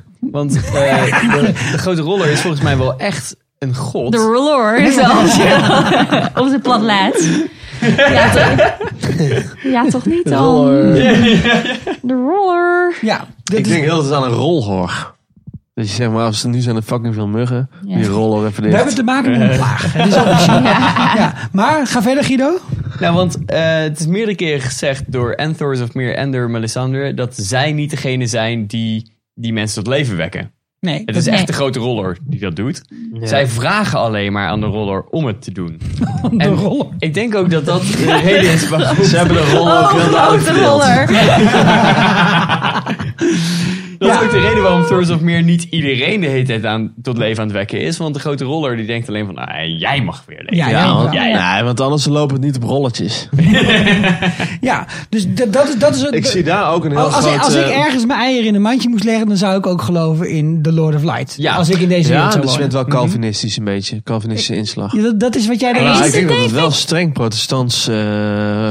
<laughs> Want eh, de, de grote roller is volgens mij wel echt een god. De roller zelfs. <laughs> ja. Of de platlaat. Ja, toch? Ja, toch niet dan? De roller. Ja. Ik denk heel dat aan een rolhor. Dus je zegt maar, als er nu zijn er fucking veel muggen, Ja. die rollen even We dicht. hebben te maken met een plaag. Het is officieel. ja. Maar ga verder, Guido. Nou, want eh, het is meerdere keren gezegd door Anthors of meer en door Melisandre... dat zij niet degene zijn die die mensen tot leven wekken. Nee. Het is dat- echt de grote roller die dat doet. Zij vragen alleen maar aan de roller om het te doen. De roller. Ik denk ook dat dat <laughs> de reden is waarom... Ze hebben Oh, de rollen Oh, ook heel duidelijk grote verdeeld. roller. Dat is ook de reden waarom Thors of Meer niet iedereen de hele tijd aan, tot leven aan het wekken is. Want de grote roller die denkt alleen van, ah, jij mag weer leven. Ja, ja, Ja, want, ja. Nee, want anders lopen het niet op rolletjes. Ja, dus d- dat, is- dat is het. Ik zie daar ook een heel Als, als ik, groot... als ik eh, ergens mijn eieren in een mandje moest leggen, dan zou ik ook geloven in The Lord of Light. Ja. Als ik in deze Ja, wereld zou dat is wonen. Mhm. met wel Calvinistisch een beetje. Calvinistische inslag. Ja, dat, dat is wat jij Maar denkt. ik denk dat het wel streng protestants eh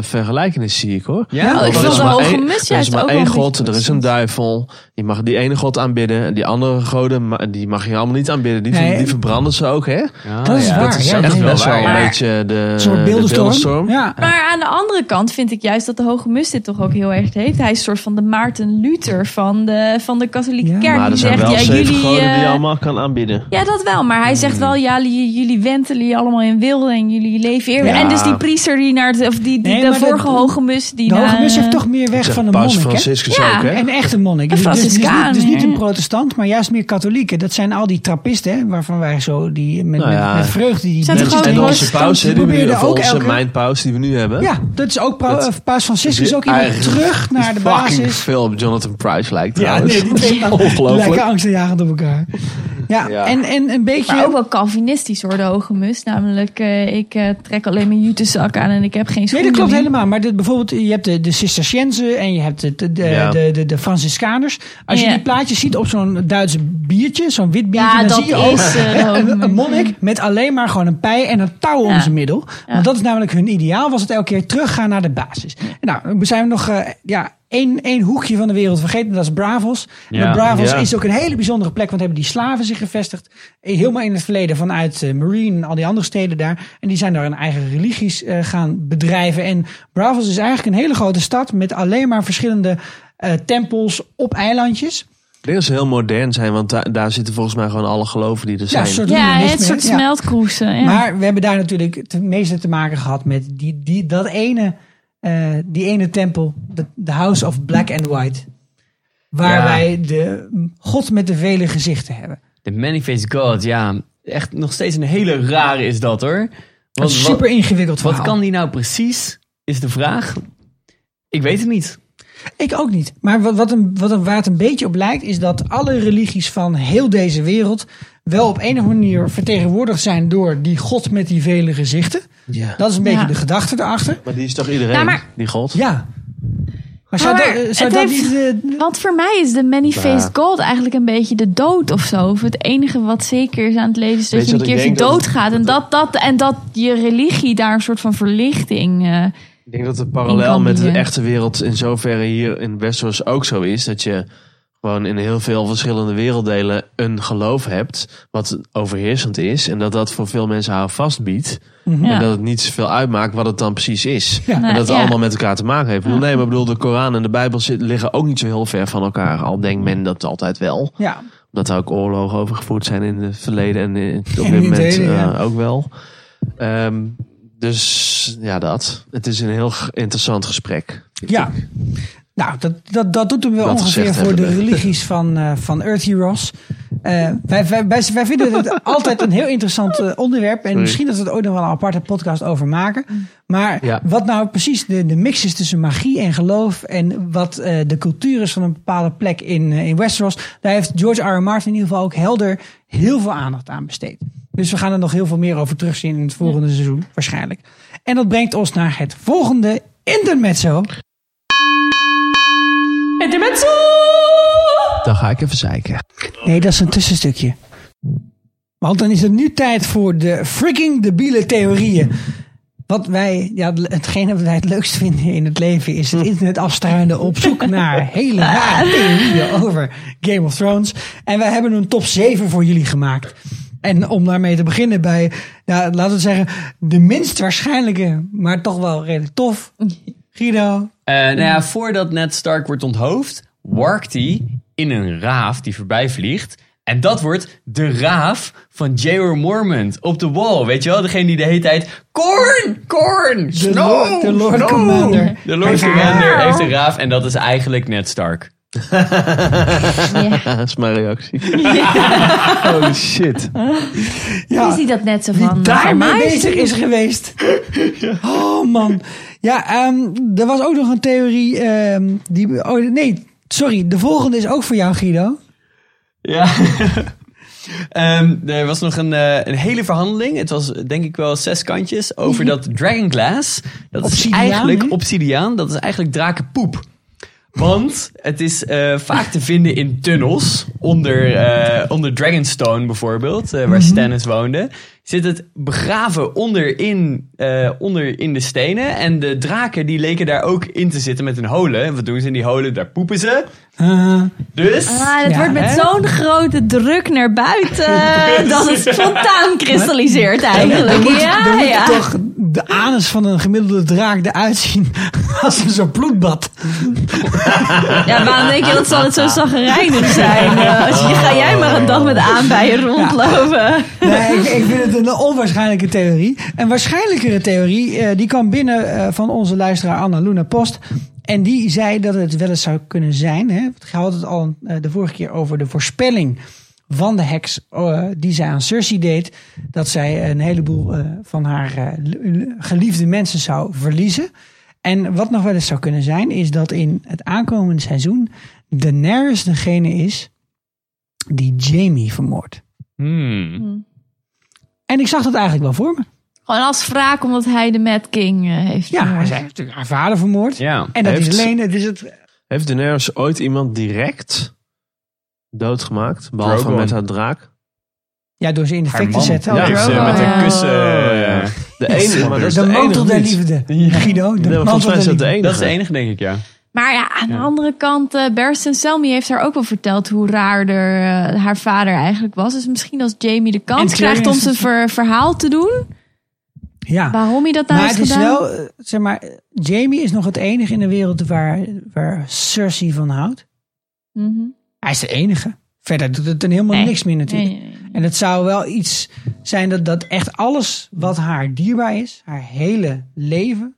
vergelijken is, zie ik hoor. Ja, Oh, Er ik vond is de maar hoge één- mis Er is juist maar ook wel één een god, beetje er is een duivel. Je mag die ene god aanbidden. En die andere goden, ma- die mag je allemaal niet aanbidden. Die, ver- Nee. die verbranden ze ook, hè? Dat is waar. Dat is ja, echt dat is best wel een waar. beetje de, Een soort de beeldenstorm. Ja. Maar aan de andere kant vind ik juist dat de Hoge Mus dit toch ook heel erg heeft. Hij is een soort van de Maarten Luther van de, van de katholieke Ja. kerk. Maar er die zijn zegt, wel ja, zeven jullie... goden die je eh, allemaal kan aanbidden. Ja, dat wel. Maar hij zegt wel, ja, jullie, jullie wentelen je allemaal in wilde en jullie leven eerlijk. Ja. En dus die priester die naar het, of die, die Nee, de maar de- vorige hoge mus die De hoge naar- eh, mus heeft toch meer weg Zegt van een Paus monnik, hè? Franciscus Ja, ook, hè? Een echte monnik. Een Dus, dus, dus, niet, Franciscaan, dus niet hè? een protestant, maar juist meer katholieken. Dat zijn al die trappisten, hè, waarvan wij zo die met, Nou met- ja. met, vreugde die. Zijn die- toch En gewoon onze paus, hè, die we probeerde nu, of ook onze elke- mijn paus die we nu hebben. Ja, dat is ook pro- Dat- eh, Paus Franciscus Die ook iemand eigenlijk terug naar de Fucking basis. veel op Jonathan Price lijkt Ja, trouwens. nee, die <laughs> twee man- Ongelooflijk. lekker angstenjagend op elkaar. Ja, Ja. En, en een Maar ook beetje. wel calvinistisch hoor, de hoge mus. Namelijk, eh, ik eh, trek alleen mijn jutezak aan en ik heb geen Nee, schoenen dat klopt meer. helemaal. Maar dit, bijvoorbeeld, je hebt de, de Cistercienzen en je hebt de, de, de, Ja. de, de, de Franciscaners. Als je Ja. die plaatjes ziet op zo'n Duitse biertje, zo'n wit biertje, Ja, dan dat zie je ook is eh, de hoge Een, mus. een monnik met alleen maar gewoon een pij en een touw om Ja. zijn middel. Want dat is namelijk hun ideaal, was het elke keer teruggaan naar de basis. Nou, we zijn nog eh, ja, één, één hoekje van de wereld vergeten, dat is Bravos. En Ja. dat Bravos Ja. is ook een hele bijzondere plek, want hebben die slaven zich gevestigd. eh, Helemaal in het verleden vanuit eh, Marine en al die andere steden daar. En die zijn daar hun eigen religies eh, gaan bedrijven. En Bravos is eigenlijk een hele grote stad met alleen maar verschillende eh, tempels op eilandjes. Ik denk dat ze heel modern zijn, want da- daar zitten volgens mij gewoon alle geloven die <laughs> er Ja, zijn. een soort Ja, Leninisme, het soort ja. smeltkroesen. Ja. Maar we hebben daar natuurlijk het meeste te maken gehad met die, die, dat ene, eh, die ene tempel, de, de House of Black and White. Waar Ja. wij de God met de vele gezichten hebben. De Manifest God, ja. Echt nog steeds een hele rare is dat hoor. Dat Want is super wat, ingewikkeld wat verhaal. kan die nou precies, is de vraag. Ik weet het niet. Ik ook niet. Maar wat, wat een, wat een, waar het een beetje op lijkt, is dat alle religies van heel deze wereld wel op een of andere manier vertegenwoordigd zijn door die God met die vele gezichten. Ja. Dat is een beetje Ja. de gedachte erachter. Maar die is toch iedereen, Ja, Nou, maar- die god? Ja. Maar zou, Maar dat, eh, zou het dat heeft- niet... eh, Want voor mij is de many-faced God eigenlijk een beetje de dood of zo. Of het enige wat zeker is aan het leven is dat Weet je je een wat ik keertje denk? Dat- doodgaat. En dat, dat, en dat je religie daar een soort van verlichting... eh, Ik denk dat het In kan parallel met de bieden. echte wereld in zoverre hier in Westeros ook zo is. Dat je gewoon in heel veel verschillende werelddelen een geloof hebt wat overheersend is. En dat dat voor veel mensen haar vastbiedt. ja. En dat het niet zoveel uitmaakt wat het dan precies is. En Nou, dat het ja. allemaal met elkaar te maken heeft. Ik bedoel, nee, maar ik bedoel, de Koran en de Bijbel zit- liggen ook niet zo heel ver van elkaar. Al denkt men dat altijd wel. ja. Omdat er ook oorlogen over gevoerd zijn in het verleden en eh, op in dit het moment heden, eh, ja. ook wel. Ehm, Dus ja, dat. Het is een heel g- interessant gesprek. Ja. Nou, dat, dat, dat doet hem wel Dat ongeveer gezegd voor de hebbende. <laughs> religies van, eh, van Earth Heroes. Eh, wij, wij, wij, wij vinden <laughs> het altijd een heel interessant eh, onderwerp. En Sorry. misschien dat we het ooit nog wel een aparte podcast over maken. Maar Ja. wat nou precies de, de mix is tussen magie en geloof. En wat eh, de cultuur is van een bepaalde plek in, eh, in Westeros. Daar heeft George R. R. Martin in ieder geval ook helder heel veel aandacht aan besteed. Dus we gaan er nog heel veel meer over terugzien in het volgende seizoen waarschijnlijk. En dat brengt ons naar het volgende intermezzo. Intermezzo! Dan ga ik even zeiken. Nee, dat is een tussenstukje. Want dan is het nu tijd voor de freaking debiele theorieën. Wat wij, ja, hetgene wat wij het leukst vinden in het leven is het internet afstruinen op zoek naar hele rare theorieën over Game of Thrones. En wij hebben een top 7 voor jullie gemaakt. En om daarmee te beginnen bij, nou, laten we zeggen, de minst waarschijnlijke, maar toch wel redelijk tof. Guido. Eh, nou Mm. ja, voordat Ned Stark wordt onthoofd, warkt hij in een raaf die voorbij vliegt. En dat wordt de raaf van J.R. Mormont op de wall. Weet je wel, degene die de hele tijd... Korn! Korn! De Snow! Lord- de Lord Snow!" Commander. De Lord Heeft een Commander raaf. heeft een raaf en dat is eigenlijk Ned Stark. dat is mijn <laughs> reactie. Holy shit. Ja. Is hij dat net zo van? eh, van daarmee mij? bezig is <laughs> geweest. Oh man. Ja, ehm, er was ook nog een theorie. ehm, die, oh, nee, sorry. De volgende is ook voor jou, Guido. Ja. <laughs> Ehm, er was nog een, eh, een hele verhandeling. Het was eh, denk ik wel zes kantjes over dat dragonglass. Dat Mhm. Obsidiaan, is eigenlijk hè? obsidiaan. Dat is eigenlijk drakenpoep. Want het is eh, vaak te vinden in tunnels. Onder, eh, onder Dragonstone bijvoorbeeld, eh, waar Mhm. Stannis woonde. Zit het begraven onder in, eh, onder in de stenen. En de draken die leken daar ook in te zitten met hun holen. En wat doen ze in die holen? Daar poepen ze. Eh, Dus... Ah, dat Ja, wordt met hè? zo'n grote druk naar <laughs> buiten dat het spontaan kristalliseert eigenlijk. moet, dan Ja, moet ja. toch de anus van een gemiddelde draak eruit zien <laughs> als een zo'n bloedbad. ja, waarom denk je dat zal het zo zagrijnig zijn? Eh, als je, ga jij maar een dag met aanbijen rondlopen. Nee, ik, ik vind het een onwaarschijnlijke theorie. Een waarschijnlijkere theorie, eh, die kwam binnen eh, van onze luisteraar Anna Luna Post. En die zei dat het wel eens zou kunnen zijn. Hè? Want We hadden het al eh, de vorige keer over de voorspelling van de heks eh, die zij aan Cersei deed. Dat zij een heleboel eh, van haar eh, l- l- geliefde mensen zou verliezen. En wat nog wel eens zou kunnen zijn, is dat in het aankomende seizoen Daenerys degene is die Jamie vermoordt. Hmm. En ik zag dat eigenlijk wel voor me. Gewoon als wraak omdat hij de Mad King eh, heeft Ja, vermoord. zij heeft natuurlijk haar vader vermoord. Ja. En dat Heeft- is alleen, het is het. Heeft Daenerys ooit iemand direct doodgemaakt? Behalve Drogon. met haar draak? Ja, door ze in de fik te zetten. Ja, Oh, heeft ze Oh, Drogon. met een Ja. kussen. eh, De ene, maar dat is de, de mantel enige der niet. liefde. Guido, de Nee, maar volgens mantel mij der is dat de liefde. enige. Dat is de enige, denk ik, ja. Maar ja, aan de andere kant, eh Barristan Selmy heeft haar ook wel verteld hoe raar er, eh, haar vader eigenlijk was. Dus misschien als Jamie de kans En Tyrion krijgt om is- zijn ver- verhaal te doen, Ja. waarom hij dat nou Maar het heeft is gedaan. wel, eh, zeg maar, eh, Jamie is nog het enige in de wereld waar, waar Cersei van houdt. Mhm. Hij is de enige. Verder doet het dan helemaal Nee. niks meer natuurlijk. Nee, nee, nee. En het zou wel iets zijn dat, dat echt alles wat haar dierbaar is, haar hele leven,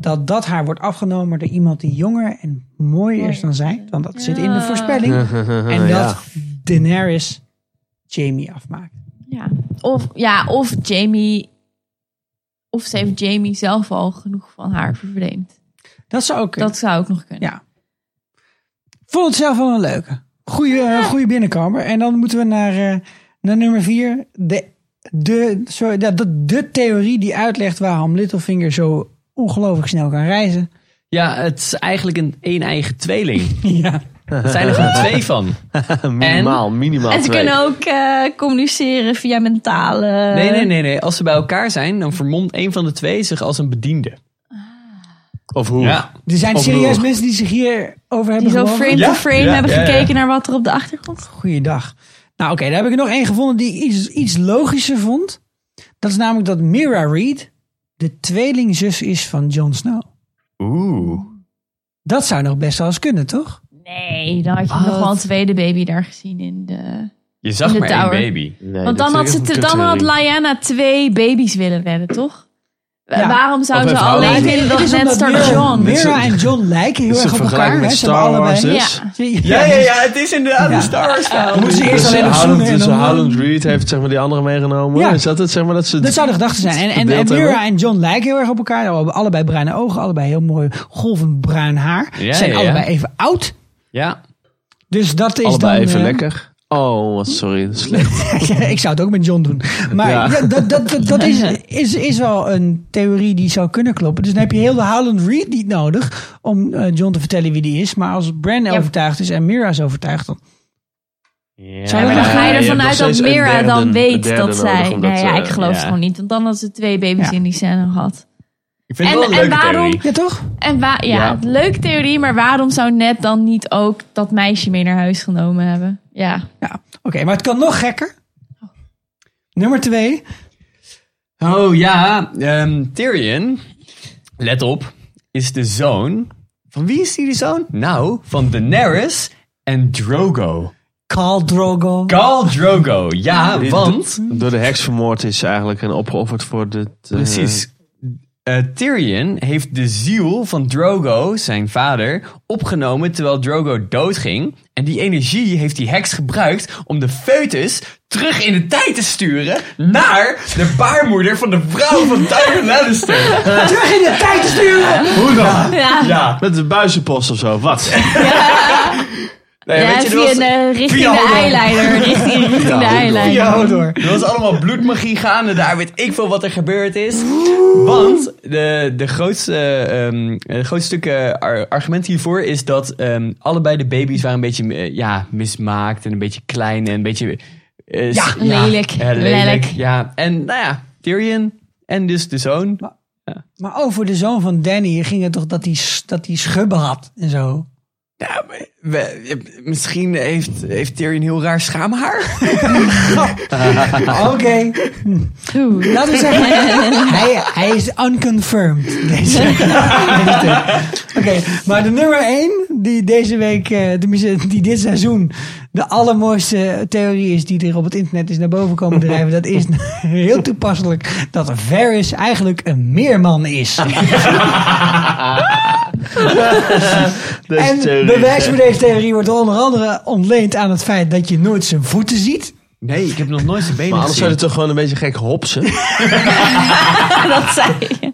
dat dat haar wordt afgenomen door iemand die jonger en mooier is dan zij. Want dat zit in de Ja. voorspelling. En dat Daenerys Jamie afmaakt. Ja. Of, ja, of Jamie. Of ze heeft Jamie zelf al genoeg van haar vervreemd. Dat zou ook kunnen. Dat zou ook nog kunnen. Ja. Vond het zelf wel een leuke. Goeie, eh, goeie binnenkomer. En dan moeten we naar, eh, naar nummer vier. De, de, sorry, de, de, de theorie die uitlegt waarom Littlefinger zo ongelooflijk snel kan <laughs> reizen. Ja, het is eigenlijk een één eigen tweeling. Ja. Er zijn er <laughs> gewoon twee van. Minimaal, minimaal En ze twee. kunnen ook eh, communiceren via mentale. Nee, nee, nee, nee. Als ze bij elkaar zijn, dan vermomt één van de twee zich als een bediende. Of hoe? Ja. Er zijn Of serieus roer. mensen die zich hierover Die hebben zo gelogen. frame Ja, to frame ja, hebben ja, ja. gekeken naar wat er op de achtergrond staat. Goeiedag. Nou oké, daar heb ik er nog één gevonden die ik iets, iets logischer vond. Dat is namelijk dat Mira Reed de tweelingzus is van Jon Snow. Oeh. Dat zou nog best wel eens kunnen, toch? Nee, dan had je nog wel een tweede baby daar gezien in de. Je In zag de maar één tower. baby. Nee, dat Want dan vind had, ze ik echt te- een dan had kuttheorie. Lyanna twee baby's willen redden, toch? Ja. Waarom zouden ze alleen Het in is dat omdat net Mira- Star John? Mira en John lijken heel is erg een op elkaar. hè? vergelijking met Ze hebben Star allebei... Wars, dus. Ja, ja, ja, het is inderdaad een Star Wars film. Moeten ze eerst Dus alleen nog Howland, zoenen en dus dan- Howland Reed heeft zeg maar, die andere meegenomen. Ja. Is dat het? Zeg maar, dat, ze Dat zou de gedachte zijn. En, en, en verdeeld hebben? Mira en John lijken heel erg op elkaar. Ze hebben Allebei bruine ogen, allebei heel mooi golvend bruin haar. Ja, Ze zijn ja, ja. allebei even oud. <laughs> Ja. Dus dat is Allebei dan... even eh, <laughs> lekker. Oh, wat sorry. dat is Slecht. ik zou het ook met John doen. Maar Ja. ja, dat, dat, dat, dat <laughs> is, is, is wel een theorie die zou kunnen kloppen. Dus dan heb je heel de Howland Reed niet nodig om eh, John te vertellen wie die is. Maar als Bran overtuigd is en Mira is overtuigd, dan... Zou maar dan ga je ervan uit dat Mira dan weet dat zij... Nee, ja, ik geloof het ja. gewoon niet. Want dan had ze twee baby's Ja. in die scène gehad. Ik vind het En- wel een en leuke waarom- theorie. Ja, toch? En wa- ja, Ja. leuke theorie, maar waarom zou Ned dan niet ook dat meisje mee naar huis genomen hebben? Ja. Ja, oké. maar het kan nog gekker. Nummer twee. Oh ja, ehm, Tyrion, let op, is de zoon. Van wie is die de zoon? Nou, van Daenerys en Drogo. Khal Drogo. Khal Drogo, ja, Die want... do- Door de heks vermoord is ze eigenlijk en opgeofferd voor de. Precies. Eh, Tyrion heeft de ziel van Drogo, zijn vader, opgenomen terwijl Drogo doodging. En die energie heeft die heks gebruikt om de foetus terug in de tijd te sturen naar de baarmoeder van de vrouw van Tyrion Lannister. Nou Terug in de tijd te sturen! Hoe dan? Ja, Ja. Met de buizenpost of <laughs> zo. Wat? Nee, Ja, weet je, er via eh, was- de- richting via de Hodor. eyeliner. Richting, richting de eyeliner. Ja, hoor door. Er was allemaal bloedmagie gaande daar. Weet ik veel wat er gebeurd is. Want de, de grootste, ehm, eh, grootste stuk eh, ar- argument hiervoor is dat ehm, allebei de baby's waren een beetje eh, ja, mismaakt. En een beetje klein en een beetje... eh, s- ja, lelijk. eh, Lelijk. Ja, en nou ja, Tyrion en dus de zoon. Maar over de zoon van Danny ging het toch dat hij, dat hij schubben had en zo. Ja, maar we- misschien heeft, heeft Tyrion heel raar <laughs> schaamhaar. Oké, <laughs> Oeh. laten we zeggen, hij, hij is unconfirmed. Deze, deze tip. Oké, maar de nummer één die deze week, eh, tenminste die dit seizoen, de allermooiste theorie is die er op het internet is naar boven komen drijven. Dat is <laughs> heel toepasselijk dat Varys eigenlijk een meerman is. En bewijs voor deze theorie wordt onder andere ontleend aan het feit dat je nooit zijn voeten ziet. Nee, ik heb nog nooit zijn benen Maar anders zou gezien. je toch gewoon een beetje gek hopsen. Dat zei je.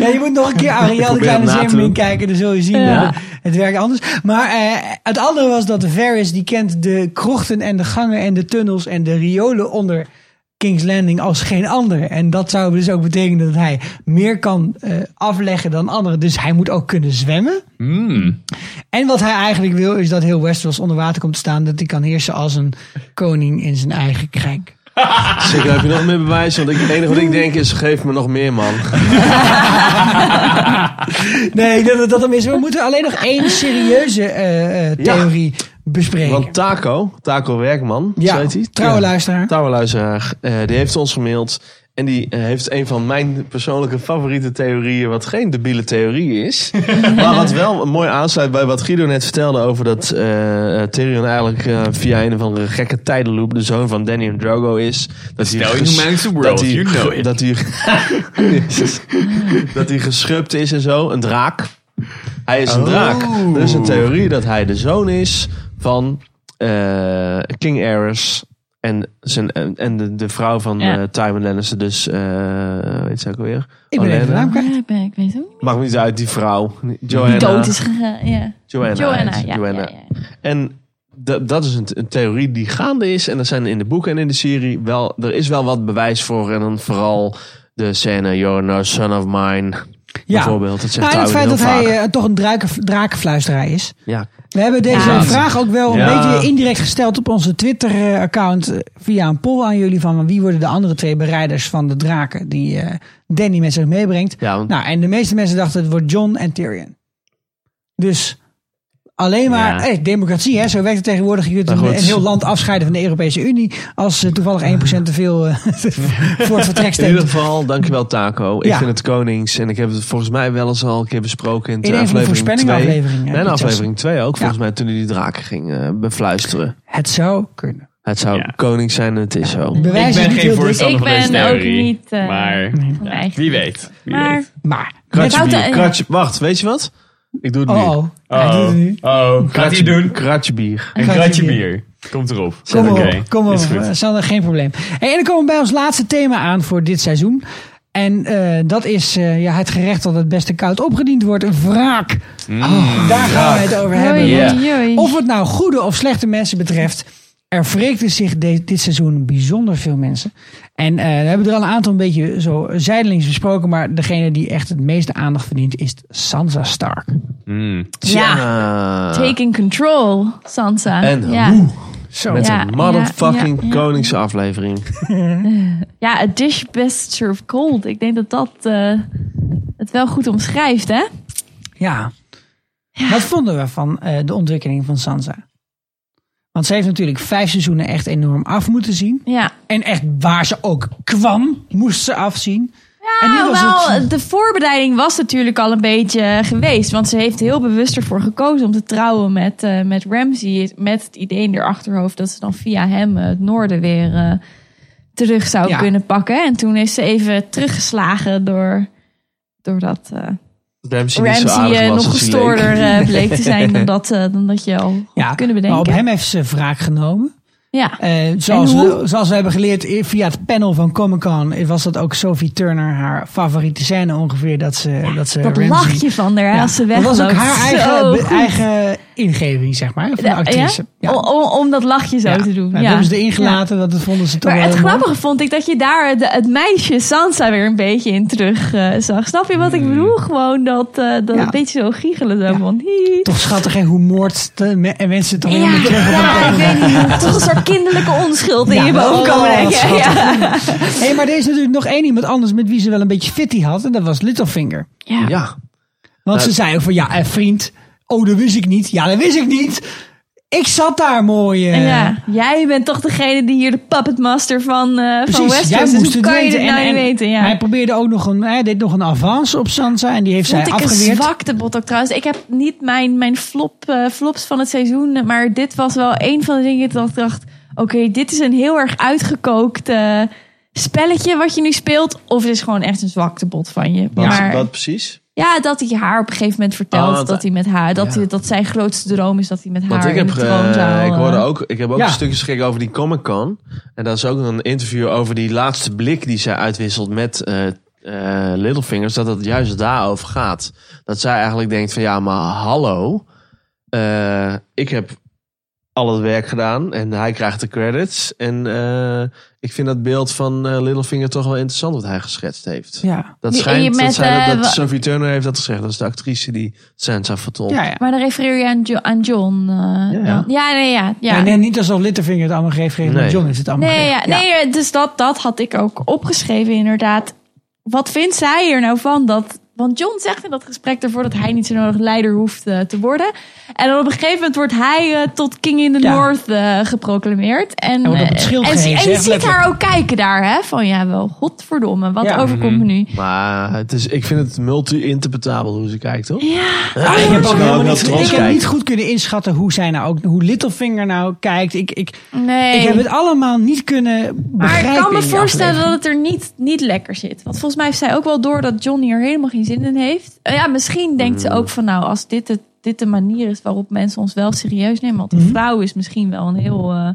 Ja, je moet nog een <laughs> keer Ariel de Probeer Kleine het na te Zeemeermin doen. kijken. Dan zul je zien Ja. dat het- het werkt anders. Maar eh, het andere was dat Varys, die kent de krochten en de gangen en de tunnels en de riolen onder King's Landing als geen ander. En dat zou dus ook betekenen dat hij meer kan eh, afleggen dan anderen. Dus hij moet ook kunnen zwemmen. Mm. En wat hij eigenlijk wil is dat heel Westeros onder water komt te staan. Dat hij kan heersen als een koning in zijn eigen krijk. Zeker Dus heb je nog meer bewijs. Want ik- het enige wat ik denk is: geef me nog meer, man. Nee, dat, dat hem is. We moeten alleen nog één serieuze eh, eh, Ja. theorie bespreken. Want Taco, Taco Werkman, Ja, zo heet hij. trouwe Ja. luisteraar. Trouwe luisteraar. eh, die heeft ons gemaild. En die eh, heeft een van mijn persoonlijke favoriete theorieën, wat geen debiele theorie <laughs> is. maar wat wel mooi aansluit bij wat Guido net vertelde over dat eh eh, Tyrion eigenlijk eh, via een of andere gekke tijdenloop de zoon van Danny en Drogo is. Dat hij Stel je ges- nou maar eens de world, dat hij- you know it. <laughs> Dat hij, <laughs> Jezus. dat hij geschrupt is en zo, een draak. Hij Oh. is een draak. Er is een theorie dat hij de zoon is van eh, King Ares en, zijn, en, en de, de vrouw van Ja. eh Tywin Lannister. Dus, eh weet ze ook alweer? Ik ben even de Olenna. naam kwijt. Ja, ik ben- Ik weet het ook niet. Maakt me niet uit, die vrouw. Die Joanna. dood is gegaan. Ja. Joanna. Joanna, heet ja, Dus ze, Joanna. ja, ja. En da- dat is een, een theorie die gaande is. En er zijn in de boeken en in de serie wel... Er is wel wat bewijs voor. En dan vooral de scène... You're no son of mine. Bijvoorbeeld. Dat zegt Nou, en het Tywin feit dat heel hij vaak. eh, toch een draken, drakenfluisteraar is. Ja. We hebben deze Ja. vraag ook wel een Ja. beetje indirect gesteld op onze Twitter-account. eh, Via een poll aan jullie van wie worden de andere twee berijders van de draken die eh, Danny met zich meebrengt. Ja, want- Nou, en de meeste mensen dachten het wordt John en Tyrion. Dus alleen maar Ja. hey, democratie, hè? zo werkt het tegenwoordig. Je kunt Maar een, goed. een heel land afscheiden van de Europese Unie als eh, toevallig 1% te veel eh, <laughs> voor het vertrek In stemt. ieder geval, dankjewel Taco. Ik Ja. vind het konings. En ik heb het volgens mij wel eens al een keer besproken in, In een van de aflevering 2. voorspellingafleveringen, En iets als- aflevering 2 ook. Ja. Volgens mij toen hij die draken ging eh, befluisteren. Het zou kunnen. Het zou koning zijn en het is zo. Bewijs Ik ben geen voorstander Ik van deze ben ook theorie. niet... eh, maar ja, eigen wie weet. Wie maar... weet. Maar... Kratje, Wouter, bier, eh, kratje- wacht, weet je wat? Ik doe het nu. Oh, oh. Hij doet het nu. Oh, gaat hij Kratje, doen? Kratje bier. Een kratje kratje bier. Komt erop. Kom op, Oké, kom op. is goed. eh, Sander, geen probleem. Hey, en dan komen we bij ons laatste thema aan voor dit seizoen. En eh, dat is eh, ja, het gerecht dat het beste koud opgediend wordt. Wraak. Mm, Oh, daar gaan we het over hebben. Joi, want joi, joi. Of het nou goede of slechte mensen betreft. Er wreekten zich de- dit seizoen bijzonder veel mensen. En eh, we hebben er al een aantal een beetje zo zijdelings besproken. Maar degene die echt het meeste aandacht verdient is Sansa Stark. Ja, Ah. taking control, Sansa. En ja. Zo. Met Ja, een motherfucking ja, ja, ja. koningsaflevering. Ja, a dish best served cold. Ik denk dat dat eh, het wel goed omschrijft, hè? Ja. Wat vonden we van eh, de ontwikkeling van Sansa? Want ze heeft natuurlijk vijf seizoenen echt enorm af moeten zien. Ja. En echt waar ze ook kwam, moest ze afzien. en Ja, was Nou, wel, het- de voorbereiding was natuurlijk al een beetje eh, geweest. Want ze heeft heel bewust ervoor gekozen om te trouwen met, eh met Ramsey. Met het idee in haar achterhoofd dat ze dan via hem eh, het noorden weer eh, terug zou Ja. kunnen pakken. En toen is ze even teruggeslagen door, door dat eh, Ramsey niet zo Ramsey aardig eh, was nog als hij leek. gestoorder <laughs> eh, bleek te zijn dan dat, eh, dan dat je al had Ja, kunnen Maar op bedenken. hem heeft ze wraak genomen. ja. Eh, zoals, En we, hoe- zoals we hebben geleerd i- via het panel van Comic Con... eh, was dat ook Sophie Turner haar favoriete scène ongeveer. Dat ze, dat ze Dat Ramsay- lachje van haar hè, Ja, als ze Dat wegloopt. was ook haar eigen, Zo be- goed. eigen ingeving, zeg maar, van de Ja, actrice. ja? O- o- Om, dat lachje zo Ja. te doen. Nou, Ja. dat hebben ze erin gelaten, want dat vonden ze toch Maar wel het heel mooi. grappige vond ik dat je daar de- het meisje Sansa weer een beetje in terug eh, zag. Snap je wat ik bedoel? Gewoon dat, eh, dat Hmm. Ja. een beetje zo giechelen. Zo van, hi. Toch schattig, hè? Hoe moord de me- en mensen toch Ja, helemaal terug op ja, elkaar. ik <laughs> weet niet. Toch een soort kinderlijke onschuld in je boven komen oh, denken. Ja. Hé, maar er is natuurlijk nog één iemand anders met wie ze wel een beetje fitty had. En dat was Littlefinger. Ja. Want ze zei ook van, ja, eh, vriend. Oh, dat wist ik niet. Ja, dat wist ik niet. Ik zat daar mooi. eh, Ja, jij bent toch degene die hier de puppetmaster van, eh van Precies, Westeros jij is. moest Hoe het kan je weten. dit nou En- niet en weten? Ja. Hij probeerde ook nog een, hij deed nog een avance op Sansa. En die heeft zij Vond ik een afgeweerd. zwakte bot ook trouwens. Ik heb niet mijn, mijn flop, eh, flops van het seizoen. Maar dit was wel een van de dingen dat ik dacht... Oké, dit is een heel erg uitgekookt eh, spelletje wat je nu speelt. Of het is gewoon echt een zwakte bot van je. Wat, maar wat precies? ja, dat hij haar op een gegeven moment Oh, vertelt want- dat hij met haar... Dat, ja. hij, dat zijn grootste droom is dat hij met haar Want ik heb, in de eh, troonzaal... ik, hoorde eh, ook, ik heb ook Ja. een stukje geschreven over die Comic Con. En daar is ook een interview over die laatste blik die zij uitwisselt met eh eh, Littlefingers. Dat het juist daarover gaat. Dat zij eigenlijk denkt van ja, maar hallo. eh, ik heb al het werk gedaan en hij krijgt de credits. En eh, ik vind dat beeld van eh, Littlefinger toch wel interessant wat hij geschetst heeft. Ja. Dat Die- schijnt met, dat, zij, eh, dat, wa- dat Sophie Turner heeft dat gezegd. Dat is de actrice die Sansa vertolkt. Ja, ja. Maar dan refereer je aan, Jo- aan John. eh, ja. ja, nee, ja. ja. En, en niet alsof Littlefinger het allemaal heeft gegeven. maar Nee. John heeft het allemaal Nee, ja, gegeven. nee eh, dus dat, dat had ik ook opgeschreven inderdaad. Wat vindt zij er nou van dat... Want John zegt in dat gesprek ervoor dat hij niet zo nodig leider hoeft eh, te worden. En dan op een gegeven moment wordt hij eh, tot King in the Ja. North eh, geproclameerd. En, wordt op het eh, schild en, gehezen, en je echt ziet letterlijk. haar ook kijken daar, hè? Van ja, wel, godverdomme, wat Ja. overkomt me nu? Maar het is, ik vind het multi-interpretabel hoe ze kijkt, toch? Ja, Ah, <laughs> ik heb ook Ja, helemaal wel niet, trots ik heb kijken. niet goed kunnen inschatten hoe zij nou ook, hoe Littlefinger nou kijkt. Ik, ik, nee. Ik heb het allemaal niet kunnen Maar begrijpen. ik kan me in die voorstellen dat aflevering. het er niet, niet lekker zit. Want volgens mij heeft zij ook wel door dat John hier helemaal geen zin in heeft. Eh, Ja, misschien denkt ze ook van nou, als dit de, dit de manier is waarop mensen ons wel serieus nemen. Want een vrouw is misschien wel een heel eh,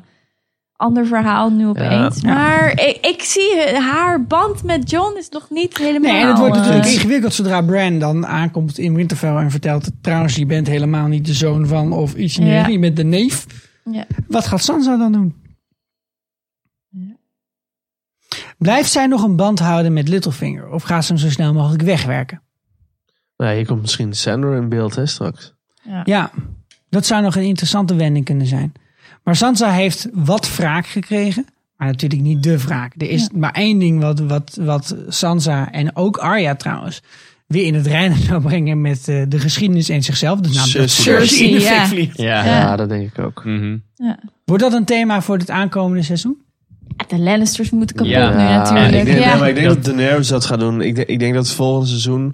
ander verhaal nu opeens. Maar ik, ik zie eh, haar band met John is nog niet helemaal... Nee, en het wordt eh, natuurlijk ingewikkeld zodra Bran dan aankomt in Winterfell en vertelt... trouwens, je bent helemaal niet de zoon van of iets in die Ja. richting, je bent de neef. ja. Wat gaat Sansa dan doen? Blijft zij nog een band houden met Littlefinger? Of gaat ze hem zo snel mogelijk wegwerken? Nou, hier komt misschien Sandor in beeld, hè, straks. Ja, dat zou nog een interessante wending kunnen zijn. Maar Sansa heeft wat wraak gekregen. Maar natuurlijk niet de wraak. Er is maar één ding wat, wat, wat Sansa en ook Arya trouwens... weer in het reinen zou brengen met eh, de geschiedenis en zichzelf. Dus namelijk dat Cersei. Cersei in de Cersei, fik ja. vliegt. Ja. Ja, Ja. dat denk ik ook. Mhm. <laughs> Wordt dat een thema voor dit aankomende seizoen? De Lannisters moeten kapot Ja. nu natuurlijk. ik denk, ja. nee, maar ik denk dat Daenerys dat gaat doen. Ik denk, ik denk dat volgend seizoen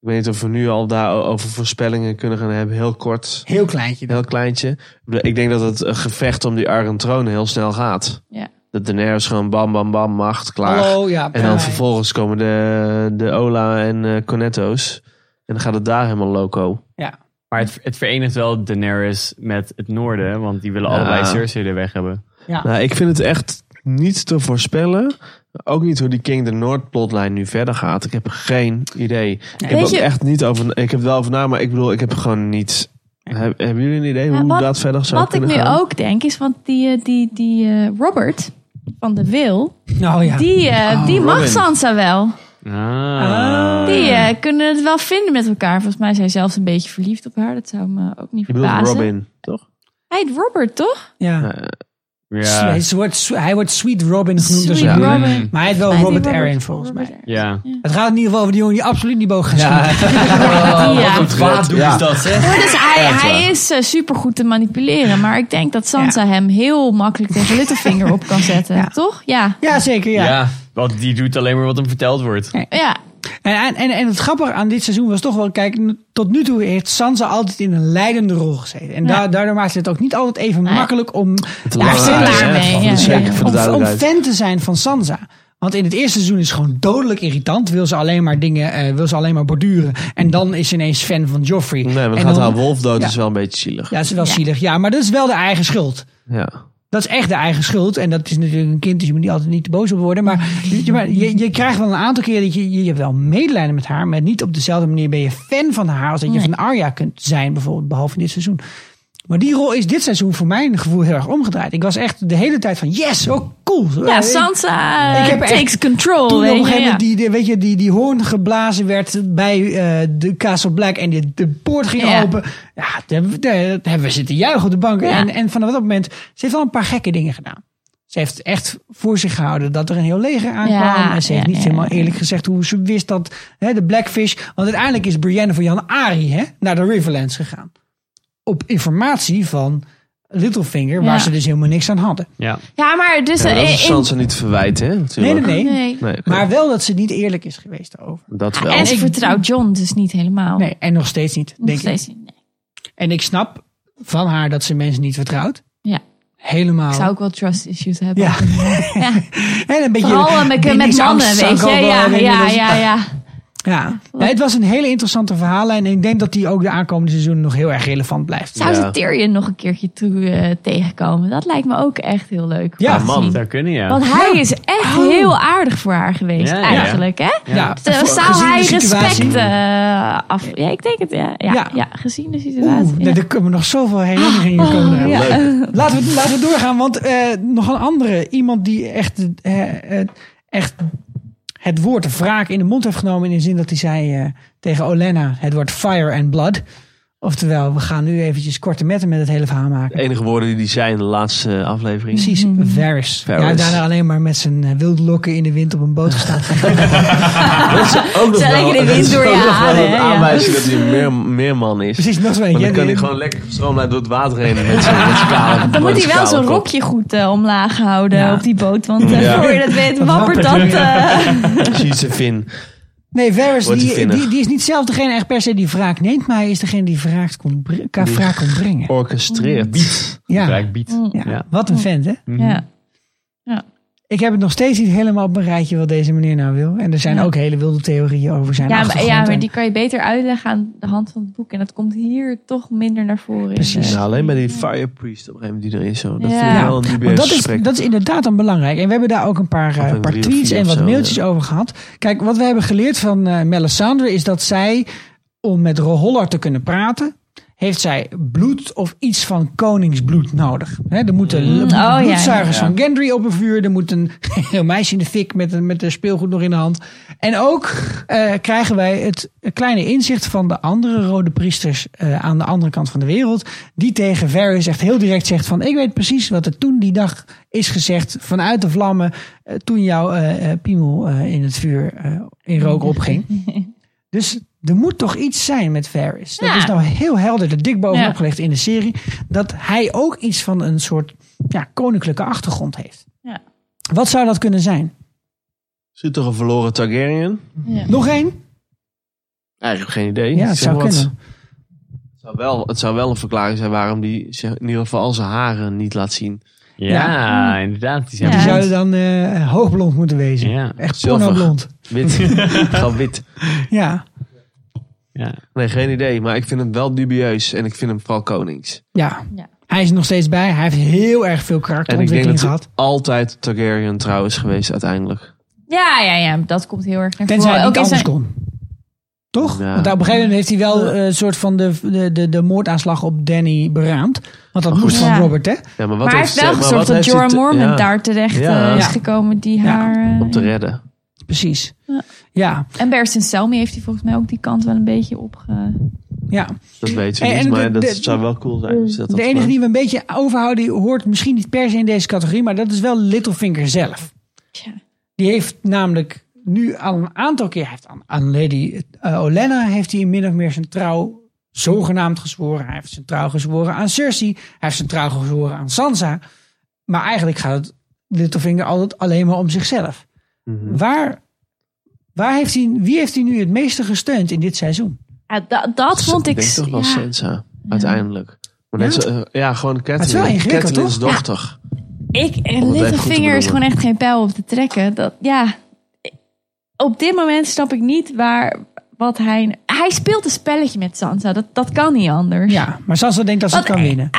Ik weet niet of we nu al daarover voorspellingen kunnen gaan hebben. Heel kort. Heel kleintje. Heel kleintje. Ik bedoel, Ik denk dat het eh, gevecht om die Argen troon heel snel gaat. Ja. Dat Daenerys gewoon bam, bam, bam, macht, klaar. Hallo, ja, en bye. dan vervolgens komen de, de Ola en eh Cornetto's. En dan gaat het daar helemaal loco. Ja. Maar het, het verenigt wel Daenerys met het noorden, want die willen Ja. allebei Cersei er weg hebben. Ja. Nou, ik vind het echt niet te voorspellen. Ook niet hoe die King the North plotlijn nu verder gaat. Ik heb geen idee. Ik heb Weet ook je- echt niet over. Ik heb er wel over na, maar ik bedoel, ik heb gewoon niet. Heb- hebben jullie een idee Maar hoe wat- dat verder zou Wat ik kunnen nu gaan? ook denk is, want die, eh, die, die eh, Robert van de Wil, Nou ja. die, eh, Oh, die mag Robin. Sansa wel. Ah. Die eh, kunnen het wel vinden met elkaar. Volgens mij is hij zelfs een beetje verliefd op haar. Dat zou me ook niet Je bedoelt verbazen. Robin, toch? Hij heet Robert, toch? Ja. Eh, Swe- Ja. Hij, wordt, hij wordt Sweet Robin genoemd. Sweet dus ja. Robin. Maar hij heet wel Hij heet Robert Robert. Arryn volgens mij. Ja. Het gaat in ieder geval over die jongen die absoluut niet boog gaat schieten. Ja. Wat doet dat, zeg? Dus hij, hij is super goed te manipuleren. Maar ik denk dat Sansa hem heel makkelijk tegen Littlefinger op kan zetten. Toch? <laughs> Ja. Ja, zeker. Ja. Ja, want die doet alleen maar wat hem verteld wordt. Ja. En, en, en, en het grappige aan dit seizoen was toch wel, kijk, n- tot nu toe heeft Sansa altijd in een leidende rol gezeten. En Ja. da- daardoor maakt het ook niet altijd even Nee. makkelijk om laten zin zien, daar- hè? mee, Van- ja. Zeker voor de om, om duidelijkheid. fan te zijn van Sansa. Want in het eerste seizoen is ze gewoon dodelijk irritant. Wil ze alleen maar dingen, eh, wil ze alleen maar borduren. En dan is ze ineens fan van Joffrey. Nee, maar en dan gaat dan- haar wolf dood Ja. is wel een beetje zielig. Ja, Ja. dat is wel Ja. zielig. Ja, maar dat is wel de eigen schuld. Dat is echt de eigen schuld. En dat is natuurlijk een kind, dus je moet niet altijd niet te boos op worden. <laughs> Maar je, maar je, je krijgt wel een aantal keren dat je, je hebt wel medelijden met haar. Maar niet op dezelfde manier ben je fan van haar als dat je Nee. van Arya kunt zijn, bijvoorbeeld, behalve in dit seizoen. Maar die rol is dit seizoen voor mijn gevoel heel erg omgedraaid. Ik was echt de hele tijd van yes, oh cool. Ja, Ik- Sansa eh, Ik heb echt- takes control. toen op weet een je, gegeven ja. moment die, die- weet je, die, die hoorn geblazen werd bij eh, de Castle Black en die, de poort ging Ja. open. Ja, daar hebben we- daar hebben we zitten juichen op de bank. Ja. En, en vanaf dat moment, ze heeft wel een paar gekke dingen gedaan. Ze heeft echt voor zich gehouden dat er een heel leger aankwam. Ja, en ze heeft ja, niet ja, helemaal ja. eerlijk gezegd hoe ze wist dat hè, de Blackfish... Want uiteindelijk is Brienne voor Jan Ari hè, naar de Riverlands gegaan. Op informatie van Littlefinger, Ja. waar ze dus helemaal niks aan hadden. Ja. Ja, maar dus... Ja, dat eh, is in- Sansa niet verwijten, hè? Nee, Natuurlijk. nee, nee. Nee. Nee, oké. Maar wel dat ze niet eerlijk is geweest daarover. dat wel. En ze vertrouwt John dus niet helemaal. Nee, en nog steeds niet, Nog denk ik. steeds niet. Nee. En ik snap van haar dat ze mensen niet vertrouwt. Ja. Helemaal. Ik zou ook wel trust issues hebben. Oh. <laughs> Ja. <laughs> en een beetje. <laughs> Vooral eh, met, met mannen, bindingsangst zou weet ik je. ook wel Ja, ja, hebben. ja, Dat is- <laughs> ja, ja. ja. Ja, het was een hele interessante verhaal. En ik denk dat die ook de aankomende seizoen nog heel erg relevant blijft. Zou ze Ja. Tyrion nog een keertje toe, eh, tegenkomen? Dat lijkt me ook echt heel leuk. Ja, Om te man. zien. Zou kunnen, ja. Want hij is echt heel aardig voor haar geweest, Ja, ja. eigenlijk. Hè? Oh. Ja, Zo voor- gezien Zou de hij situatie- respect eh, af... Ja, ik denk het, ja. Ja, Ja. ja. gezien de situatie. Oeh, ja. nee, er kunnen nog zoveel herinneringen komen. er. Laten, we, laten we doorgaan, want eh, nog een andere. Iemand die echt, eh, eh, echt het woord wraak in de mond heeft genomen. In de zin dat hij zei eh, tegen Olena het woord fire and blood. Oftewel, we gaan nu eventjes korte metten met het hele verhaal maken. De enige woorden die die zijn in de laatste aflevering. Precies, Varys. Varys. Ja, daarna alleen maar met zijn eh, wilde lokken in de wind op een boot <laughs> gestaan. Ook nog Zo wel- lekker de wind door je ook nog wel haren, een hè, ja. aanwijzing dat hij een meer, meerman is. Precies, nog Want twee. dan kan hij gewoon lekker gestroomlijnd door het water heen. Met zijn, met zijn kale, <laughs> Dan met moet hij zijn wel kale zo'n kop. rokje goed eh, omlaag houden Ja. op die boot. Want eh, Ja. voor je dat weet, Dat wappert dat. wappert, eh, Precies zijn vin. Nee, Varys Wordt die, hij vinnig. die, die is niet zelf degene echt per se die wraak neemt. Maar hij is degene die wraak komt bre- ka- wraak komt brengen. Orchestreert. Ja, Kijk, biedt. Mm. ja. Ja. wat een vent hè. <laughs> ja. Ik heb het nog steeds niet helemaal op mijn rijtje wat deze meneer nou wil. En er zijn Ja. ook hele wilde theorieën over zijn Ja, maar, achtergrond. ja, maar en- die kan je beter uitleggen aan de hand van het boek. En dat komt hier toch minder naar voren. in Precies. de- Ja, alleen bij die fire priest op een gegeven moment die er is. Zo. Dat Ja. vind ik wel een want dubieus dat, is, gesprek. dat is inderdaad dan belangrijk. En we hebben daar ook een paar, eh, Of een paar drie of tweets vier en of wat zo, mailtjes over gehad. Kijk, wat we hebben geleerd van eh Melisandre is dat zij, om met Roholler te kunnen praten, heeft zij bloed of iets van koningsbloed nodig. Hè, er moeten l- oh, ja, bloedzuigers van Gendry op een vuur. Er moet een <laughs> heel meisje in de fik met, een- met de speelgoed nog in de hand. En ook eh, krijgen wij het kleine inzicht van de andere rode priesters eh, aan de andere kant van de wereld. Die tegen Varys echt heel direct zegt van ik weet precies wat er toen die dag is gezegd vanuit de vlammen. eh, toen jouw eh, eh, piemel eh, in het vuur eh, in rook opging. Dus er moet toch iets zijn met Varys. Dat Ja. is nou heel helder er dik bovenop Ja. gelegd in de serie. Dat hij ook iets van een soort ja, koninklijke achtergrond heeft. Ja. Wat zou dat kunnen zijn? Zit toch een verloren Targaryen? Ja. Nog één? Eigenlijk geen idee. Ja, het Zeg zou maar wat. kunnen. Het zou, wel, het zou wel een verklaring zijn waarom die zich in ieder geval al zijn haren niet laat zien. Ja, inderdaad. Die, Die zouden dan eh, hoogblond moeten wezen. Echt pornoblond. <laughs> Wit. Gewoon wit. Ja. Nee, geen idee. Maar ik vind hem wel dubieus. En ik vind hem vooral konings. Ja. Hij is er nog steeds bij. Hij heeft heel erg veel En ik denk karakterontwikkeling dat hij gehad. altijd Targaryen trouw is geweest uiteindelijk. Ja, ja, ja. Dat komt heel erg naar Tenzij voren. hij niet Ook in anders zijn- kon. Toch? Ja. Want op een gegeven moment heeft hij wel eh, een soort van de, de, de, de moordaanslag op Danny beraamd. Want dat moest goed. van Ja. Robert, hè? Ja, maar wat maar hij heeft heeft wel ze- maar gezorgd wat dat heeft ze Jorah te- Mormont ja. daar terecht eh, Ja. is Ja. gekomen. Die haar... eh, Om te redden. Precies. Ja. Ja. En Bersten Selmy heeft hij volgens mij ook die kant wel een beetje opge... ja. Dat weten we En- niet. en Maar de- dat de- zou wel cool zijn. Dus dat De dat- enige die we een beetje overhouden, die hoort misschien niet per se in deze categorie, maar dat is wel Littlefinger zelf. Die heeft namelijk nu al een aantal keer, hij heeft aan, aan Lady eh, Olenna heeft hij min of meer zijn trouw zogenaamd gezworen. Hij heeft zijn trouw gezworen aan Cersei. Hij heeft zijn trouw gezworen aan Sansa. Maar eigenlijk gaat het Littlefinger altijd alleen maar om zichzelf. Waar, waar heeft hij, wie heeft hij nu het meeste gesteund in dit seizoen? Ja, dat, dat vond ik... Ik denk toch wel ja. Sansa. Uiteindelijk. Maar net Ja? zo- eh, ja, gewoon is wel Catelyn. ingewikkeld, Catelyn's toch? dochter. Ik, het en echt goed te Littlefinger bedoelen. is gewoon echt geen pijl op te trekken. Dat, ja, op dit moment snap ik niet waar, wat hij... Hij speelt een spelletje met Sansa. Dat, dat kan niet anders. Ja, maar Sansa denkt dat ze het Wat- kan winnen.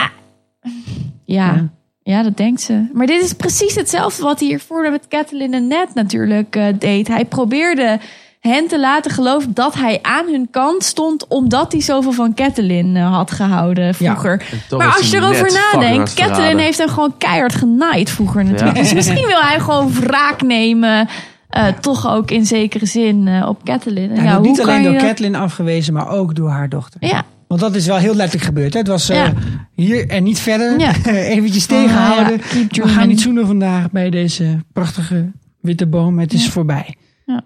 Ja. ja. dat denkt ze. Maar dit is precies hetzelfde wat hij hiervoor met Catelyn en Ned natuurlijk eh, deed. Hij probeerde hen te laten geloven dat hij aan hun kant stond... omdat hij zoveel van Catelyn eh, had gehouden vroeger. En toch maar is als je hij erover net fucking nadenkt, hard Catelyn verraden. heeft hem gewoon keihard genaaid vroeger natuurlijk. Ja. Dus misschien wil hij gewoon wraak nemen... eh, Toch ook in zekere zin eh, op Catelyn. En Ja, ja, wordt niet hoe kan alleen je door dat- Catelyn afgewezen, maar ook door haar dochter. Ja. Want dat is wel heel letterlijk gebeurd. Hè? Het was eh, Ja. hier en niet verder. Ja. <laughs> Eventjes Van, tegenhouden. Ah, ja, keep We gaan dreaming. niet zoenen vandaag bij deze prachtige witte boom. Het is voorbij. Ja.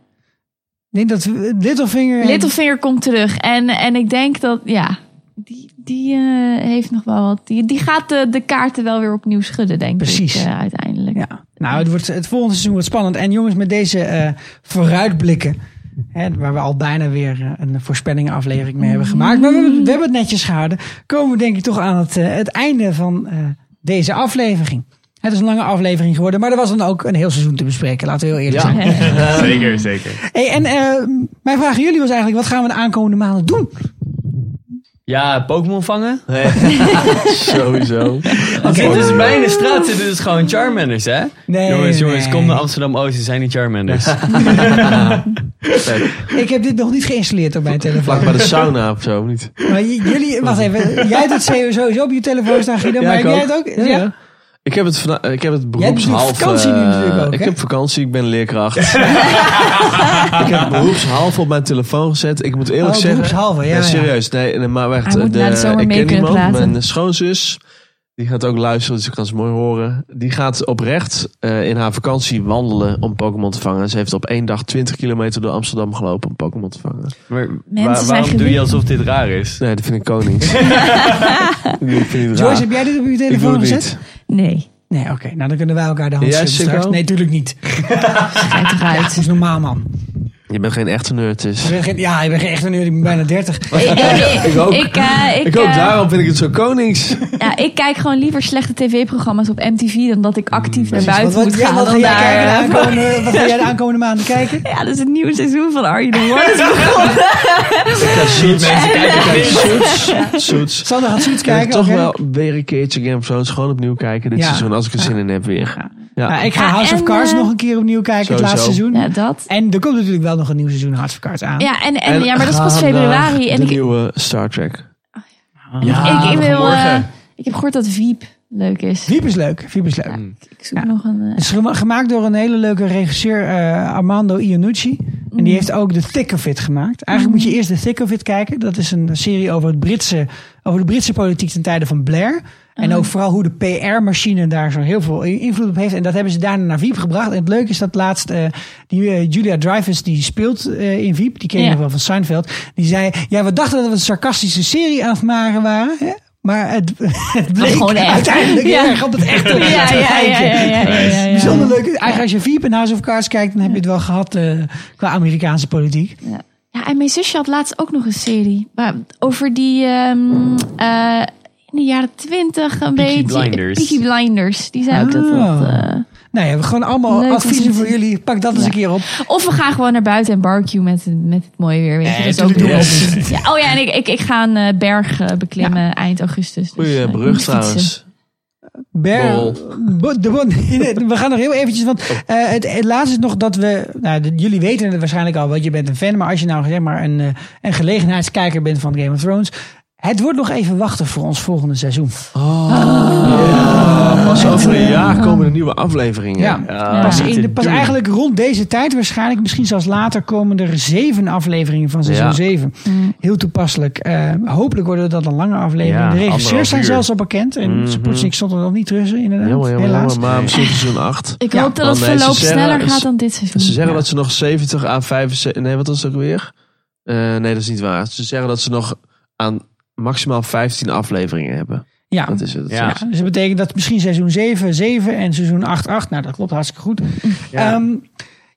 Ik denk dat we- Littlefinger... en- Littlefinger komt terug. En, en ik denk dat, ja, die, die eh, heeft nog wel wat. Die, die gaat de, de kaarten wel weer opnieuw schudden, denk Precies. ik. eh, uiteindelijk. Ja. Nou, het, wordt, het volgende seizoen wordt spannend. En jongens, met deze eh, vooruitblikken... Hè, waar we al bijna weer eh, een voorspellingenaflevering mee hebben gemaakt. Maar we, hebben- we hebben het netjes gehouden. Komen we denk ik toch aan het, eh, het einde van eh, deze aflevering. Het is een lange aflevering geworden, maar er was dan ook een heel seizoen te bespreken. Laten we heel eerlijk zijn. <laughs> <laughs> zeker, zeker. Hey, en eh, mijn vraag aan jullie was eigenlijk, wat gaan we de aankomende maanden doen? Ja, Pokémon vangen. <laughs> <laughs> Sowieso. Oké, dus bij de straat zitten dus gewoon Charmanders, hè? Nee, jongens, jongens, nee. kom naar Amsterdam-Oost, er zijn niet Charmanders. Ik heb dit nog niet geïnstalleerd op mijn telefoon. Vlak bij de sauna of zo, of niet? Maar j- jullie, wacht even, jij doet sowieso op je telefoon staan, Guido, Ja, maar ik heb jij ook. het ook? Ja, ja. Ik heb het, vana- ik heb het Jij hebt beroepshalve... vakantie nu natuurlijk eh, ook, Ik hè? heb vakantie, ik ben <laughs> leerkracht. ik heb beroepshalve op mijn telefoon gezet. Ik moet eerlijk Oh, zeggen... beroepshalve, ja, ja. serieus. Nee, nee, maar echt, Hij moet de, naar de zomer ik mee ken kunnen iemand, praten. mijn schoonzus... Die gaat ook luisteren, dus ik kan ze mooi horen. Die gaat oprecht eh, in haar vakantie wandelen om Pokémon te vangen. Ze heeft op één dag 20 kilometer door Amsterdam gelopen om Pokémon te vangen. Maar Mensen waar- zijn waarom doe je gelukkig. alsof dit raar is? Nee, dat vind ik konings. Die vind ik raar. Joyce, heb jij dit op je ik doe telefoon het gezet? niet. Nee, Nee, oké. Nou, dan kunnen wij elkaar de hand Jij, schudden Sikko? straks. Nee, tuurlijk <laughs> niet. schijnt Ja, <laughs> eruit. het is normaal, man. Je bent geen echte nerd, dus... Ik ben geen- ja, ik ben geen echt een uur, ik ben bijna 30. Ik, ik, ik, ook. ik, eh, ik, Ik ook, eh, daarom vind ik het zo konings. ja, ik kijk gewoon liever slechte tv-programma's op MTV dan dat ik actief naar Precies, want buiten wat, moet ja, gaan. wat, ga Dan jij kijken de daar, eh, aankomende- wat ga jij de aankomende maanden kijken? <laughs> ja, dat is het nieuwe seizoen van Are You The One. is begonnen. Mensen kijken Suits. Suits. Sander gaat zoiets Kijken, kijken. oké? toch wel weer een keertje Game of Thrones. Gewoon opnieuw kijken dit Ja. seizoen. Als ik er zin in heb weer. Ja. Nou, ik ga Ja, House of en, Cards eh, nog een keer opnieuw kijken, het sowieso. laatste seizoen. Ja, dat. En er komt natuurlijk wel nog een nieuw seizoen House of Cards aan. Ja, en, en, ja, maar dat is pas gaan, februari. eh, En de ik, nieuwe Star Trek. ik, ik, wil, eh, morgen. ik heb gehoord dat Wiep leuk is. Wiep is leuk, Wiep is leuk. Ik zoek nog een... eh, Het is gema- gemaakt door een hele leuke regisseur, eh, Armando Iannucci. En Mhm. die heeft ook The Thick of It gemaakt. Eigenlijk moet je eerst The Thick of It kijken. Dat is een serie over, het Britse, over de Britse politiek ten tijde van Blair. En Mhm. ook vooral hoe de PR-machine daar zo heel veel i- invloed op heeft. En dat hebben ze daarna naar Wiep gebracht. En het leuke is dat laatst eh, die eh, Julia Dreyfus, die speelt eh, in Wiep. Die ken je Ja. nog wel van Seinfeld. Die zei, ja we dachten dat we een sarcastische serie aan het maken waren. Hè? Maar het, <laughs> het bleek gewoon echt. uiteindelijk Ja. heel erg op het echte <laughs> Ja, ja, te ja, ja, lijken. ja, ja, ja, ja. Bijzonder leuk. Eigenlijk als je Veep en House of Cards kijkt, dan heb je het wel gehad eh, qua Amerikaanse politiek. Ja. Ja, en mijn zusje had laatst ook nog een serie. Maar over die ehm, eh, in de jaren twintig een Peaky beetje. Blinders. Peaky Blinders. Die zei ook dat dat... Ah. eh, Nee, we hebben gewoon allemaal leuk adviezen was. voor jullie. Pak dat eens Ja. een keer op. Of we gaan gewoon naar buiten en barbecue met, met het mooie weer. Weet je, Nee, dat is ook tuurlijk doen. niet. we. Ja, oh ja, en ik, ik, ik ga een eh, berg eh, beklimmen eind augustus. Dus, Goeie eh, ik brug moet trouwens. fietsen. Ber- Borrel. Bo- de bon- <laughs> we gaan nog heel eventjes, want eh, het, het laatste is nog dat we, nou, de- jullie weten het waarschijnlijk al, want je bent een fan, maar als je nou zeg maar een, eh, een gelegenheidskijker bent van Game of Thrones, het wordt nog even wachten voor ons volgende seizoen. Pas over een jaar komen er nieuwe afleveringen. Ja, pas, in de, pas eigenlijk rond deze tijd waarschijnlijk, misschien zelfs later, komen er zeven afleveringen van seizoen Ja. 7. Heel toepasselijk. Eh, hopelijk worden dat een lange aflevering. Ja, de regisseurs anderhalf zijn uur. zelfs al bekend en Mhm. Sputnik stond er nog niet tussen, inderdaad. Jammer, jammer, helaas. jammer, maar misschien seizoen 8. Ik hoop dat het verloop sneller gaat dan dit seizoen. Ze zeggen Ja. dat ze nog 70 à 75... Nee, wat was het ook weer? Eh, nee, dat is niet waar. Ze zeggen dat ze nog aan maximaal 15 afleveringen hebben. Ja. Dat is het. Nou Ja. dus dat betekent dat misschien seizoen 7, 7 en seizoen 8, 8. Nou, dat klopt hartstikke goed. Ja,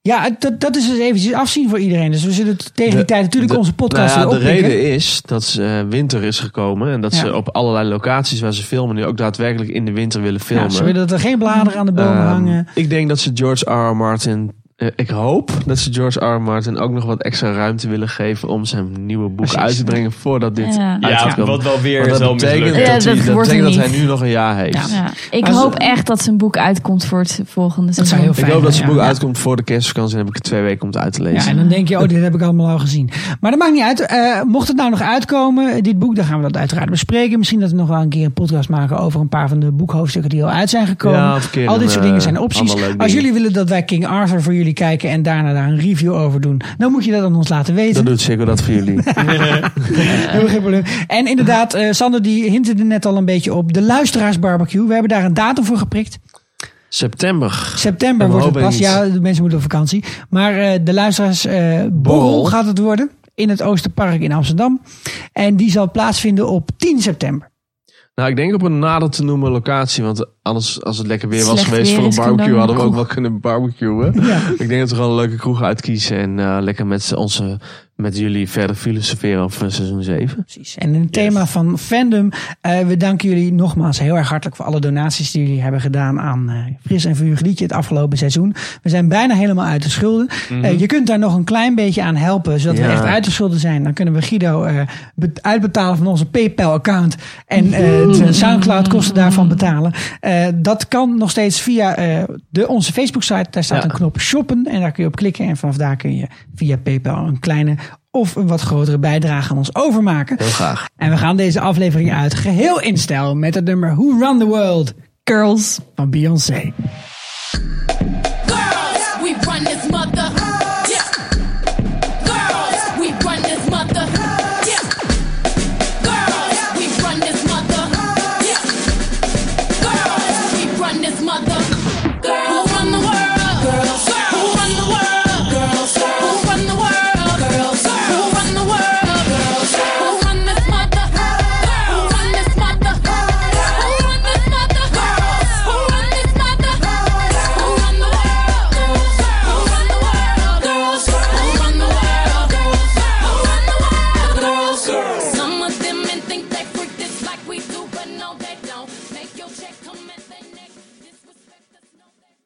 ja het- dat, dat is dus eventjes afzien voor iedereen. Dus we zullen het tegen die De- tijd natuurlijk de- onze podcast nou ja, weer De oppikken. reden is dat ze, eh, winter is gekomen. En dat Ja. ze op allerlei locaties waar ze filmen nu ook daadwerkelijk in de winter willen filmen. Ja, ze willen dat er geen bladeren aan de bomen Ehm, hangen. Ik denk dat ze George R. R. Martin. eh, ik hoop dat ze George R. R. Martin ook nog wat extra ruimte willen geven om zijn nieuwe boek uit te brengen voordat dit Ja. uitkomt. Ja, wat wel weer Want zal dat betekent mislukken. dat, Ja, hij, dat dat, wordt betekent hem dat hij niet. nu nog een jaar heeft. Ja. Ik Maar ze- hoop echt dat zijn boek uitkomt voor het volgende seizoen. zou heel fijn ik hoop dat zijn ja. boek uitkomt voor de kerstvakantie en heb ik er twee weken om het uit te Ja, lezen. en dan denk je, oh, dit heb ik allemaal al gezien. Maar dat maakt niet uit. Eh, mocht het nou nog uitkomen, eh, dit boek, dan gaan we dat uiteraard bespreken. Misschien dat we nog wel een keer een podcast maken over een paar van de boekhoofdstukken die al uit zijn gekomen. Ja, of een keer al dit een, soort dingen eh, zijn opties. ander leuk Als ding. jullie willen dat wij King Arthur voor jullie kijken en daarna daar een review over doen, dan moet je dat aan ons laten weten. Dan doet Sikko dat voor jullie. Helemaal geen probleem. En inderdaad, eh Sander die hintte er net al een beetje op. De luisteraarsbarbecue. We hebben daar een datum voor geprikt. September. September En we wordt het hopen pas. iets. Ja, de mensen moeten op vakantie. Maar eh, de luisteraarsborrel borrel Borrel. gaat het worden. In het Oosterpark in Amsterdam. En die zal plaatsvinden op 10 september. Nou, ik denk op een nader te noemen locatie. Want anders, als het lekker weer was Slecht geweest weer voor een is, kan barbecue, dan hadden we een ook wel kunnen barbecuen. <laughs> Ik denk dat we gewoon een leuke kroeg uitkiezen. En eh, lekker met, z'n- onze, met jullie verder filosoferen over seizoen 7. Precies. En in het thema van fandom. eh, we danken jullie nogmaals heel erg hartelijk voor alle donaties die jullie hebben gedaan aan eh, Fris en Vuur Liedje het afgelopen seizoen. We zijn bijna helemaal uit de schulden. Mhm. Eh, je kunt daar nog een klein beetje aan helpen, zodat we Ja. echt uit de schulden zijn. Dan kunnen we Guido eh, be- uitbetalen van onze PayPal-account en eh, Mm. de Soundcloud-kosten daarvan betalen. Eh, dat kan nog steeds via eh, de, onze Facebook-site. Daar staat een knop shoppen en daar kun je op klikken. En vanaf daar kun je via PayPal een kleine of een wat grotere bijdrage aan ons overmaken. Heel graag. En we gaan deze aflevering uit geheel in stijl met het nummer Who Run the World? Girls. Van Beyoncé.